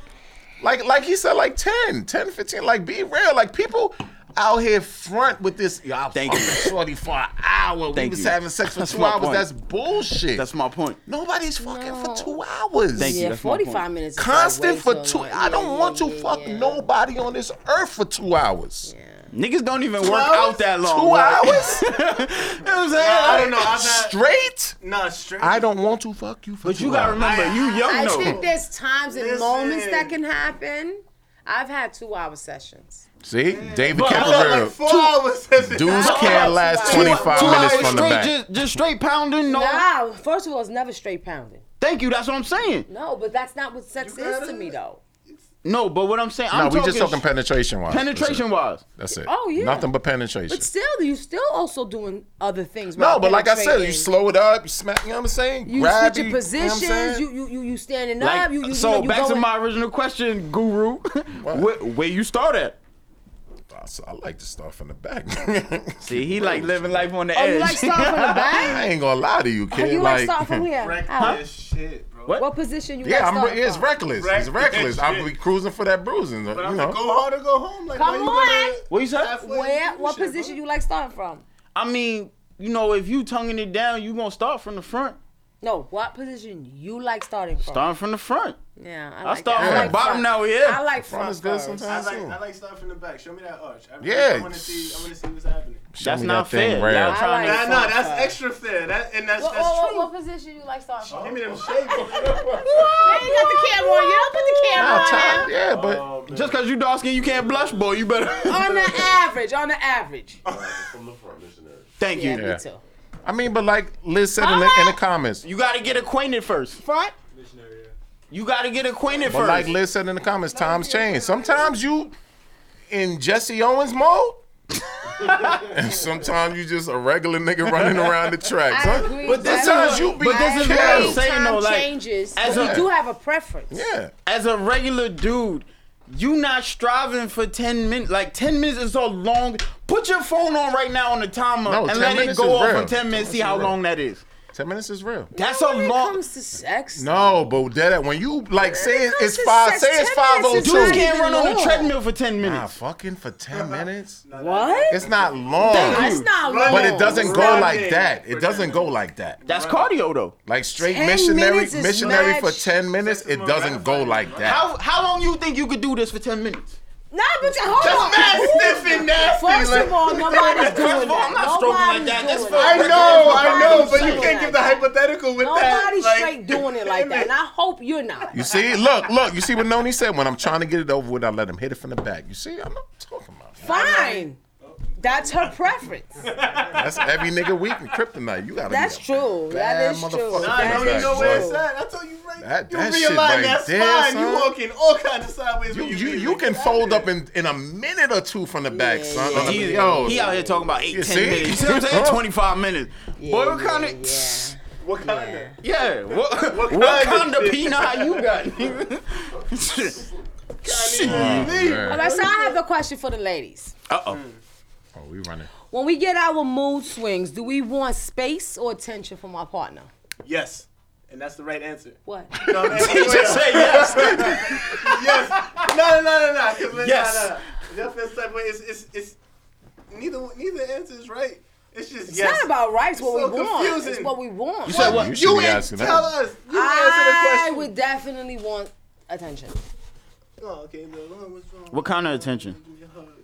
[SPEAKER 3] like, like he said, like 10, 10, 15. Like, be real. Like, people out here front with this. Yo, I Thank Shorty for an hour.
[SPEAKER 2] Thank
[SPEAKER 3] we was
[SPEAKER 2] you.
[SPEAKER 3] having sex for
[SPEAKER 2] That's
[SPEAKER 3] two
[SPEAKER 2] my
[SPEAKER 3] hours.
[SPEAKER 2] point.
[SPEAKER 3] That's bullshit.
[SPEAKER 2] That's my point.
[SPEAKER 3] Nobody's fucking for two hours.
[SPEAKER 2] Thank you, Yeah, that's my 45 point.
[SPEAKER 15] minutes.
[SPEAKER 3] Constant for two. I don't want to fuck nobody on this earth for two hours.
[SPEAKER 2] Niggas don't even
[SPEAKER 3] Two
[SPEAKER 2] work
[SPEAKER 3] hours?
[SPEAKER 2] out that long.
[SPEAKER 3] Two
[SPEAKER 2] like-
[SPEAKER 3] hours?
[SPEAKER 2] You know what I'm saying?
[SPEAKER 5] Nah, I don't know.
[SPEAKER 2] Like,
[SPEAKER 5] I've had-
[SPEAKER 3] Straight?
[SPEAKER 5] Nah, straight.
[SPEAKER 3] I don't want to fuck you for
[SPEAKER 2] But
[SPEAKER 3] two
[SPEAKER 2] you gotta
[SPEAKER 3] hours.
[SPEAKER 2] remember, you young
[SPEAKER 15] I
[SPEAKER 2] though.
[SPEAKER 15] think there's times and
[SPEAKER 5] Listen.
[SPEAKER 15] moments that can happen. I've had two hour sessions.
[SPEAKER 3] See, David
[SPEAKER 2] But I
[SPEAKER 3] kept it
[SPEAKER 2] thought, like,
[SPEAKER 3] real.
[SPEAKER 5] Four hours.
[SPEAKER 3] Dudes
[SPEAKER 2] But-
[SPEAKER 3] can't last
[SPEAKER 2] Two-
[SPEAKER 3] 25
[SPEAKER 2] two
[SPEAKER 3] minutes
[SPEAKER 2] hours
[SPEAKER 3] from the
[SPEAKER 2] straight,
[SPEAKER 3] back.
[SPEAKER 2] Just, just straight pounding. No.
[SPEAKER 15] Nah, first of all, it's never straight pounding.
[SPEAKER 2] Thank you. That's what I'm saying.
[SPEAKER 15] No, but that's not what sex is to me, though.
[SPEAKER 2] No, but what I'm saying,
[SPEAKER 3] no,
[SPEAKER 2] I'm
[SPEAKER 3] we just
[SPEAKER 2] talking
[SPEAKER 3] talking
[SPEAKER 2] sh-
[SPEAKER 3] penetration wise.
[SPEAKER 2] Penetration wise.
[SPEAKER 3] That's it.
[SPEAKER 4] Oh, yeah.
[SPEAKER 3] Nothing but penetration.
[SPEAKER 4] But still, you still also doing other things.
[SPEAKER 3] No,
[SPEAKER 4] while
[SPEAKER 3] but like I said, you
[SPEAKER 4] penetrating.
[SPEAKER 3] slow it up, you smack. You know what I'm saying?
[SPEAKER 4] You
[SPEAKER 3] Grab
[SPEAKER 4] switch your
[SPEAKER 3] you, you know what I'm
[SPEAKER 4] positions.
[SPEAKER 3] saying?
[SPEAKER 4] You, you you you standing
[SPEAKER 2] Like,
[SPEAKER 4] up. You, you
[SPEAKER 2] so
[SPEAKER 4] you know, you
[SPEAKER 2] back to
[SPEAKER 4] going-
[SPEAKER 2] my original question, Guru. where, where you start at?
[SPEAKER 3] I like to start from the back.
[SPEAKER 2] See, he like living life on the
[SPEAKER 4] Oh,
[SPEAKER 2] edge.
[SPEAKER 4] you like starting from the back?
[SPEAKER 3] I ain't gonna lie to you,
[SPEAKER 4] Oh,
[SPEAKER 3] kid.
[SPEAKER 4] you like,
[SPEAKER 3] like,
[SPEAKER 4] start from here. How?
[SPEAKER 5] shit, bro.
[SPEAKER 4] What? position you
[SPEAKER 3] yeah,
[SPEAKER 4] like
[SPEAKER 3] I'm.
[SPEAKER 4] start
[SPEAKER 3] Re- it's
[SPEAKER 4] from?
[SPEAKER 3] reckless. It's reckless. I'm be cruising for that bruising.
[SPEAKER 5] But
[SPEAKER 3] you
[SPEAKER 5] I'm
[SPEAKER 3] know.
[SPEAKER 5] gonna
[SPEAKER 2] oh,
[SPEAKER 5] go hard or go home. Like,
[SPEAKER 4] Come
[SPEAKER 5] why
[SPEAKER 4] on.
[SPEAKER 2] What you said?
[SPEAKER 4] Where? What position you like starting from?
[SPEAKER 2] I mean, you know, if you tonguing it down, you gonna start from the front.
[SPEAKER 4] No, what position you like starting from?
[SPEAKER 2] Starting from the front.
[SPEAKER 4] Yeah, I,
[SPEAKER 2] I
[SPEAKER 4] like
[SPEAKER 2] start
[SPEAKER 4] that.
[SPEAKER 2] from
[SPEAKER 4] I
[SPEAKER 2] the
[SPEAKER 4] like
[SPEAKER 2] bottom
[SPEAKER 4] front.
[SPEAKER 2] now, Oh, yeah.
[SPEAKER 4] I like
[SPEAKER 2] Front
[SPEAKER 4] front
[SPEAKER 2] is good
[SPEAKER 4] first.
[SPEAKER 5] you gonna- I like, I like stuff in the back. Show me that arch. I,
[SPEAKER 3] Yeah.
[SPEAKER 5] I want to see. I want to see what's happening.
[SPEAKER 3] Show
[SPEAKER 2] That's
[SPEAKER 3] me
[SPEAKER 2] not
[SPEAKER 3] that thing
[SPEAKER 2] fair.
[SPEAKER 3] rare.
[SPEAKER 2] Y'all
[SPEAKER 5] Nah,
[SPEAKER 2] trying to-
[SPEAKER 5] nah, that's extra fair. That and that's
[SPEAKER 4] What,
[SPEAKER 5] that's
[SPEAKER 4] what-
[SPEAKER 5] true.
[SPEAKER 4] what position you like starting from?
[SPEAKER 5] Give me them shakes.
[SPEAKER 4] You ain't got the camera on. You don't put the camera
[SPEAKER 2] Nah,
[SPEAKER 4] on
[SPEAKER 2] try-
[SPEAKER 4] now.
[SPEAKER 3] Yeah, but
[SPEAKER 2] just cause you dark skin, you can't blush, boy. You better.
[SPEAKER 4] On the average, on the average.
[SPEAKER 17] From the front, missionary.
[SPEAKER 2] Thank you.
[SPEAKER 3] Yeah. I mean, but like Liz said in, the, in the comments.
[SPEAKER 2] You gotta get acquainted first.
[SPEAKER 4] Front.
[SPEAKER 2] You gotta get acquainted
[SPEAKER 3] But
[SPEAKER 2] first.
[SPEAKER 3] like Liz said in the comments, times change. Sometimes you in Jesse Owens mode. and sometimes you just a regular nigga running around the track.
[SPEAKER 4] I
[SPEAKER 3] Some-
[SPEAKER 4] agree.
[SPEAKER 3] But
[SPEAKER 4] That's
[SPEAKER 3] sometimes
[SPEAKER 4] what-
[SPEAKER 3] you be
[SPEAKER 2] but this is what I'm
[SPEAKER 3] killed.
[SPEAKER 2] saying,
[SPEAKER 4] Time
[SPEAKER 2] though, like,
[SPEAKER 4] changes.
[SPEAKER 2] as
[SPEAKER 4] but
[SPEAKER 2] a-
[SPEAKER 4] we do have a preference.
[SPEAKER 3] Yeah.
[SPEAKER 2] as a regular dude, you not striving for 10 minutes. Like 10 minutes is so long. Put your phone on right now on the timer
[SPEAKER 3] No,
[SPEAKER 2] and
[SPEAKER 3] 10
[SPEAKER 2] let it
[SPEAKER 3] minutes
[SPEAKER 2] go
[SPEAKER 3] is
[SPEAKER 2] off
[SPEAKER 3] real.
[SPEAKER 2] for 10 minutes, see how
[SPEAKER 3] real.
[SPEAKER 2] long that is.
[SPEAKER 3] Ten minutes is real.
[SPEAKER 2] That's a
[SPEAKER 4] When it
[SPEAKER 2] long
[SPEAKER 4] comes to sex,
[SPEAKER 3] No, but that when you like say
[SPEAKER 4] comes
[SPEAKER 3] it's
[SPEAKER 4] to
[SPEAKER 3] five,
[SPEAKER 4] sex,
[SPEAKER 3] say it's
[SPEAKER 4] 10
[SPEAKER 3] five oh
[SPEAKER 4] minutes is
[SPEAKER 3] two.
[SPEAKER 2] Dudes can't run on
[SPEAKER 4] long.
[SPEAKER 2] the treadmill for 10
[SPEAKER 3] Nah,
[SPEAKER 2] minutes.
[SPEAKER 3] fucking for ten minutes.
[SPEAKER 4] what?
[SPEAKER 3] It's not long.
[SPEAKER 2] Thank
[SPEAKER 4] That's
[SPEAKER 2] you.
[SPEAKER 4] not long.
[SPEAKER 3] But it doesn't go
[SPEAKER 5] Running.
[SPEAKER 3] like that. It doesn't go like that.
[SPEAKER 2] That's cardio though.
[SPEAKER 3] Like straight
[SPEAKER 4] 10
[SPEAKER 3] missionary
[SPEAKER 4] minutes is
[SPEAKER 3] missionary
[SPEAKER 4] mad
[SPEAKER 3] for
[SPEAKER 4] sh-
[SPEAKER 3] ten minutes, it doesn't go like that.
[SPEAKER 2] How how long you think you could do this for 10 minutes?
[SPEAKER 4] Nah, but you- hold on.
[SPEAKER 2] sniffing nasty.
[SPEAKER 4] First of all, nobody's doing
[SPEAKER 2] First of all, I'm
[SPEAKER 4] that.
[SPEAKER 2] not stroking like
[SPEAKER 4] Nobody's
[SPEAKER 2] that. That's
[SPEAKER 4] doing
[SPEAKER 2] for-
[SPEAKER 4] that.
[SPEAKER 5] I know, I know,
[SPEAKER 4] Nobody's
[SPEAKER 5] but you
[SPEAKER 4] doing
[SPEAKER 5] can't
[SPEAKER 4] that.
[SPEAKER 5] give the hypothetical with that.
[SPEAKER 4] Nobody's
[SPEAKER 5] like-
[SPEAKER 4] straight doing it like that. And I hope you're not.
[SPEAKER 3] You see, look, look, you see what Noni said? When I'm trying to get it over with, I let him hit it from the back. You see, I'm not talking about that.
[SPEAKER 4] Fine. That's her preference.
[SPEAKER 3] That's every nigga weak in kryptonite. You gotta
[SPEAKER 4] That's
[SPEAKER 3] be a
[SPEAKER 4] true. That
[SPEAKER 3] bad
[SPEAKER 4] is
[SPEAKER 3] motherfucker
[SPEAKER 4] true.
[SPEAKER 3] for
[SPEAKER 5] I
[SPEAKER 4] That
[SPEAKER 5] don't
[SPEAKER 3] that
[SPEAKER 5] even
[SPEAKER 4] is
[SPEAKER 5] know where
[SPEAKER 3] bro.
[SPEAKER 5] it's
[SPEAKER 4] true.
[SPEAKER 5] at. I told you right.
[SPEAKER 3] That,
[SPEAKER 5] You
[SPEAKER 3] that shit
[SPEAKER 5] realign
[SPEAKER 3] right
[SPEAKER 5] that
[SPEAKER 3] there,
[SPEAKER 5] spine.
[SPEAKER 3] son.
[SPEAKER 5] You walking all kind of sideways.
[SPEAKER 3] You,
[SPEAKER 5] when
[SPEAKER 3] you,
[SPEAKER 5] do
[SPEAKER 3] you
[SPEAKER 5] it.
[SPEAKER 3] can fold up in, in a minute or two from the back, son.
[SPEAKER 2] Yeah,
[SPEAKER 3] Yo,
[SPEAKER 2] he, he out here talking about 8,
[SPEAKER 3] You
[SPEAKER 2] 10
[SPEAKER 3] see?
[SPEAKER 2] minutes. You see what I'm saying?
[SPEAKER 3] Huh?
[SPEAKER 2] 25 minutes. Boy, what kind of.
[SPEAKER 5] What kind of?
[SPEAKER 2] Yeah, what, what,
[SPEAKER 5] What
[SPEAKER 2] kind
[SPEAKER 5] kind
[SPEAKER 2] of
[SPEAKER 5] of-
[SPEAKER 2] peanut you got? nigga? Shit.
[SPEAKER 4] All right, so I have a question for the ladies.
[SPEAKER 2] Uh oh.
[SPEAKER 3] oh, we running.
[SPEAKER 4] When we get our mood swings, do we want space or attention from our partner?
[SPEAKER 5] Yes, and that's the right answer.
[SPEAKER 4] What?
[SPEAKER 5] No, no, no, no,
[SPEAKER 2] Just say yes.
[SPEAKER 5] yes. No, no, no, no, no. 'cause when-
[SPEAKER 2] Yes.
[SPEAKER 5] No, no, no. That feels type of way. It's, it's, it's. Neither, neither answer is right. It's just yes.
[SPEAKER 4] It's not about right. It's what
[SPEAKER 5] so
[SPEAKER 4] we want.
[SPEAKER 5] confusing.
[SPEAKER 4] It's what we want.
[SPEAKER 2] said what?
[SPEAKER 3] You should
[SPEAKER 5] You
[SPEAKER 3] be
[SPEAKER 5] ain't
[SPEAKER 3] asking
[SPEAKER 5] tell
[SPEAKER 3] that.
[SPEAKER 5] us. You
[SPEAKER 4] I
[SPEAKER 5] answer the question.
[SPEAKER 4] would definitely want attention.
[SPEAKER 5] Oh, okay. The alarm was wrong.
[SPEAKER 2] What kind of attention?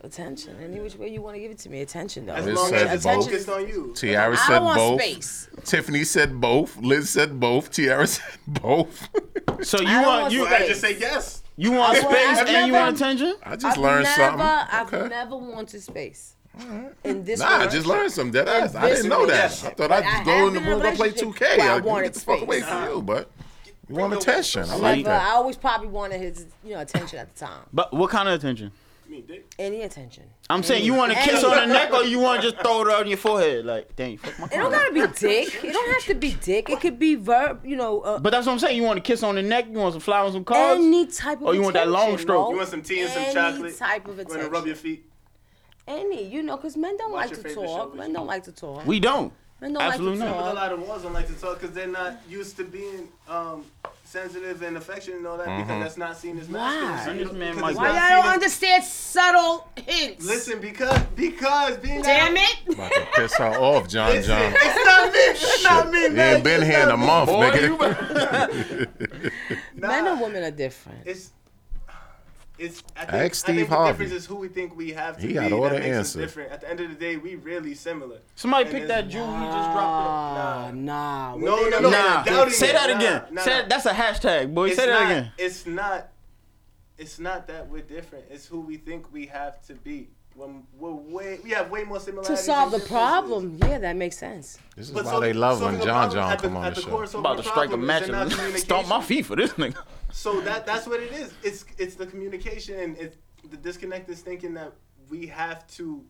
[SPEAKER 4] Attention. Any which way you want to give it to me. Attention, though.
[SPEAKER 5] As
[SPEAKER 3] Liz
[SPEAKER 5] long
[SPEAKER 3] said
[SPEAKER 5] as it's
[SPEAKER 3] both.
[SPEAKER 5] focused on you.
[SPEAKER 3] Tiara
[SPEAKER 4] I
[SPEAKER 3] said
[SPEAKER 4] don't want
[SPEAKER 3] both.
[SPEAKER 4] space.
[SPEAKER 3] Tiffany said both. Liz said both. Tiara said both.
[SPEAKER 2] So you
[SPEAKER 4] I don't
[SPEAKER 2] want
[SPEAKER 4] want
[SPEAKER 2] you
[SPEAKER 4] space.
[SPEAKER 5] I just say yes.
[SPEAKER 2] you want
[SPEAKER 4] I want-
[SPEAKER 2] space
[SPEAKER 4] I've
[SPEAKER 2] and you
[SPEAKER 4] never-
[SPEAKER 2] want attention?
[SPEAKER 3] I just
[SPEAKER 4] I've
[SPEAKER 3] learned
[SPEAKER 4] never,
[SPEAKER 3] something.
[SPEAKER 4] I've
[SPEAKER 3] Okay.
[SPEAKER 4] never wanted space. In this
[SPEAKER 3] Nah, I
[SPEAKER 4] relationship.
[SPEAKER 3] just learned something. Dead ass. I
[SPEAKER 4] this
[SPEAKER 3] didn't know that.
[SPEAKER 4] relationship.
[SPEAKER 3] I thought
[SPEAKER 4] Like,
[SPEAKER 3] I'd
[SPEAKER 4] I
[SPEAKER 3] just
[SPEAKER 4] have
[SPEAKER 3] go in the
[SPEAKER 4] been in a
[SPEAKER 3] room and play
[SPEAKER 4] relationship
[SPEAKER 3] 2K.
[SPEAKER 4] where I
[SPEAKER 3] I get
[SPEAKER 4] wanted
[SPEAKER 3] the fuck away
[SPEAKER 4] space.
[SPEAKER 3] from you, but you want attention. I like
[SPEAKER 4] Like, uh, I
[SPEAKER 3] that.
[SPEAKER 4] always probably wanted his, you know, attention at the time.
[SPEAKER 2] But what kind of attention?
[SPEAKER 4] Any attention.
[SPEAKER 2] I'm saying
[SPEAKER 4] Mm.
[SPEAKER 2] you want to kiss on the neck or you want to just throw it on your forehead like, dang, fuck my
[SPEAKER 4] It
[SPEAKER 2] car.
[SPEAKER 4] don't gotta be dick. It don't have to be dick. It could be verb. You know, uh,
[SPEAKER 2] But that's what I'm saying. You want to kiss on the neck? You want some flowers, some cards?
[SPEAKER 4] any type of.
[SPEAKER 2] Oh, you want that long
[SPEAKER 4] attention,
[SPEAKER 2] stroke.
[SPEAKER 4] Mo.
[SPEAKER 5] You want some tea and some
[SPEAKER 4] Any
[SPEAKER 5] chocolate?
[SPEAKER 4] type of
[SPEAKER 5] Gonna rub your
[SPEAKER 4] attention.
[SPEAKER 5] feet.
[SPEAKER 4] Any, you know, because men don't
[SPEAKER 5] Watch
[SPEAKER 4] like
[SPEAKER 5] your
[SPEAKER 4] to
[SPEAKER 5] favorite show
[SPEAKER 4] talk.
[SPEAKER 5] with
[SPEAKER 4] Men
[SPEAKER 5] you.
[SPEAKER 4] don't like to talk.
[SPEAKER 2] we don't.
[SPEAKER 4] Men don't like to
[SPEAKER 2] Absolutely not.
[SPEAKER 5] But a
[SPEAKER 4] talk.
[SPEAKER 5] lot of wars don't like to talk because they're not used to being um, sensitive and affectionate and all that because that's not seen as masculine.
[SPEAKER 2] This Mm-hmm. man
[SPEAKER 5] 'Cause
[SPEAKER 2] might
[SPEAKER 5] it's
[SPEAKER 2] be-
[SPEAKER 5] not
[SPEAKER 4] Why
[SPEAKER 5] seen
[SPEAKER 4] y'all
[SPEAKER 5] as-
[SPEAKER 4] don't understand subtle hints?
[SPEAKER 5] Listen, because because being
[SPEAKER 4] Damn
[SPEAKER 5] that,
[SPEAKER 4] it!
[SPEAKER 3] About to piss her off, John
[SPEAKER 5] Listen,
[SPEAKER 3] John.
[SPEAKER 5] it's not me. It's not me.
[SPEAKER 3] You
[SPEAKER 5] man.
[SPEAKER 3] ain't been
[SPEAKER 5] It's
[SPEAKER 3] here in
[SPEAKER 5] not
[SPEAKER 3] a
[SPEAKER 5] me.
[SPEAKER 3] month,
[SPEAKER 2] Boy, you
[SPEAKER 3] nigga.
[SPEAKER 2] better-
[SPEAKER 5] Nah,
[SPEAKER 4] Men and women are different.
[SPEAKER 5] It's it's. I
[SPEAKER 3] Ask
[SPEAKER 5] think, I
[SPEAKER 3] Steve
[SPEAKER 5] think
[SPEAKER 3] Harvey.
[SPEAKER 5] The difference is who we think we have to
[SPEAKER 3] He
[SPEAKER 5] be.
[SPEAKER 3] got all
[SPEAKER 5] that
[SPEAKER 3] the
[SPEAKER 5] makes us
[SPEAKER 3] answer.
[SPEAKER 5] Different. At the end of the day, we really similar.
[SPEAKER 2] Somebody
[SPEAKER 5] And
[SPEAKER 2] pick
[SPEAKER 5] there's-
[SPEAKER 2] that jewel he just dropped.
[SPEAKER 4] Ah, nah.
[SPEAKER 5] No, no, no.
[SPEAKER 2] Up. Nah,
[SPEAKER 5] doubting
[SPEAKER 2] say
[SPEAKER 5] it.
[SPEAKER 2] that
[SPEAKER 5] Nah,
[SPEAKER 2] again.
[SPEAKER 5] nah,
[SPEAKER 2] say
[SPEAKER 5] nah.
[SPEAKER 2] that's a hashtag, boy.
[SPEAKER 5] it's
[SPEAKER 2] say that
[SPEAKER 5] not,
[SPEAKER 2] again.
[SPEAKER 5] It's not. It's not that we're different. It's who we think we have to be. When we're way, we have way more
[SPEAKER 4] To
[SPEAKER 5] similarities.
[SPEAKER 4] solve
[SPEAKER 5] than
[SPEAKER 4] the problem. Yeah, that makes sense.
[SPEAKER 3] This is
[SPEAKER 5] But
[SPEAKER 3] why
[SPEAKER 5] so-
[SPEAKER 3] they love
[SPEAKER 5] so
[SPEAKER 3] when
[SPEAKER 5] the
[SPEAKER 3] John
[SPEAKER 5] problem
[SPEAKER 3] John
[SPEAKER 5] at the-
[SPEAKER 3] come on the
[SPEAKER 5] at the
[SPEAKER 3] show.
[SPEAKER 5] core is I'm about to
[SPEAKER 2] strike a match
[SPEAKER 5] not
[SPEAKER 2] and stomp my feet for this nigga.
[SPEAKER 5] So that that's what it is. It's it's the communication and it's the disconnect is thinking that we have to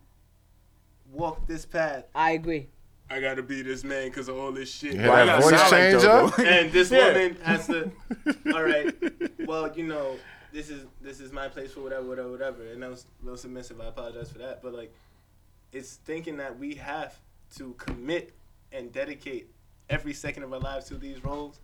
[SPEAKER 5] walk this path.
[SPEAKER 4] I agree.
[SPEAKER 5] I gotta be this man because of all this shit.
[SPEAKER 3] You hear Why that you gotta voice sound like change Joe, up? though?
[SPEAKER 5] And this
[SPEAKER 3] Yeah.
[SPEAKER 5] woman has to. All right. Well, you know, this is this is my place for whatever, whatever, whatever. And I was a little submissive. I apologize for that. But like, it's thinking that we have to commit and dedicate every second of our lives to these roles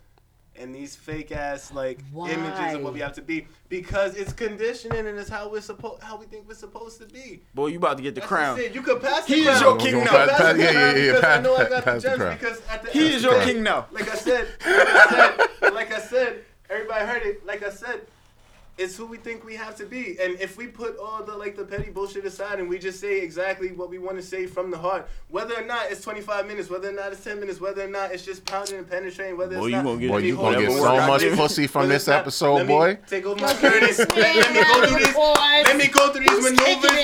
[SPEAKER 5] and these fake ass like images of
[SPEAKER 2] Why?
[SPEAKER 5] what we have to be because it's conditioning and it's how we're supposed how we think we're supposed to be.
[SPEAKER 2] Boy, you about to get the
[SPEAKER 5] That's
[SPEAKER 2] crown.
[SPEAKER 5] just it. You could pass the
[SPEAKER 2] He is
[SPEAKER 5] crown.
[SPEAKER 2] your
[SPEAKER 5] You
[SPEAKER 2] king
[SPEAKER 5] could
[SPEAKER 2] now.
[SPEAKER 5] pass the
[SPEAKER 2] Pass- yeah, yeah,
[SPEAKER 5] crown
[SPEAKER 2] yeah,
[SPEAKER 5] because
[SPEAKER 2] pass-
[SPEAKER 5] I know I
[SPEAKER 2] pass-
[SPEAKER 5] got
[SPEAKER 2] pass the
[SPEAKER 5] the
[SPEAKER 2] crown.
[SPEAKER 5] gems because at the
[SPEAKER 2] He
[SPEAKER 5] end-
[SPEAKER 2] is your king now.
[SPEAKER 5] Like I said, like I said, like I said, everybody heard it. Like I said, it's who we think we have to be. And if we put all the like the petty bullshit aside and we just say exactly what we want to say from the heart, whether or not it's 25 minutes, whether or not it's 10 minutes, whether or not it's just pounding and penetrating, whether
[SPEAKER 3] Boy,
[SPEAKER 5] it's
[SPEAKER 3] you
[SPEAKER 5] not,
[SPEAKER 3] gonna get,
[SPEAKER 5] let
[SPEAKER 3] boy,
[SPEAKER 5] me
[SPEAKER 3] you
[SPEAKER 5] hold
[SPEAKER 3] gonna get
[SPEAKER 5] it
[SPEAKER 3] so
[SPEAKER 5] over.
[SPEAKER 3] much
[SPEAKER 5] Let me-
[SPEAKER 3] pussy from
[SPEAKER 5] whether
[SPEAKER 3] this
[SPEAKER 5] it's not-
[SPEAKER 3] episode,
[SPEAKER 5] let me
[SPEAKER 3] boy.
[SPEAKER 5] Take over my curtains. Let, let me go through these. Let, let me go through these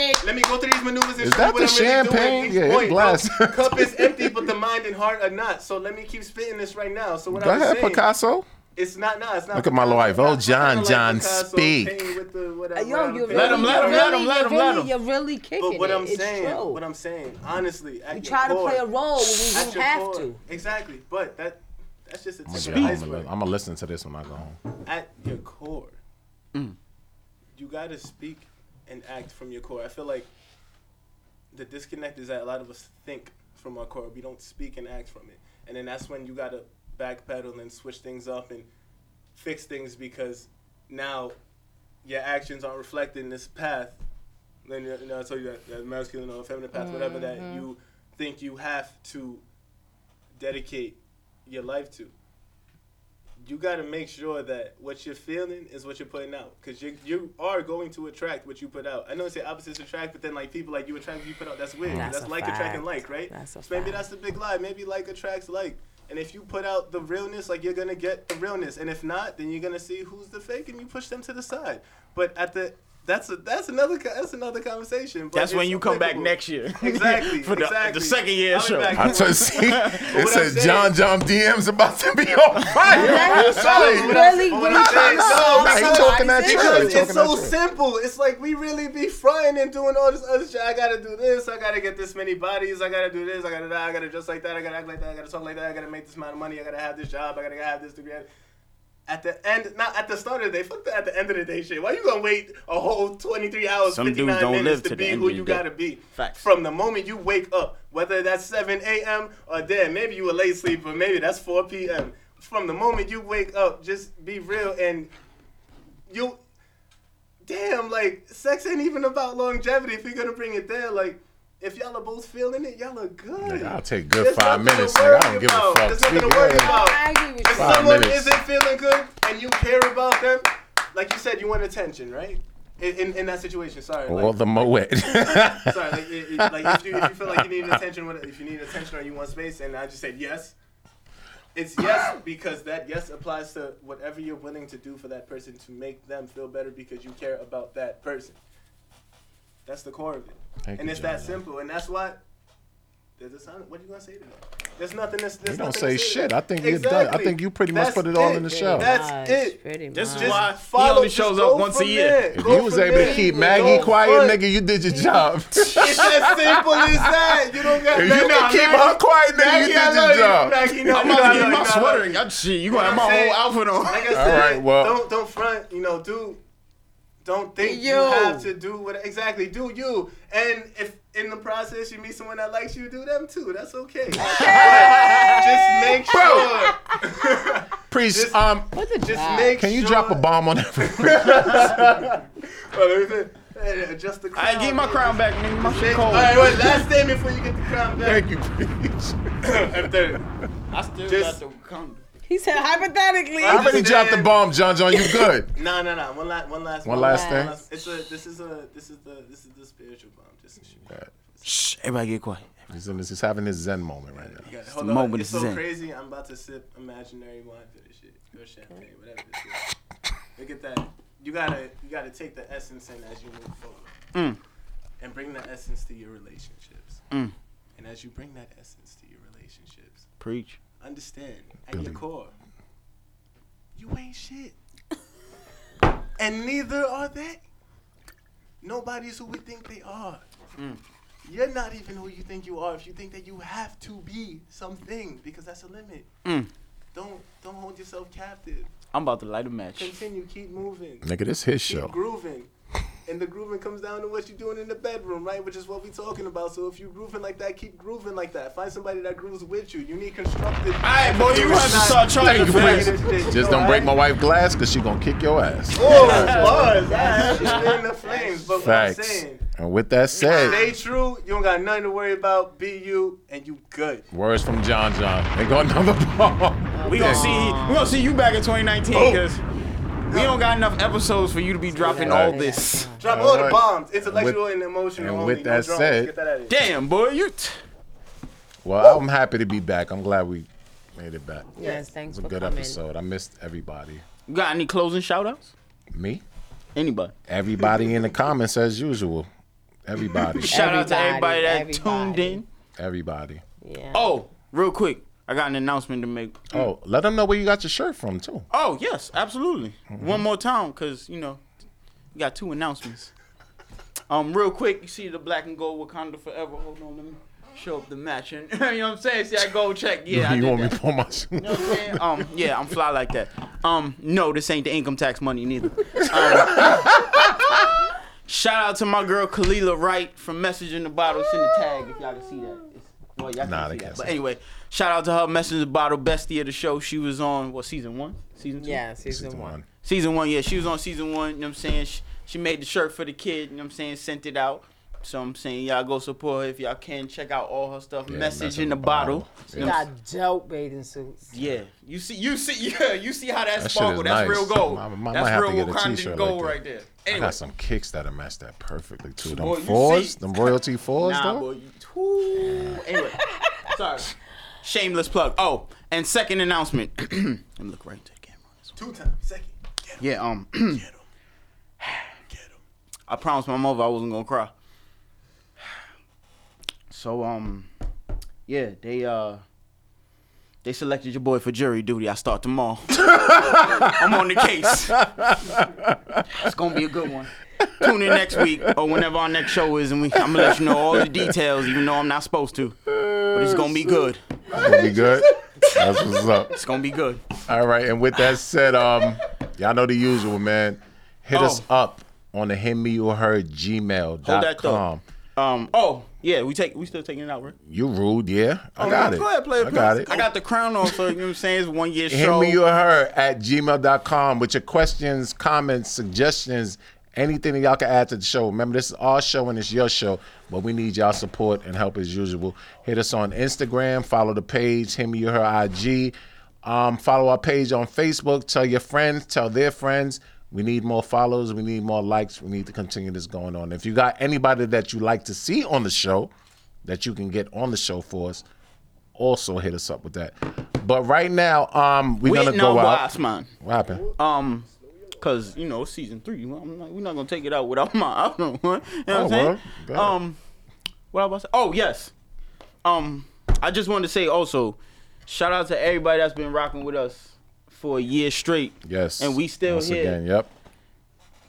[SPEAKER 5] maneuvers. Let me go through these maneuvers and
[SPEAKER 3] Is
[SPEAKER 5] show
[SPEAKER 3] that
[SPEAKER 5] you what
[SPEAKER 3] the
[SPEAKER 5] I'm really
[SPEAKER 3] champagne?
[SPEAKER 5] doing. at each
[SPEAKER 3] Yeah, it's
[SPEAKER 5] point.
[SPEAKER 3] glass.
[SPEAKER 5] No, cup is empty, but the mind and heart are not. So let me keep spitting this right now. So what
[SPEAKER 3] Go
[SPEAKER 5] I was
[SPEAKER 3] ahead,
[SPEAKER 5] saying,
[SPEAKER 3] Picasso.
[SPEAKER 5] It's not. Nah, it's not.
[SPEAKER 3] Look at my life. Oh, John, John,
[SPEAKER 5] Picasso,
[SPEAKER 3] speak.
[SPEAKER 5] Pain with the, whatever,
[SPEAKER 4] Uh, Yo,
[SPEAKER 5] I'm
[SPEAKER 4] you
[SPEAKER 5] feeling.
[SPEAKER 4] really, you really, you really, You're really kicking
[SPEAKER 5] But what
[SPEAKER 4] it.
[SPEAKER 5] I'm
[SPEAKER 4] It's
[SPEAKER 5] saying,
[SPEAKER 4] true.
[SPEAKER 5] what I'm saying, honestly, at
[SPEAKER 4] We
[SPEAKER 5] your
[SPEAKER 4] try to
[SPEAKER 5] core-
[SPEAKER 4] play a role when we
[SPEAKER 5] at
[SPEAKER 4] don't
[SPEAKER 5] your
[SPEAKER 4] have
[SPEAKER 5] core.
[SPEAKER 4] to.
[SPEAKER 5] Exactly, but that that's just a
[SPEAKER 3] I'm gonna, get
[SPEAKER 5] tip of the
[SPEAKER 3] home and li-
[SPEAKER 5] iceberg.
[SPEAKER 3] I'm gonna listen to this when I go home.
[SPEAKER 5] At your core, you gotta speak and act from your core. I feel like the disconnect is that a lot of us think from our core. We don't speak and act from it, and then that's when you gotta backpedal and switch things up and fix things because now your actions aren't reflecting this path. Then you know I told you that, that masculine or feminine path, whatever that
[SPEAKER 6] Mhm.
[SPEAKER 5] you think you have to dedicate your life to. You got to make sure that what you're feeling is what you're putting out, because you you are going to attract what you put out. I know they say opposites attract, but then like people like you attract what you put out. That's weird. 'cause
[SPEAKER 6] That's
[SPEAKER 5] That's,
[SPEAKER 6] a
[SPEAKER 5] like attracting
[SPEAKER 6] fact.
[SPEAKER 5] like, right?
[SPEAKER 6] That's a
[SPEAKER 5] so maybe
[SPEAKER 6] fact.
[SPEAKER 5] that's the big lie. Maybe like attracts like. And if you put out the realness, like you're gonna get the realness. And if not, then you're gonna see who's the fake, and you push them to the side. But at the that's a, that's another co- that's another conversation. But
[SPEAKER 2] That's when
[SPEAKER 5] it's
[SPEAKER 2] you come back
[SPEAKER 5] applicable.
[SPEAKER 2] next year.
[SPEAKER 5] Exactly.
[SPEAKER 2] For the,
[SPEAKER 5] exactly.
[SPEAKER 2] the second year
[SPEAKER 5] I'll be
[SPEAKER 2] show.
[SPEAKER 5] back.
[SPEAKER 3] I told see, it
[SPEAKER 5] I'm
[SPEAKER 3] says
[SPEAKER 5] saying-
[SPEAKER 3] John John DM's about to be on fire.
[SPEAKER 5] That is
[SPEAKER 3] Sorry.
[SPEAKER 5] so really-
[SPEAKER 3] No,
[SPEAKER 5] what
[SPEAKER 3] no,
[SPEAKER 5] I'm saying,
[SPEAKER 3] no,
[SPEAKER 5] no,
[SPEAKER 3] he
[SPEAKER 5] no,
[SPEAKER 3] talking that
[SPEAKER 5] because
[SPEAKER 3] trash. He
[SPEAKER 5] It's
[SPEAKER 3] talking
[SPEAKER 5] so
[SPEAKER 3] that trash.
[SPEAKER 5] simple. It's like we really be frying and doing all this other shit. I gotta do this. I gotta get this many bodies. I gotta do this. I gotta that. I gotta dress like that. I gotta act like that. I gotta talk like that. I gotta make this amount of money. I gotta have this job. I gotta have this degree. At the end, not at the start of the day. Fuck the at the end of the day shit. Why you gonna wait a whole 23 hours,
[SPEAKER 2] Some dudes
[SPEAKER 5] 59
[SPEAKER 2] don't
[SPEAKER 5] minutes
[SPEAKER 2] live
[SPEAKER 5] to
[SPEAKER 2] to the
[SPEAKER 5] be
[SPEAKER 2] end
[SPEAKER 5] who
[SPEAKER 2] of the
[SPEAKER 5] you
[SPEAKER 2] day.
[SPEAKER 5] gotta be?
[SPEAKER 2] Facts.
[SPEAKER 5] From the moment you wake up, whether that's 7 a.m. or then maybe you a late sleeper, maybe that's 4 p.m. From the moment you wake up, just be real and you. Damn, like sex ain't even about longevity. If you're gonna bring it there, like if y'all are both feeling it, y'all are good.
[SPEAKER 3] Nigga, I'll take good
[SPEAKER 5] There's
[SPEAKER 3] five
[SPEAKER 5] nothing
[SPEAKER 3] minutes.
[SPEAKER 5] to
[SPEAKER 3] Nigga. I
[SPEAKER 5] worry
[SPEAKER 3] don't give a
[SPEAKER 5] about.
[SPEAKER 3] fuck.
[SPEAKER 5] There's nothing to
[SPEAKER 3] Speak
[SPEAKER 5] worry
[SPEAKER 3] your-
[SPEAKER 5] about. If
[SPEAKER 3] Five
[SPEAKER 5] someone
[SPEAKER 3] minutes.
[SPEAKER 5] isn't feeling good and you care about them, like you said, you want attention, right? In, in, in that situation, sorry.
[SPEAKER 3] Well,
[SPEAKER 5] like,
[SPEAKER 3] the moet.
[SPEAKER 5] sorry, like, it, it, like if, you, if you feel like you need attention, what- if you need attention or you want space, and I just said yes, it's yes because that yes applies to whatever you're willing to do for that person to make them feel better because you care about that person. That's the core of it,
[SPEAKER 3] Thank
[SPEAKER 5] and
[SPEAKER 3] you,
[SPEAKER 5] it's that
[SPEAKER 3] John.
[SPEAKER 5] simple, and that's why. There's a sign. What are you gonna say to that? There's nothing. That's, there's
[SPEAKER 3] You don't
[SPEAKER 5] nothing
[SPEAKER 3] say
[SPEAKER 5] to to
[SPEAKER 3] shit.
[SPEAKER 5] that.
[SPEAKER 3] I think you're done. I think you pretty much
[SPEAKER 5] That's
[SPEAKER 3] put it all in the show.
[SPEAKER 5] That's it.
[SPEAKER 2] This is
[SPEAKER 5] Just
[SPEAKER 2] why he
[SPEAKER 5] follow-
[SPEAKER 2] only
[SPEAKER 5] just
[SPEAKER 2] shows
[SPEAKER 5] go
[SPEAKER 2] up once a
[SPEAKER 5] from
[SPEAKER 2] year.
[SPEAKER 5] there.
[SPEAKER 3] If
[SPEAKER 5] Go
[SPEAKER 3] you was
[SPEAKER 5] from
[SPEAKER 3] able to
[SPEAKER 5] there.
[SPEAKER 3] keep
[SPEAKER 5] Go
[SPEAKER 3] Maggie quiet,
[SPEAKER 5] front.
[SPEAKER 3] nigga, you did your job.
[SPEAKER 5] It's as simple as that. You don't got
[SPEAKER 3] If you
[SPEAKER 5] nothing.
[SPEAKER 3] can keep her quiet, nigga, you
[SPEAKER 5] Maggie, I
[SPEAKER 3] did your
[SPEAKER 5] love you.
[SPEAKER 3] job.
[SPEAKER 5] Maggie, no,
[SPEAKER 2] I'm
[SPEAKER 5] no,
[SPEAKER 2] about to
[SPEAKER 5] no,
[SPEAKER 2] get
[SPEAKER 5] no,
[SPEAKER 2] my
[SPEAKER 5] no.
[SPEAKER 2] sweater and got shit. You gonna have my
[SPEAKER 5] know what I'm
[SPEAKER 2] whole outfit on.
[SPEAKER 5] Like I
[SPEAKER 2] All
[SPEAKER 5] said,
[SPEAKER 2] right, well-
[SPEAKER 5] don't don't front. You know, do don't think you.
[SPEAKER 2] You.
[SPEAKER 5] have to do what exactly do you. And if in the process you meet someone that likes you, do them too. That's okay. But just make
[SPEAKER 3] Bro.
[SPEAKER 5] sure.
[SPEAKER 3] Priest, um,
[SPEAKER 5] Just make
[SPEAKER 3] can you drop a bomb on
[SPEAKER 5] Well, let me say- hey, Adjust the crown.
[SPEAKER 2] right, give me my crown back, nigga. My shit cold.
[SPEAKER 5] All right, wait, last statement before you get the crown back.
[SPEAKER 3] you, Priest.
[SPEAKER 5] I'm thirty.
[SPEAKER 2] I still
[SPEAKER 5] Just-
[SPEAKER 2] got the condom.
[SPEAKER 4] He said hypothetically.
[SPEAKER 3] I already dropped the bomb, John John. You good?
[SPEAKER 5] No, no, no. One last, one last,
[SPEAKER 3] One last thing?
[SPEAKER 5] It's a. This is a. This is the. This is the spiritual bomb. Just to shoot.
[SPEAKER 3] Shh,
[SPEAKER 2] everybody get quiet.
[SPEAKER 3] He's, in this, he's having his Zen moment right now.
[SPEAKER 5] You gotta- hold on. it's so crazy. I'm about to sip imaginary wine for this shit. Or champagne, whatever. This is. Look at that. You gotta, you gotta take the essence in as you move forward. and bring that essence to your relationships.
[SPEAKER 2] Mm.
[SPEAKER 5] And as you bring that essence to your relationships,
[SPEAKER 2] Preach.
[SPEAKER 5] understand at
[SPEAKER 2] Billy.
[SPEAKER 5] your core, you ain't shit. and neither are they. Nobody's who we think they are.
[SPEAKER 7] Mm.
[SPEAKER 5] You're not even who you think you are if you think that you have to be something because that's a limit.
[SPEAKER 2] Mm.
[SPEAKER 5] Don't don't hold yourself captive.
[SPEAKER 2] I'm about to light a match.
[SPEAKER 5] Continue, keep moving.
[SPEAKER 3] Nigga, this his
[SPEAKER 5] Keep
[SPEAKER 3] show.
[SPEAKER 5] Grooving. And the grooving comes down to what you're doing in the bedroom, right? Which is what we're talking about. So if you grooving like that, keep grooving like that. Find somebody that grooves with you. You need constructive. All right,
[SPEAKER 2] boy, you have to start charging for that.
[SPEAKER 3] Just don't break my wife glass because she gonna kick your ass.
[SPEAKER 5] Oh, bars. Alright, She's in the flames. But what I'm
[SPEAKER 3] Facts.
[SPEAKER 5] saying,
[SPEAKER 3] And with that said,
[SPEAKER 5] stay true. You don't got nothing to worry about. Be you, and you good.
[SPEAKER 3] words from John John. They got another bomb.
[SPEAKER 2] We gonna see. We gonna see you back in 2019 because we don't got enough episodes for you to be dropping all this.
[SPEAKER 5] Drop all the bombs, intellectual and emotional.
[SPEAKER 3] and
[SPEAKER 5] only.
[SPEAKER 3] with
[SPEAKER 5] No
[SPEAKER 3] that
[SPEAKER 5] drums.
[SPEAKER 3] said-
[SPEAKER 5] Get that out of here.
[SPEAKER 2] Damn, boy, you. T-
[SPEAKER 3] Well, I'm happy to be back. I'm glad we made it back.
[SPEAKER 2] Yes,
[SPEAKER 3] It
[SPEAKER 2] thanks
[SPEAKER 3] was a
[SPEAKER 2] for
[SPEAKER 3] good
[SPEAKER 2] coming.
[SPEAKER 3] episode. I missed everybody.
[SPEAKER 2] you got any closing shout outs?
[SPEAKER 3] Me?
[SPEAKER 2] Anybody?
[SPEAKER 3] Everybody in the comments as usual. Everybody.
[SPEAKER 2] Shout out to everybody that tuned in.
[SPEAKER 3] Everybody.
[SPEAKER 15] Yeah.
[SPEAKER 2] Oh, real quick, I got an announcement to make.
[SPEAKER 3] Oh, let them know where you got your shirt from too.
[SPEAKER 2] Oh yes, absolutely. One more time, cause you know, we got two announcements. Um, real quick, you see the black and gold Wakanda forever. Hold on, let me show up the match. And you know what I'm saying? See that gold check? Yeah, I
[SPEAKER 3] you
[SPEAKER 2] did
[SPEAKER 3] want me
[SPEAKER 2] that.
[SPEAKER 3] to pull my shoe?
[SPEAKER 2] You know what I'm saying? Um, yeah, I'm fly like that. Um, no, this ain't the income tax money neither. Um, shout out to my girl Kalila Wright from Message in the Bottle. Send the tag if y'all can see that. It's, well, y'all can
[SPEAKER 3] Nah, they
[SPEAKER 2] see that.
[SPEAKER 3] can't see
[SPEAKER 2] But
[SPEAKER 3] it.
[SPEAKER 2] anyway, shout out to her Message in the Bottle, bestie of the show. She was on what season one? Season two?
[SPEAKER 15] Yeah, season Season one. one.
[SPEAKER 2] Season one, yeah. She was on season one, you know what I'm saying? She, she made the shirt for the kid, you know what I'm saying? Sent it out. So I'm saying y'all go support her if y'all can. Check out all her stuff.
[SPEAKER 15] Yeah,
[SPEAKER 2] message in the bottle.
[SPEAKER 15] She
[SPEAKER 2] You know what I'm
[SPEAKER 15] got dope bathing suits.
[SPEAKER 2] yeah, you see, you see, yeah, you see how that,
[SPEAKER 3] That shit
[SPEAKER 2] sparkle.
[SPEAKER 3] is
[SPEAKER 2] That's
[SPEAKER 3] nice.
[SPEAKER 2] real gold.
[SPEAKER 3] I- I might
[SPEAKER 2] That's
[SPEAKER 3] have to
[SPEAKER 2] real
[SPEAKER 3] get a
[SPEAKER 2] Wakandan
[SPEAKER 3] t-shirt
[SPEAKER 2] gold
[SPEAKER 3] like that.
[SPEAKER 2] right there.
[SPEAKER 3] I
[SPEAKER 2] Anyway,
[SPEAKER 3] got some kicks that'll match that perfectly too. Them
[SPEAKER 2] Boy, you
[SPEAKER 3] fours,
[SPEAKER 2] see-
[SPEAKER 3] them royalty fours
[SPEAKER 2] nah,
[SPEAKER 3] though.
[SPEAKER 2] boy. You, whoo. anyway, sorry. Shameless plug. Oh, and second announcement. Let me look right there.
[SPEAKER 5] Two times. Second.
[SPEAKER 2] Yeah. Um. I promised my mother I wasn't gonna cry. So um, yeah, they uh, they selected your boy for jury duty. I start tomorrow. I'm on the case. It's gonna be a good one. Tune in next week or whenever our next show is, and we, I'm gonna let you know all the details, even though I'm not supposed to. But it's gonna be good.
[SPEAKER 3] It's gonna be good. That's what's up. It's
[SPEAKER 2] gonna be good.
[SPEAKER 3] All right, and with that said, um, y'all know the usual, man. Hit us up on the him me you heard
[SPEAKER 2] Oh. Hold that
[SPEAKER 3] gmail.com.
[SPEAKER 2] though. Um. Oh yeah, we take we still taking it out, right?
[SPEAKER 3] You rude, yeah. I got it.
[SPEAKER 2] Oh, Go ahead, play it.
[SPEAKER 3] I got
[SPEAKER 2] please.
[SPEAKER 3] it.
[SPEAKER 2] I got the crown on, so you know what I'm saying. It's one year
[SPEAKER 3] Hit
[SPEAKER 2] show.
[SPEAKER 3] me you her at gmail.com with your questions, comments, suggestions, anything that y'all can add to the show. Remember, this is our show and it's your show, but we need y'all support and help as usual. Hit us on Instagram, follow the page, him you her IG. Um, follow our page on Facebook, tell your friends, tell their friends. We need more follows, we need more likes, we need to continue this going on. If you got anybody that you like to see on the show, that you can get on the show for us, also hit us up with that. But right now, um, we're
[SPEAKER 2] We
[SPEAKER 3] gonna
[SPEAKER 2] hitting
[SPEAKER 3] go
[SPEAKER 2] our
[SPEAKER 3] out.
[SPEAKER 2] vibes, man.
[SPEAKER 3] What happened?
[SPEAKER 2] Um, cause you know season three, well, I'm not, we're not gonna take it out without my album. You know what
[SPEAKER 3] Oh,
[SPEAKER 2] I'm saying?
[SPEAKER 3] well, go ahead.
[SPEAKER 2] um, what I was about to Oh yes. Um, I just wanted to say also, shout out to everybody that's been rocking with us for a year straight.
[SPEAKER 3] Yes.
[SPEAKER 2] And we still
[SPEAKER 3] Once
[SPEAKER 2] here.
[SPEAKER 3] Again, yep.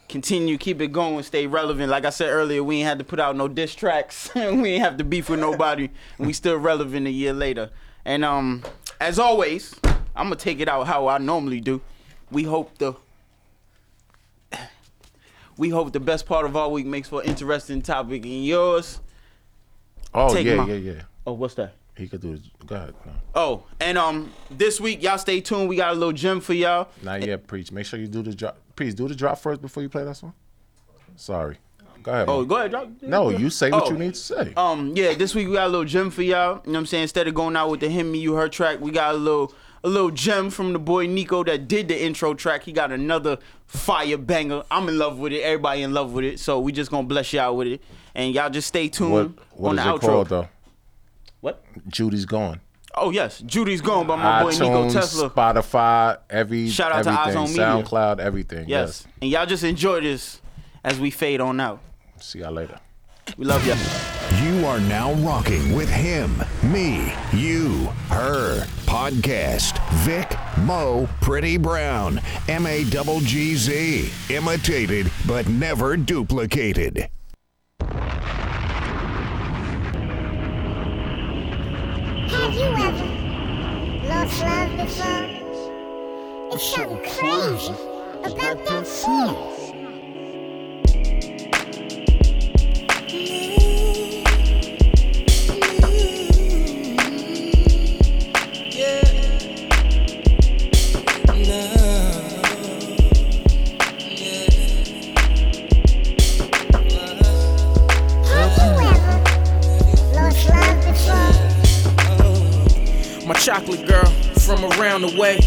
[SPEAKER 2] Continue, keep it going, stay relevant. Like I said earlier, we ain't had to put out no diss tracks. we ain't have to beef with nobody. and we still relevant a year later. And um, as always, I'm gonna take it out how I normally do. We hope the we hope the best part of our week makes for an interesting topic in yours.
[SPEAKER 3] Oh
[SPEAKER 2] Take
[SPEAKER 3] yeah,
[SPEAKER 2] my-
[SPEAKER 3] yeah, yeah.
[SPEAKER 2] Oh, what's that?
[SPEAKER 3] He could do. His, go ahead. No.
[SPEAKER 2] Oh, and um, this week y'all stay tuned. We got a little gem for y'all.
[SPEAKER 3] Not yet. Preach. Make sure you do the drop. Please do the drop first before you play that song. Sorry. Go ahead.
[SPEAKER 2] Oh,
[SPEAKER 3] man.
[SPEAKER 2] go ahead, drop.
[SPEAKER 3] No, you say what
[SPEAKER 2] Oh.
[SPEAKER 3] you need to say.
[SPEAKER 2] Um, yeah, this week we got a little gem for y'all. You know what I'm saying? Instead of going out with the him, me, you, her track, we got a little a little gem from the boy Nico that did the intro track. He got another fire banger. I'm in love with it. Everybody in love with it. So we just gonna bless y'all with it. And y'all just stay tuned
[SPEAKER 3] What What
[SPEAKER 2] on
[SPEAKER 3] is
[SPEAKER 2] the
[SPEAKER 3] it
[SPEAKER 2] outro.
[SPEAKER 3] called though?
[SPEAKER 2] What?
[SPEAKER 3] Judy's gone.
[SPEAKER 2] Oh yes, Judy's gone by my boy Nico
[SPEAKER 3] iTunes,
[SPEAKER 2] Tesla.
[SPEAKER 3] Spotify, every
[SPEAKER 2] Shout out to
[SPEAKER 3] everything,
[SPEAKER 2] Eyes on Media.
[SPEAKER 3] SoundCloud, everything.
[SPEAKER 2] Yes. And y'all just enjoy this as we fade on out.
[SPEAKER 3] yes. See y'all later.
[SPEAKER 2] We love you.
[SPEAKER 9] You are now rocking with him, me, you, her podcast. Vic Mo Pretty Brown, M A double G Z. Imitated but never duplicated.
[SPEAKER 18] Have you ever lost love before? It's something crazy about that feeling. Lost love before.
[SPEAKER 1] My chocolate girl from around the way.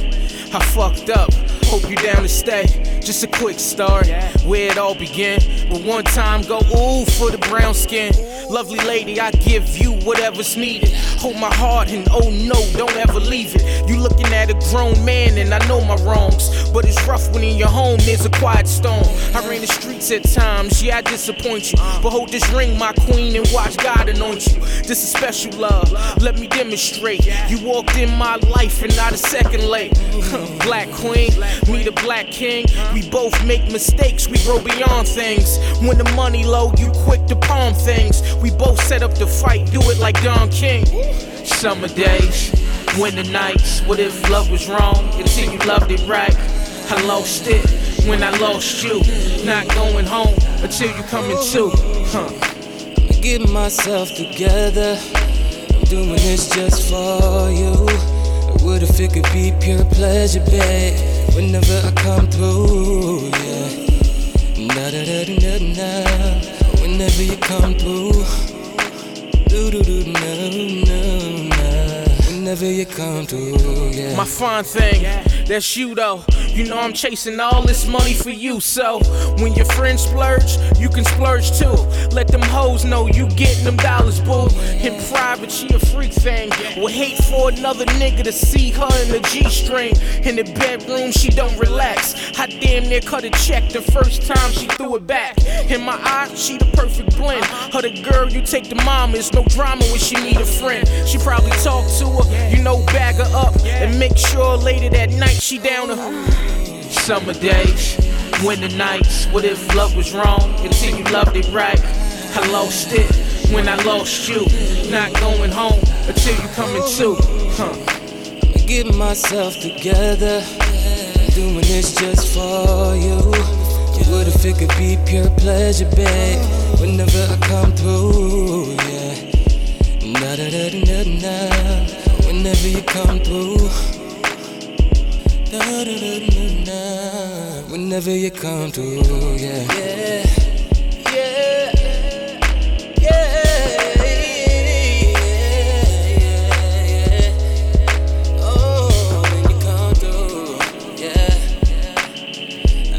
[SPEAKER 1] I fucked up. Hope you down to stay. Just a quick start where it all began. But one time go ooh for the brown skin. Lovely lady, I give you whatever's needed. Hold my heart and oh no, don't ever leave it. You looking at a grown man and I know my wrongs. But it's rough when in your home there's a quiet storm. I ran the streets at times, yeah, I disappoint you. But hold this ring, my queen, and watch God anoint you. This is special love, let me demonstrate. You walked in my life and not a second late. black queen, me the black king. We both make mistakes, we grow beyond things. When the money low, you quick to palm things. We both set up the fight, do it like Don King. Summer days, winter nights. What if love was wrong until you loved it right? I lost it when I lost you. Not going home until you coming to. Huh.
[SPEAKER 19] I get myself together. I'm doing this just for you. What if it could be pure pleasure, babe? Whenever I come through, yeah. Da da da da da. Whenever you come through, do do do no no no. Whenever you come through, yeah.
[SPEAKER 1] My fine thing, that's you though. You know I'm chasing all this money for you. So when your friends splurge, you can splurge too. Let them hoes know you getting them dollars, boo. In private, she a freak thing. Would hate for another nigga to see her in the G string. In the bedroom, she don't relax. I damn near cut a check the first time she threw it back. In my eye, she the perfect blend. Her the girl you take the mama. It's no drama when she need a friend. She probably talk to her, you know, bag her up and make sure later that night she down to summer days, winter nights. What if love was wrong until you loved it right? I lost it when I lost you. Not going home until you coming to. Huh.
[SPEAKER 19] I get myself together. I'm doing this just for you. What if it could be pure pleasure, babe? Whenever I come through, yeah. Da da da da da. Whenever you come through. Da da da da da. Whenever you come through, yeah. Yeah.
[SPEAKER 1] Yeah.
[SPEAKER 19] Oh, when you come through, yeah.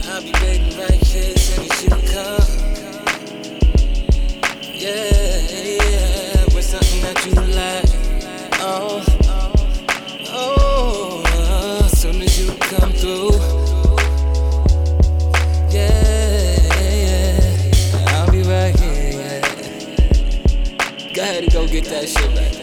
[SPEAKER 19] I'll be waiting right here so that you come. Yeah, yeah, with something that you like. Oh, oh, uh, soon as you come through. Yeah, yeah, I'll be right here. yeah. Go ahead and go get that shit back.